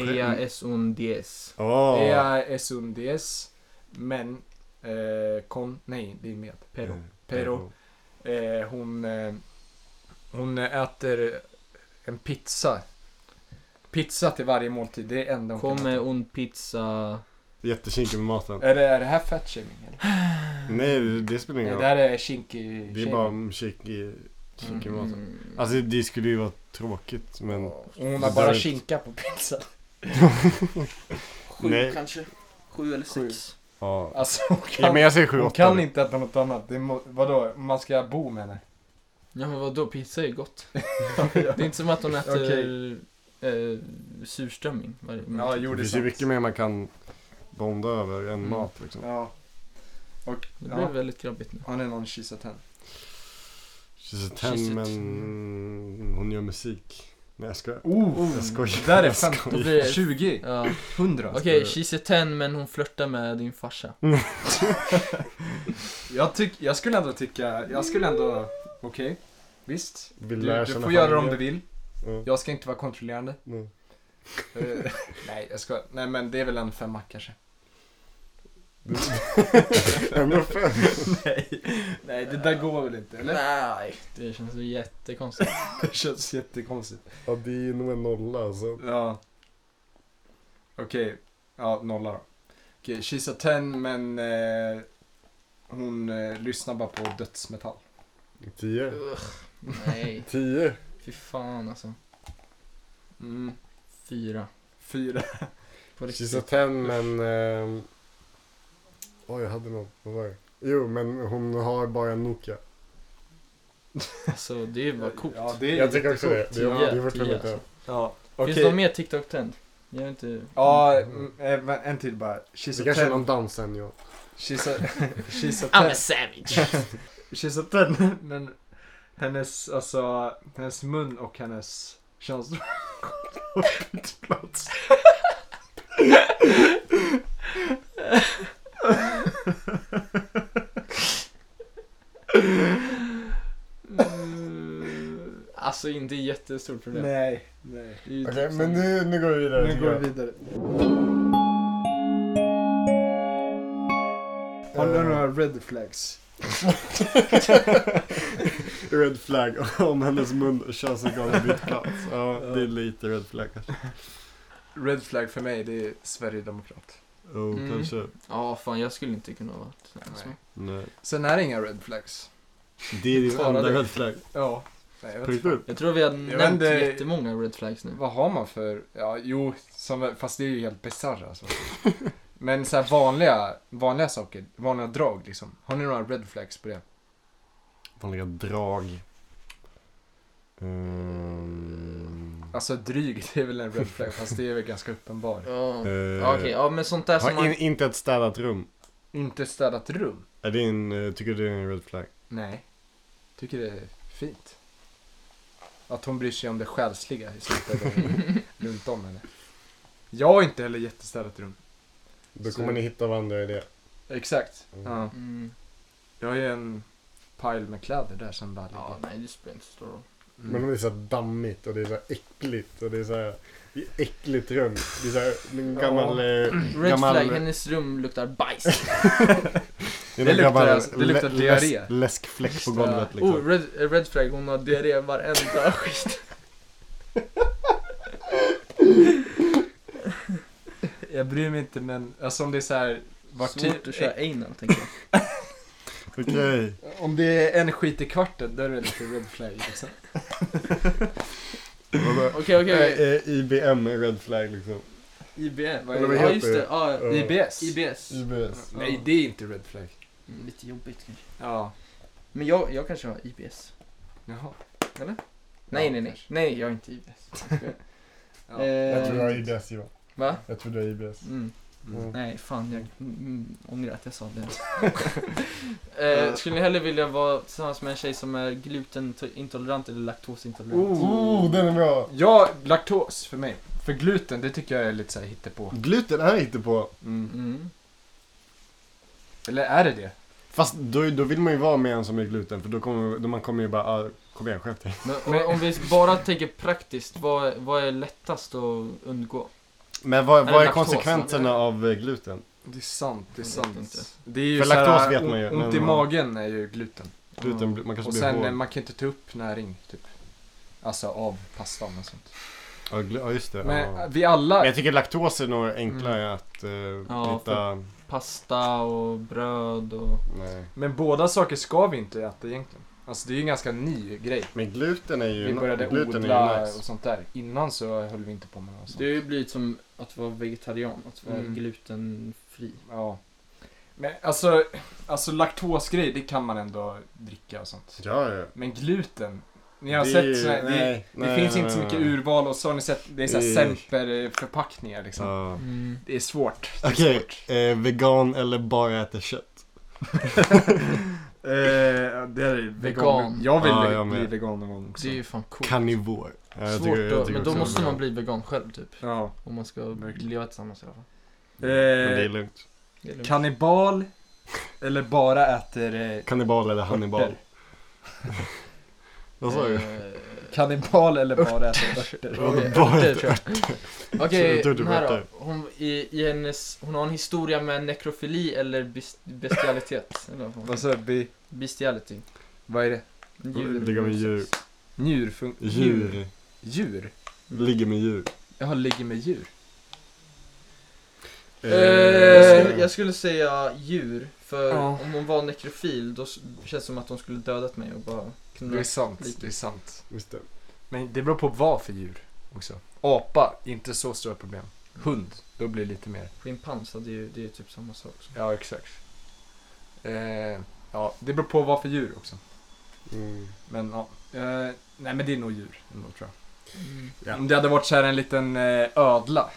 [SPEAKER 3] Ella
[SPEAKER 1] mujer.
[SPEAKER 3] es un diez.
[SPEAKER 1] Åh!
[SPEAKER 2] Ea es un diez, men, eh, con, nej det är med, pero.
[SPEAKER 1] Eh,
[SPEAKER 2] Pero. Eh, hon, eh, hon äter en pizza. Pizza till varje måltid, det är det enda hon kan
[SPEAKER 3] Come
[SPEAKER 2] äta.
[SPEAKER 3] un pizza.
[SPEAKER 1] Jättekinkig med maten.
[SPEAKER 2] Är det, är det här fat shaming eller?
[SPEAKER 1] Nej, det- det spelar ingen
[SPEAKER 2] Det
[SPEAKER 1] roll.
[SPEAKER 2] där är kinky
[SPEAKER 1] Det är bara kinkig kink i maten.
[SPEAKER 3] Mm.
[SPEAKER 1] Alltså det skulle ju vara tråkigt, men...
[SPEAKER 2] Hon
[SPEAKER 1] har
[SPEAKER 2] har
[SPEAKER 1] bara
[SPEAKER 2] bara
[SPEAKER 1] Dörrt.
[SPEAKER 2] kinka på pizza.
[SPEAKER 3] Sju
[SPEAKER 1] Nej.
[SPEAKER 3] kanske. Sju eller sex.
[SPEAKER 1] Ja.
[SPEAKER 2] Alltså hon kan,
[SPEAKER 1] Ja, men jag säger sju,
[SPEAKER 2] hon
[SPEAKER 1] åtta.
[SPEAKER 2] kan inte äta något annat. Det må, vadå, man ska bo med
[SPEAKER 3] *laughs*
[SPEAKER 2] henne?
[SPEAKER 3] Ja men vadå, pizza är
[SPEAKER 2] *laughs*
[SPEAKER 3] ju gott. Det är inte som att hon äter eh, surströmming varje
[SPEAKER 2] Mm. Ja,
[SPEAKER 3] måltid.
[SPEAKER 2] jo
[SPEAKER 1] Det
[SPEAKER 2] det är
[SPEAKER 1] finns ju
[SPEAKER 2] sant.
[SPEAKER 1] mycket mer man kan bonda över än
[SPEAKER 3] Mm.
[SPEAKER 1] mat liksom.
[SPEAKER 2] Ja. Och,
[SPEAKER 3] Det blev
[SPEAKER 2] ja.
[SPEAKER 3] väldigt grabbigt nu.
[SPEAKER 2] Har ni någon kyssa tenn?
[SPEAKER 1] She's a
[SPEAKER 3] She's
[SPEAKER 1] ten,
[SPEAKER 3] a
[SPEAKER 1] men hon gör musik. Nej jag skojar.
[SPEAKER 2] Oh,
[SPEAKER 1] Jag skojar.
[SPEAKER 2] det där är
[SPEAKER 1] Jag
[SPEAKER 2] 15,
[SPEAKER 3] Då blir det-
[SPEAKER 2] 20,
[SPEAKER 3] Ja.
[SPEAKER 2] 100.
[SPEAKER 3] Okej, she's a 10 men hon flörtar med din farsa.
[SPEAKER 2] Jag, tyck, jag skulle ändå tycka, jag skulle ändå, okej, visst.
[SPEAKER 1] Vi
[SPEAKER 2] Du,
[SPEAKER 1] lär
[SPEAKER 2] du
[SPEAKER 1] känna
[SPEAKER 2] får göra om
[SPEAKER 1] familjer.
[SPEAKER 2] du vill.
[SPEAKER 1] Ja.
[SPEAKER 2] Jag ska inte vara kontrollerande.
[SPEAKER 1] Mm.
[SPEAKER 2] *laughs* Eh, nej, jag ska, nej men det är väl en femma kanske.
[SPEAKER 4] Ändå fem.
[SPEAKER 2] *laughs* Nej, nej det där går väl inte? Eller?
[SPEAKER 3] Nej, det känns ju jättekonstigt.
[SPEAKER 2] *laughs* Det känns jättekonstigt.
[SPEAKER 4] Ja, det är nog en nolla alltså.
[SPEAKER 2] Ja. Okej. Ja, nolla då. Okej, she's a 10 men eh, hon eh, lyssnar bara på dödsmetall.
[SPEAKER 4] Tio.
[SPEAKER 3] Nej,
[SPEAKER 4] Tio.
[SPEAKER 3] *laughs* fy fan alltså.
[SPEAKER 2] Mm.
[SPEAKER 3] Fyra.
[SPEAKER 2] Fyra.
[SPEAKER 3] På riktigt.
[SPEAKER 4] She's a ten men... ehm, Oj, jag hade något. Vad var det? Jo, men hon har bara en Nokia.
[SPEAKER 3] Alltså, det är ju bara coolt.
[SPEAKER 2] Ja, det är
[SPEAKER 4] Jag tycker också det.
[SPEAKER 2] jättecoolt.
[SPEAKER 4] Det är,
[SPEAKER 3] Tio,
[SPEAKER 4] det är fortfarande
[SPEAKER 3] tio,
[SPEAKER 4] inte...
[SPEAKER 2] Ja,
[SPEAKER 3] Finns
[SPEAKER 2] okej.
[SPEAKER 3] det någon mer TikTok-trend? Jag är inte...
[SPEAKER 2] Ja, mm, eh, men en till bara.
[SPEAKER 4] Det
[SPEAKER 2] She's a
[SPEAKER 4] kanske är
[SPEAKER 2] 10.
[SPEAKER 4] någon dans sen, ja.
[SPEAKER 2] She's a, *laughs* she's a 10.
[SPEAKER 3] I'm a savage!
[SPEAKER 2] She's a 10 *laughs* men hennes, alltså, hennes mun och hennes *laughs* könsdrag byter plats.
[SPEAKER 3] Mm, alltså, inte jättestort problem.
[SPEAKER 2] Nej, nej.
[SPEAKER 3] Det är ju
[SPEAKER 4] Okej,
[SPEAKER 3] typ
[SPEAKER 4] men
[SPEAKER 3] som-
[SPEAKER 4] nu, nu går vi vidare.
[SPEAKER 2] Nu
[SPEAKER 4] tycker
[SPEAKER 2] går
[SPEAKER 4] jag.
[SPEAKER 2] vi vidare. Har du
[SPEAKER 4] Eh,
[SPEAKER 2] några red flags?
[SPEAKER 1] *laughs* Red flag om hennes mun och könsorgan har bytt plats. Ja, det är lite red flag kanske.
[SPEAKER 2] Red flag för mig, det är Sverigedemokrat.
[SPEAKER 1] Oh,
[SPEAKER 3] Mm.
[SPEAKER 1] kanske.
[SPEAKER 3] Ja, fan jag skulle inte kunna vara tillsammans med.
[SPEAKER 1] Nej.
[SPEAKER 2] Sen är det inga red flags.
[SPEAKER 1] Det är din
[SPEAKER 2] Svara
[SPEAKER 1] enda
[SPEAKER 2] det.
[SPEAKER 1] red flag.
[SPEAKER 2] Ja. Nej, jag
[SPEAKER 1] På
[SPEAKER 2] vet inte.
[SPEAKER 1] riktigt?
[SPEAKER 3] Jag tror vi har
[SPEAKER 2] Jag
[SPEAKER 3] nämnt
[SPEAKER 2] vet inte-
[SPEAKER 3] jättemånga red flags nu.
[SPEAKER 2] Vad har man för, ja jo, som, fast det är ju helt bisarrt alltså. *laughs* Men så här vanliga, vanliga saker, vanliga drag liksom. Har ni några red flags på det?
[SPEAKER 1] Vanliga drag.
[SPEAKER 3] Ehm.
[SPEAKER 1] Mm.
[SPEAKER 2] Alltså dryg, *laughs* det är väl en red flag, fast det är väl ganska uppenbar.
[SPEAKER 3] Ja,
[SPEAKER 1] Eh,
[SPEAKER 3] Ja, okej. Ja, men sånt där som
[SPEAKER 1] Har
[SPEAKER 3] man...
[SPEAKER 1] in, inte ett städat rum.
[SPEAKER 2] Inte städat rum?
[SPEAKER 1] Är det en, eh, tycker du det är en red flag?
[SPEAKER 2] Nej. Tycker det är fint. Att hon bryr sig om det själsliga i slutändan runt om henne. Jag har inte heller jättestädat rum.
[SPEAKER 4] Då kommer ni hitta varandra i det.
[SPEAKER 2] Exakt.
[SPEAKER 4] Mm.
[SPEAKER 2] Ja.
[SPEAKER 3] Mm.
[SPEAKER 2] Jag har ju en pile med kläder där som bara ligger.
[SPEAKER 3] Ja, nej det spelar inte så stor roll.
[SPEAKER 4] Men om det är så här dammigt och det är så här äckligt och det är så här... Det är äckligt rum. Det är så här en gammal... eh,
[SPEAKER 3] Red
[SPEAKER 1] Gammal-
[SPEAKER 3] flag, hennes rum luktar bajs.
[SPEAKER 1] Det, är
[SPEAKER 2] Det
[SPEAKER 1] någon
[SPEAKER 2] luktar-
[SPEAKER 1] gammal
[SPEAKER 2] det luktar
[SPEAKER 1] lä-
[SPEAKER 2] diarré.
[SPEAKER 1] läsk- läskfläck på
[SPEAKER 2] Just det.
[SPEAKER 1] golvet liksom.
[SPEAKER 3] Oh, red, eh, red flag, hon har diarré *laughs* varenda skit.
[SPEAKER 2] Jag bryr mig inte men, alltså om det är så här, vart
[SPEAKER 3] Svårt
[SPEAKER 2] ti-
[SPEAKER 3] att köra anal tänker jag.
[SPEAKER 1] Okej.
[SPEAKER 2] Eh, Om det är en skit i kvarten, då är det lite red flag liksom.
[SPEAKER 1] Vadå?
[SPEAKER 3] Okej, okej, okej.
[SPEAKER 1] Eh, eh, IBM är red flag liksom.
[SPEAKER 3] IBM.
[SPEAKER 2] Vad är
[SPEAKER 4] Eller vad
[SPEAKER 2] det?
[SPEAKER 3] Ja,
[SPEAKER 4] heter
[SPEAKER 3] just det. Ja,
[SPEAKER 4] Eh,
[SPEAKER 2] IBS?
[SPEAKER 3] IBS.
[SPEAKER 4] IBS.
[SPEAKER 2] Nej, det är inte red flag.
[SPEAKER 3] Mm, Lite jobbigt kanske.
[SPEAKER 2] Ja.
[SPEAKER 3] Men jag, jag kanske har IBS.
[SPEAKER 2] Jaha.
[SPEAKER 3] Nej,
[SPEAKER 2] Ja,
[SPEAKER 3] nej, nej.
[SPEAKER 2] kanske.
[SPEAKER 3] Nej, jag har inte IBS. *laughs*
[SPEAKER 2] Ja.
[SPEAKER 4] Jag
[SPEAKER 3] Eh,
[SPEAKER 4] tror du har IBS Johan.
[SPEAKER 3] Va?
[SPEAKER 4] Jag tror du har IBS.
[SPEAKER 3] Mm.
[SPEAKER 4] Mm.
[SPEAKER 3] Nej, fan jag mm, ångrar att jag sa det. *laughs* eh, skulle ni hellre vilja vara tillsammans med en tjej som är glutenintolerant eller laktosintolerant?
[SPEAKER 4] Oh, den är bra!
[SPEAKER 2] Ja, laktos för mig. För gluten, det tycker jag är lite så här hittepå.
[SPEAKER 1] Gluten är inte på.
[SPEAKER 3] Mm.
[SPEAKER 2] Eller är det det?
[SPEAKER 1] Fast då, då vill man ju vara med en som är gluten för då kommer då man kommer ju bara, ah, kom igen skärp dig.
[SPEAKER 3] Men,
[SPEAKER 2] Men-
[SPEAKER 3] om vi bara tänker praktiskt, vad, vad är lättast att undgå?
[SPEAKER 1] Men vad,
[SPEAKER 3] Är
[SPEAKER 1] vad
[SPEAKER 3] det
[SPEAKER 1] är
[SPEAKER 3] laktos,
[SPEAKER 1] konsekvenserna av eh, gluten?
[SPEAKER 2] Det är sant, det är
[SPEAKER 3] Jag
[SPEAKER 2] sant.
[SPEAKER 3] vet inte.
[SPEAKER 2] Det är ju
[SPEAKER 1] För
[SPEAKER 2] så här,
[SPEAKER 1] laktos vet man ju,
[SPEAKER 2] ont-
[SPEAKER 1] men
[SPEAKER 2] Ont i
[SPEAKER 1] man-
[SPEAKER 2] magen är ju gluten.
[SPEAKER 1] Gluten, blir- man kanske
[SPEAKER 2] Och
[SPEAKER 1] blir
[SPEAKER 2] sen,
[SPEAKER 1] hård.
[SPEAKER 2] eh, man kan inte ta upp näring, typ. Alltså av pastan och sånt.
[SPEAKER 1] Ja, gl- ja just det.
[SPEAKER 2] Men
[SPEAKER 1] ja.
[SPEAKER 2] eh, vi alla...
[SPEAKER 1] Men jag tycker laktos är nog enklare att eh, hitta.
[SPEAKER 3] Pasta och bröd och...
[SPEAKER 1] Nej.
[SPEAKER 2] Men båda saker ska vi inte äta egentligen. Alltså det är ju en ganska ny grej.
[SPEAKER 1] Men gluten är ju,
[SPEAKER 2] Vi började
[SPEAKER 1] gluten är
[SPEAKER 2] odla
[SPEAKER 1] ju
[SPEAKER 2] och
[SPEAKER 1] nice.
[SPEAKER 2] sånt där. Innan så höll vi inte på med något sånt.
[SPEAKER 3] Det har ju blivit som att vara vegetarian, att vara
[SPEAKER 2] Mm.
[SPEAKER 3] glutenfri.
[SPEAKER 2] Ja. Men alltså, alltså laktosgrej, det kan man ändå dricka och sånt.
[SPEAKER 1] Ja, ja.
[SPEAKER 2] Men gluten. Ni har
[SPEAKER 1] Det är ju-
[SPEAKER 2] sett såna, det,
[SPEAKER 1] nej,
[SPEAKER 2] det
[SPEAKER 1] nej,
[SPEAKER 2] finns
[SPEAKER 1] nej,
[SPEAKER 2] inte så
[SPEAKER 1] nej,
[SPEAKER 2] mycket
[SPEAKER 1] nej.
[SPEAKER 2] urval och så har ni sett, det är såhär
[SPEAKER 1] Det-
[SPEAKER 2] Semper-förpackningar liksom.
[SPEAKER 1] Ja.
[SPEAKER 3] Mm.
[SPEAKER 2] Det är svårt. Det är
[SPEAKER 1] Okej, *laughs*
[SPEAKER 2] svårt. *laughs*
[SPEAKER 1] eh, vegan eller bara äter kött?
[SPEAKER 2] Eh, det är vegan.
[SPEAKER 3] Vegan.
[SPEAKER 2] Jag vill
[SPEAKER 1] Ja, jag
[SPEAKER 2] bli
[SPEAKER 1] med.
[SPEAKER 2] vegan någon gång också.
[SPEAKER 3] Det är ju fan coolt.
[SPEAKER 1] Karnivor. Ja, jag
[SPEAKER 3] Svårt
[SPEAKER 1] tycker- jag
[SPEAKER 3] att,
[SPEAKER 1] tycker
[SPEAKER 3] men då
[SPEAKER 1] också
[SPEAKER 3] måste
[SPEAKER 1] vegan.
[SPEAKER 3] man bli vegan själv typ.
[SPEAKER 2] Ja.
[SPEAKER 3] Om man ska
[SPEAKER 2] Verkligen.
[SPEAKER 3] leva tillsammans i alla fall.
[SPEAKER 1] Men det är
[SPEAKER 2] Eh,
[SPEAKER 1] lugnt.
[SPEAKER 3] Det är lugnt.
[SPEAKER 2] kannibal eller bara äter eh,
[SPEAKER 1] Kannibal eller Hannibal?
[SPEAKER 2] örter?
[SPEAKER 1] *laughs* Vad sa du? *laughs*
[SPEAKER 3] Eh,
[SPEAKER 2] Kannibal eller bara äter örter?
[SPEAKER 1] Vadå,
[SPEAKER 3] Örter,
[SPEAKER 1] bara
[SPEAKER 3] tror
[SPEAKER 1] ett
[SPEAKER 3] jag. Okej,
[SPEAKER 1] Tror du
[SPEAKER 3] den här
[SPEAKER 1] berättar?
[SPEAKER 3] då. Hon, i, i hennes, hon har en historia med nekrofili eller bes-
[SPEAKER 1] *laughs*
[SPEAKER 3] bestialitet. Eller vad fan.
[SPEAKER 2] Vad sa jag? Bi-
[SPEAKER 3] Bestiality.
[SPEAKER 2] Vad är det?
[SPEAKER 3] Djur.
[SPEAKER 1] Ligga med djur.
[SPEAKER 2] Njurfun...
[SPEAKER 1] Djur.
[SPEAKER 2] Djur?
[SPEAKER 1] Ligger med djur.
[SPEAKER 2] Jaha, ligger med djur.
[SPEAKER 3] Eh,
[SPEAKER 1] Eh,
[SPEAKER 3] jag skulle säga djur, för
[SPEAKER 2] Ja.
[SPEAKER 3] om hon var nekrofil då s- känns det som att hon skulle dödat mig och bara
[SPEAKER 2] Det
[SPEAKER 3] kunna...
[SPEAKER 2] är sant. Det är sant.
[SPEAKER 4] Just det.
[SPEAKER 2] Men det beror på vad för djur också. Apa, inte så stora problem. Hund, då blir det lite mer.
[SPEAKER 3] Schimpans, det är ju det är ju typ samma sak. som-
[SPEAKER 2] Ja, exakt. Eh, ja, det beror på vad för djur också.
[SPEAKER 4] Mm.
[SPEAKER 2] Men ja. Eh, nej, men det är nog djur ändå, tror jag.
[SPEAKER 3] Mm.
[SPEAKER 4] Ja.
[SPEAKER 2] Om det hade varit så här en liten eh, ödla.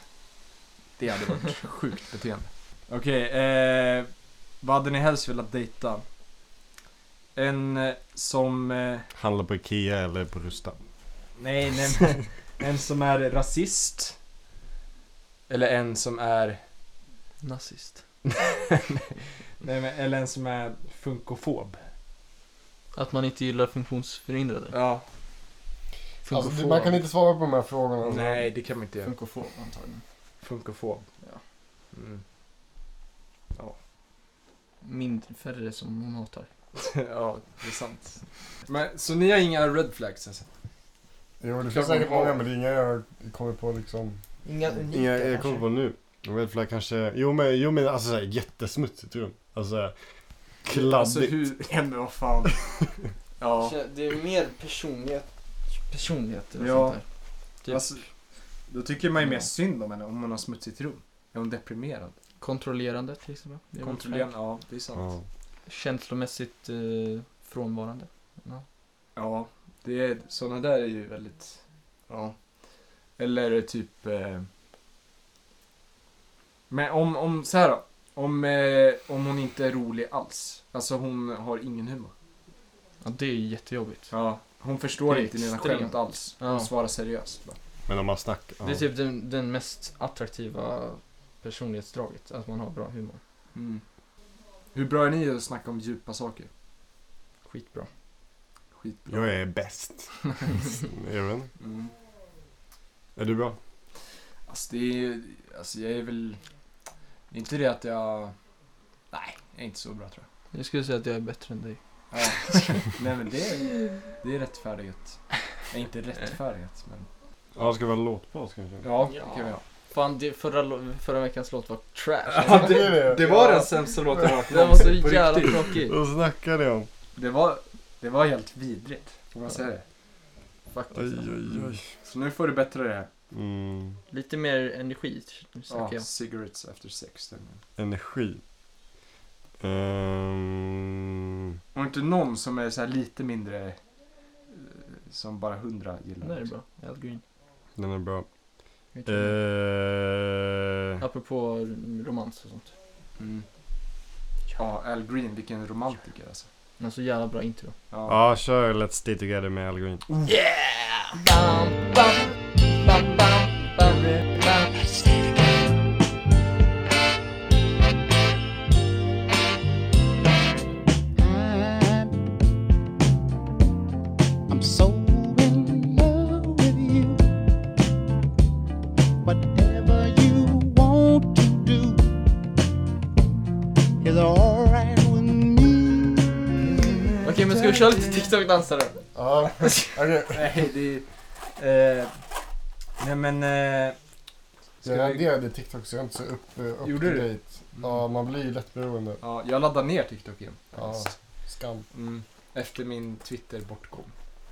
[SPEAKER 2] Det hade varit sjukt beteende. Okej, eh, vad hade ni helst velat dejta? En eh, som... Eh,
[SPEAKER 1] Handla på Ikea eller på Rusta.
[SPEAKER 2] nej, nej. men en som är rasist. Eller en som är...
[SPEAKER 3] Nazist.
[SPEAKER 2] Nej, men, eller en som är funkofob.
[SPEAKER 3] Att man inte gillar funktionsförhindrade.
[SPEAKER 2] Ja.
[SPEAKER 4] Alltså, det- man kan inte svara på de här frågorna. alltså.
[SPEAKER 2] Nej, det kan man inte göra.
[SPEAKER 3] Funkofob antagligen.
[SPEAKER 2] Funkofob.
[SPEAKER 3] Ja.
[SPEAKER 2] Mm. *laughs*
[SPEAKER 3] Mindre, färre som hon hatar.
[SPEAKER 2] ja, det är sant. Men, så ni har inga red flags alltså?
[SPEAKER 4] Jo, det
[SPEAKER 2] Klart
[SPEAKER 4] finns säkert
[SPEAKER 2] man har.
[SPEAKER 4] många, men det är inga jag kommer på liksom.
[SPEAKER 6] Inga unika
[SPEAKER 1] Mm. Inga, jag
[SPEAKER 6] kanske.
[SPEAKER 1] kommer på nu. Jag vet för kanske... Jo men, jo, men alltså såhär jättesmutsigt rum. Alltså såhär, kladdigt.
[SPEAKER 2] Alltså hur... Ja, men vad
[SPEAKER 3] *laughs*
[SPEAKER 2] fan. ja.
[SPEAKER 6] Känner- Det är mer personlighet.
[SPEAKER 3] Personligheter och
[SPEAKER 2] Ja.
[SPEAKER 3] sånt där. Typ
[SPEAKER 2] Alltså, då tycker man ju mer
[SPEAKER 3] Ja.
[SPEAKER 2] synd om henne om hon har smutsigt rum. Är hon deprimerad?
[SPEAKER 3] kontrollerande till exempel. Det är väl
[SPEAKER 2] Kontrollerande? Ja, det är
[SPEAKER 1] Ja.
[SPEAKER 2] sant.
[SPEAKER 3] fränt. Känslomässigt eh, frånvarande.
[SPEAKER 2] Ja, det är, sådana där är ju väldigt... Ja. Eller typ... Eh, men om, om så här då. Om, eh, om hon inte är rolig alls. Alltså hon har ingen humor.
[SPEAKER 3] Ja, det är ju jättejobbigt.
[SPEAKER 2] Ja. Hon förstår
[SPEAKER 3] Det är
[SPEAKER 2] inte dina
[SPEAKER 3] extremt.
[SPEAKER 2] skämt alls. Hon
[SPEAKER 3] Ja.
[SPEAKER 2] svarar seriöst. Bara.
[SPEAKER 1] Men om man snackar... Ja.
[SPEAKER 3] Det är typ den, den mest attraktiva personlighetsdraget, att man har bra humor. Mm.
[SPEAKER 2] Hur bra är ni att snacka om djupa saker?
[SPEAKER 3] Skitbra.
[SPEAKER 2] Skitbra.
[SPEAKER 1] Jag är bäst.
[SPEAKER 2] *laughs*
[SPEAKER 1] jag vet inte.
[SPEAKER 2] Mm.
[SPEAKER 1] Är du bra?
[SPEAKER 2] Alltså det är alltså jag är väl, det är inte det att jag, nej, jag är inte så bra tror jag.
[SPEAKER 3] Jag skulle säga att jag är bättre än dig.
[SPEAKER 2] Ja. *laughs* nej men det är, det är rättfärdighet. Nej inte rättfärdighet men.
[SPEAKER 1] Ja, ska vi ha låtpaus kanske?
[SPEAKER 2] Ja,
[SPEAKER 6] Ja.
[SPEAKER 2] det kan vi ha.
[SPEAKER 3] Fan, det, förra, lo- förra veckans låt var trash.
[SPEAKER 2] Ja,
[SPEAKER 3] *laughs*
[SPEAKER 4] det- det var den
[SPEAKER 2] sämsta låten jag hört
[SPEAKER 3] Den var så jävla tråkig.
[SPEAKER 1] Vad snackar ni om?
[SPEAKER 2] Det var, det var helt vidrigt. Får man säga det?
[SPEAKER 1] Oj,
[SPEAKER 3] Faktiskt.
[SPEAKER 1] oj, oj.
[SPEAKER 2] Så nu får du bättra det här.
[SPEAKER 1] Mm.
[SPEAKER 3] Lite mer energi,
[SPEAKER 2] Ja,
[SPEAKER 3] snackar jag.
[SPEAKER 2] cigarettes after sex. den.
[SPEAKER 1] Energi. Ehm,
[SPEAKER 2] Och inte någon som är så här lite mindre, eh, som bara hundra gillar.
[SPEAKER 3] Den där är bra. Al Green.
[SPEAKER 1] den är bra.
[SPEAKER 3] Jag tror det.
[SPEAKER 1] Eh,
[SPEAKER 3] Apropå romans och sånt.
[SPEAKER 2] Mm. Ja, Al Green, vilken romantiker alltså.
[SPEAKER 3] Men så jävla bra intro.
[SPEAKER 2] Ja.
[SPEAKER 1] ja, kör Let's Stay Together med Al Green.
[SPEAKER 3] Bam, bam, bam, bam, bam, bam.
[SPEAKER 7] I'm so in love with you. Whatever you want to do is alright with me.
[SPEAKER 3] Okej men ska vi köra lite TikTok-dansare?
[SPEAKER 4] Ja,
[SPEAKER 3] *laughs*
[SPEAKER 4] okej.
[SPEAKER 2] Nej, det är... Eh, nej men... Eh,
[SPEAKER 4] Jag
[SPEAKER 2] ska vi,
[SPEAKER 4] raderade TikTok så jag är inte så upp, eh, up
[SPEAKER 2] Gjorde
[SPEAKER 4] to
[SPEAKER 2] du?
[SPEAKER 4] date. Ja, man blir ju lättberoende.
[SPEAKER 2] ja, jag laddar ner TikTok igen.
[SPEAKER 4] Ja, skam.
[SPEAKER 2] Mm. Efter min Twitter bortkom.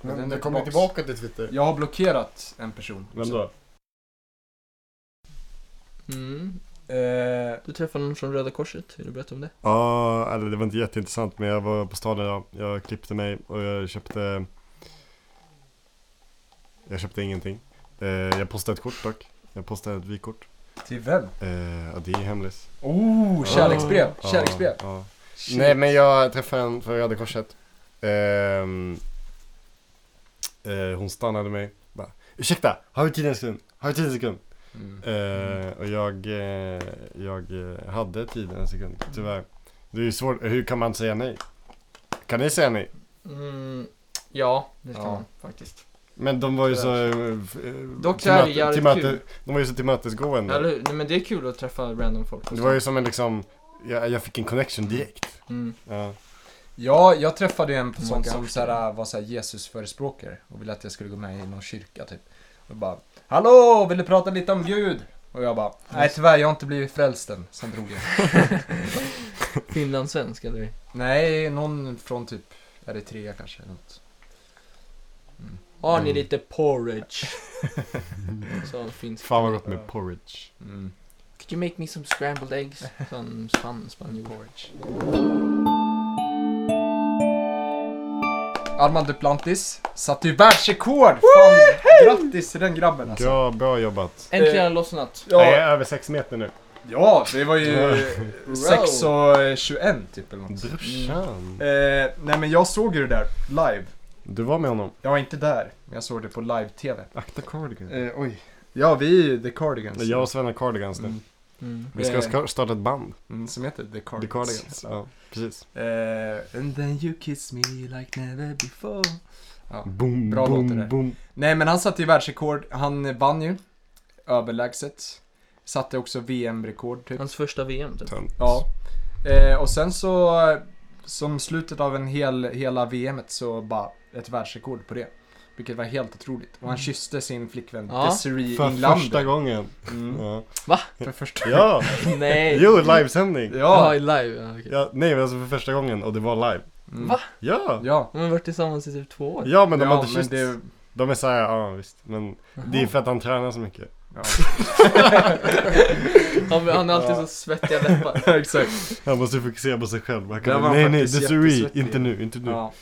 [SPEAKER 2] Men
[SPEAKER 4] Men,
[SPEAKER 2] den är
[SPEAKER 4] det kommer
[SPEAKER 2] tillbaks.
[SPEAKER 4] tillbaka till Twitter.
[SPEAKER 2] Jag har blockerat en person.
[SPEAKER 1] Vem då?
[SPEAKER 3] Mm.
[SPEAKER 2] Eh,
[SPEAKER 3] Du träffade någon från Röda Korset, vill du berätta om det?
[SPEAKER 1] Ja, eller det var inte jätteintressant men jag var på staden idag. Jag klippte mig och jag köpte... Jag köpte ingenting. Eh, jag postade ett kort dock. Jag postade ett vykort.
[SPEAKER 2] till vem?
[SPEAKER 1] Eh, ja, det är hemligt.
[SPEAKER 4] Ah.
[SPEAKER 2] Oh, kärleksbrev!
[SPEAKER 1] Ja,
[SPEAKER 2] Kärleksbrev!
[SPEAKER 1] ja. Nej men jag träffade en från Röda Korset. Ehm, eh, hon stannade mig. Bara, Ursäkta, har vi tid en sekund? Har vi tid en sekund?
[SPEAKER 2] Mm.
[SPEAKER 1] Eh, och jag, eh, jag eh, hade tid en sekund, tyvärr. Det är ju svårt, hur kan man säga nej? Kan ni säga nej?
[SPEAKER 3] Mm, ja, det kan
[SPEAKER 2] Ja.
[SPEAKER 3] man faktiskt.
[SPEAKER 1] Men de var ju så... eh, f- eh,
[SPEAKER 3] Dock
[SPEAKER 1] till
[SPEAKER 3] är det
[SPEAKER 1] möte-
[SPEAKER 3] jävligt
[SPEAKER 1] till möte-
[SPEAKER 3] kul.
[SPEAKER 1] De var ju så
[SPEAKER 3] Ja, eller
[SPEAKER 1] tillmötesgående.
[SPEAKER 3] hur? Nej, men det är kul att träffa random folk.
[SPEAKER 1] Mm. Det var ju som en liksom... Jag, jag fick en connection direkt.
[SPEAKER 3] Mm.
[SPEAKER 1] Ja.
[SPEAKER 2] Ja, jag träffade ju en person
[SPEAKER 3] Många
[SPEAKER 2] som
[SPEAKER 3] aktier.
[SPEAKER 2] såhär, var såhär Jesusförespråkare och ville att jag skulle gå med i någon kyrka typ. Och bara Hallå, vill du prata lite om Gud? Och jag bara Nej tyvärr, jag har inte blivit frälst än. Sen drog jag.
[SPEAKER 3] Finlandssvensk eller?
[SPEAKER 2] Nej, någon från typ Eritrea kanske. eller Något.
[SPEAKER 3] Har
[SPEAKER 1] Mm.
[SPEAKER 3] ni lite
[SPEAKER 1] *laughs*
[SPEAKER 3] porridge? Sa en finsk.
[SPEAKER 1] Fan vad gott med porridge.
[SPEAKER 2] Mm.
[SPEAKER 3] Could you make me some scrambled eggs? Sa en span, spanjor.
[SPEAKER 2] Porridge. Armand Duplantis satte ju världsrekord! Fan, grattis till den grabben alltså.
[SPEAKER 1] Ja, bra jobbat.
[SPEAKER 3] Äntligen har det lossnat.
[SPEAKER 1] Ja. Jag är över sex meter nu.
[SPEAKER 2] Ja, det var ju
[SPEAKER 3] Wow.
[SPEAKER 2] 6 och 21 typ eller något.
[SPEAKER 1] Brorsan.
[SPEAKER 2] Eh, nej men jag såg ju det där live.
[SPEAKER 1] Mm. Du var med honom.
[SPEAKER 2] Jag var inte där, men jag såg det på live-tv.
[SPEAKER 1] Akta Cardigan.
[SPEAKER 2] Eh, oj. Ja, vi är ju The Cardigans.
[SPEAKER 1] Mm. Jag och Svenna Cardigans nu.
[SPEAKER 2] Mm.
[SPEAKER 3] Mm.
[SPEAKER 1] Vi ska
[SPEAKER 2] Eh.
[SPEAKER 1] ska- starta ett band.
[SPEAKER 2] Mm, som heter The Cardigans.
[SPEAKER 1] The Cardigans. Ja, precis.
[SPEAKER 2] Eh, and then you kiss me like never before. Ja.
[SPEAKER 1] Boom,
[SPEAKER 2] Bra låt det där.
[SPEAKER 1] boom, boom.
[SPEAKER 2] Nej men han satte ju världsrekord, han vann ju. Överlägset. Satte också VM-rekord typ.
[SPEAKER 3] Hans första
[SPEAKER 1] *laughs*
[SPEAKER 3] VM typ.
[SPEAKER 1] Tönt.
[SPEAKER 2] Ja. Eh, och sen så, eh, som slutet av en hel, hela VMet så bara ett världsrekord på det. Vilket var helt otroligt. Och han kysste sin flickvän
[SPEAKER 3] Mm. Ja.
[SPEAKER 2] Desiree
[SPEAKER 1] För
[SPEAKER 2] Englander.
[SPEAKER 1] första gången.
[SPEAKER 2] Mm.
[SPEAKER 1] Ja.
[SPEAKER 2] För första
[SPEAKER 1] ja,
[SPEAKER 3] Nej.
[SPEAKER 1] jo livesändning.
[SPEAKER 3] Ja,
[SPEAKER 2] Ja.
[SPEAKER 3] i live. Ja, okej.
[SPEAKER 1] Ja, nej men alltså för första gången och det var live.
[SPEAKER 2] Mm.
[SPEAKER 3] Va?
[SPEAKER 1] Ja!
[SPEAKER 2] Ja.
[SPEAKER 3] De har varit tillsammans i typ två år.
[SPEAKER 1] Ja men de
[SPEAKER 2] ja,
[SPEAKER 1] har inte kysst.
[SPEAKER 2] det,
[SPEAKER 1] De är såhär, ja visst. Men det är för att han tränar så mycket.
[SPEAKER 2] ja. *laughs*
[SPEAKER 3] *laughs* Han, han har alltid så svettiga läppar.
[SPEAKER 2] Exakt.
[SPEAKER 1] Han måste fokusera på sig själv. Han
[SPEAKER 2] Där
[SPEAKER 1] kan,
[SPEAKER 2] var han
[SPEAKER 1] nej nej,
[SPEAKER 2] faktiskt
[SPEAKER 1] Desiree,
[SPEAKER 2] jättesvettig.
[SPEAKER 1] inte nu, inte nu.
[SPEAKER 2] Ja.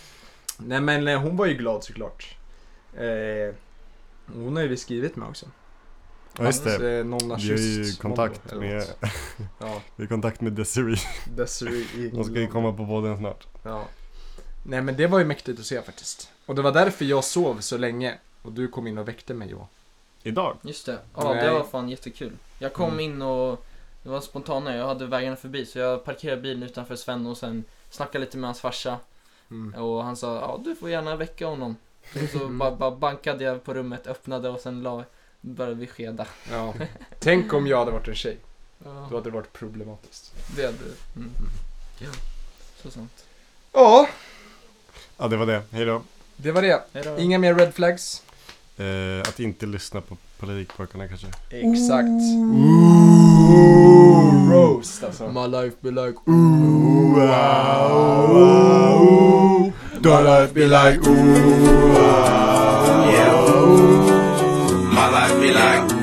[SPEAKER 2] Nej men eh, hon var ju glad såklart. Eh, hon har ju vi skrivit med också.
[SPEAKER 1] Ja, just
[SPEAKER 2] Att,
[SPEAKER 1] det.
[SPEAKER 2] eh, någon har
[SPEAKER 1] Vi har ju
[SPEAKER 2] kysst
[SPEAKER 1] kontakt
[SPEAKER 2] någon
[SPEAKER 1] *laughs*
[SPEAKER 2] eller
[SPEAKER 1] med,
[SPEAKER 2] något. Ja,
[SPEAKER 1] vi har kontakt med Desiree. De
[SPEAKER 2] Desiree
[SPEAKER 1] ska ju
[SPEAKER 2] Englander.
[SPEAKER 1] komma på båden snart.
[SPEAKER 2] Ja. Nej men det var ju mäktigt att se faktiskt. Och det var därför jag sov så länge. Och du kom in och väckte mig Johan.
[SPEAKER 1] Idag?
[SPEAKER 3] Just det. Ja,
[SPEAKER 2] Nej.
[SPEAKER 3] det var fan jättekul. Jag kom
[SPEAKER 2] Mm.
[SPEAKER 3] in och det var spontana. Jag hade vägarna förbi så jag parkerade bilen utanför Sven och sen snackade lite med hans farsa.
[SPEAKER 2] Mm.
[SPEAKER 3] Och han sa ja du får gärna väcka honom. Och så bara, bara bankade jag på rummet, öppnade och sen la, började vi skeda.
[SPEAKER 2] Ja. Tänk om jag hade varit en tjej. Då
[SPEAKER 3] Ja,
[SPEAKER 2] hade det varit problematiskt.
[SPEAKER 3] det hade mm. ja. Så sant.
[SPEAKER 2] Ja,
[SPEAKER 1] Ja det var det, hejdå.
[SPEAKER 2] det var det.
[SPEAKER 3] Hejdå.
[SPEAKER 2] Inga mer red flags.
[SPEAKER 1] Eh, att inte lyssna på politikpojkarna kanske.
[SPEAKER 2] Exakt.
[SPEAKER 1] Ooh.
[SPEAKER 2] Roast alltså.
[SPEAKER 3] My life be like
[SPEAKER 1] Ooh, wow, wow. Don't life be like ooh, wow, wow.
[SPEAKER 8] My life be like.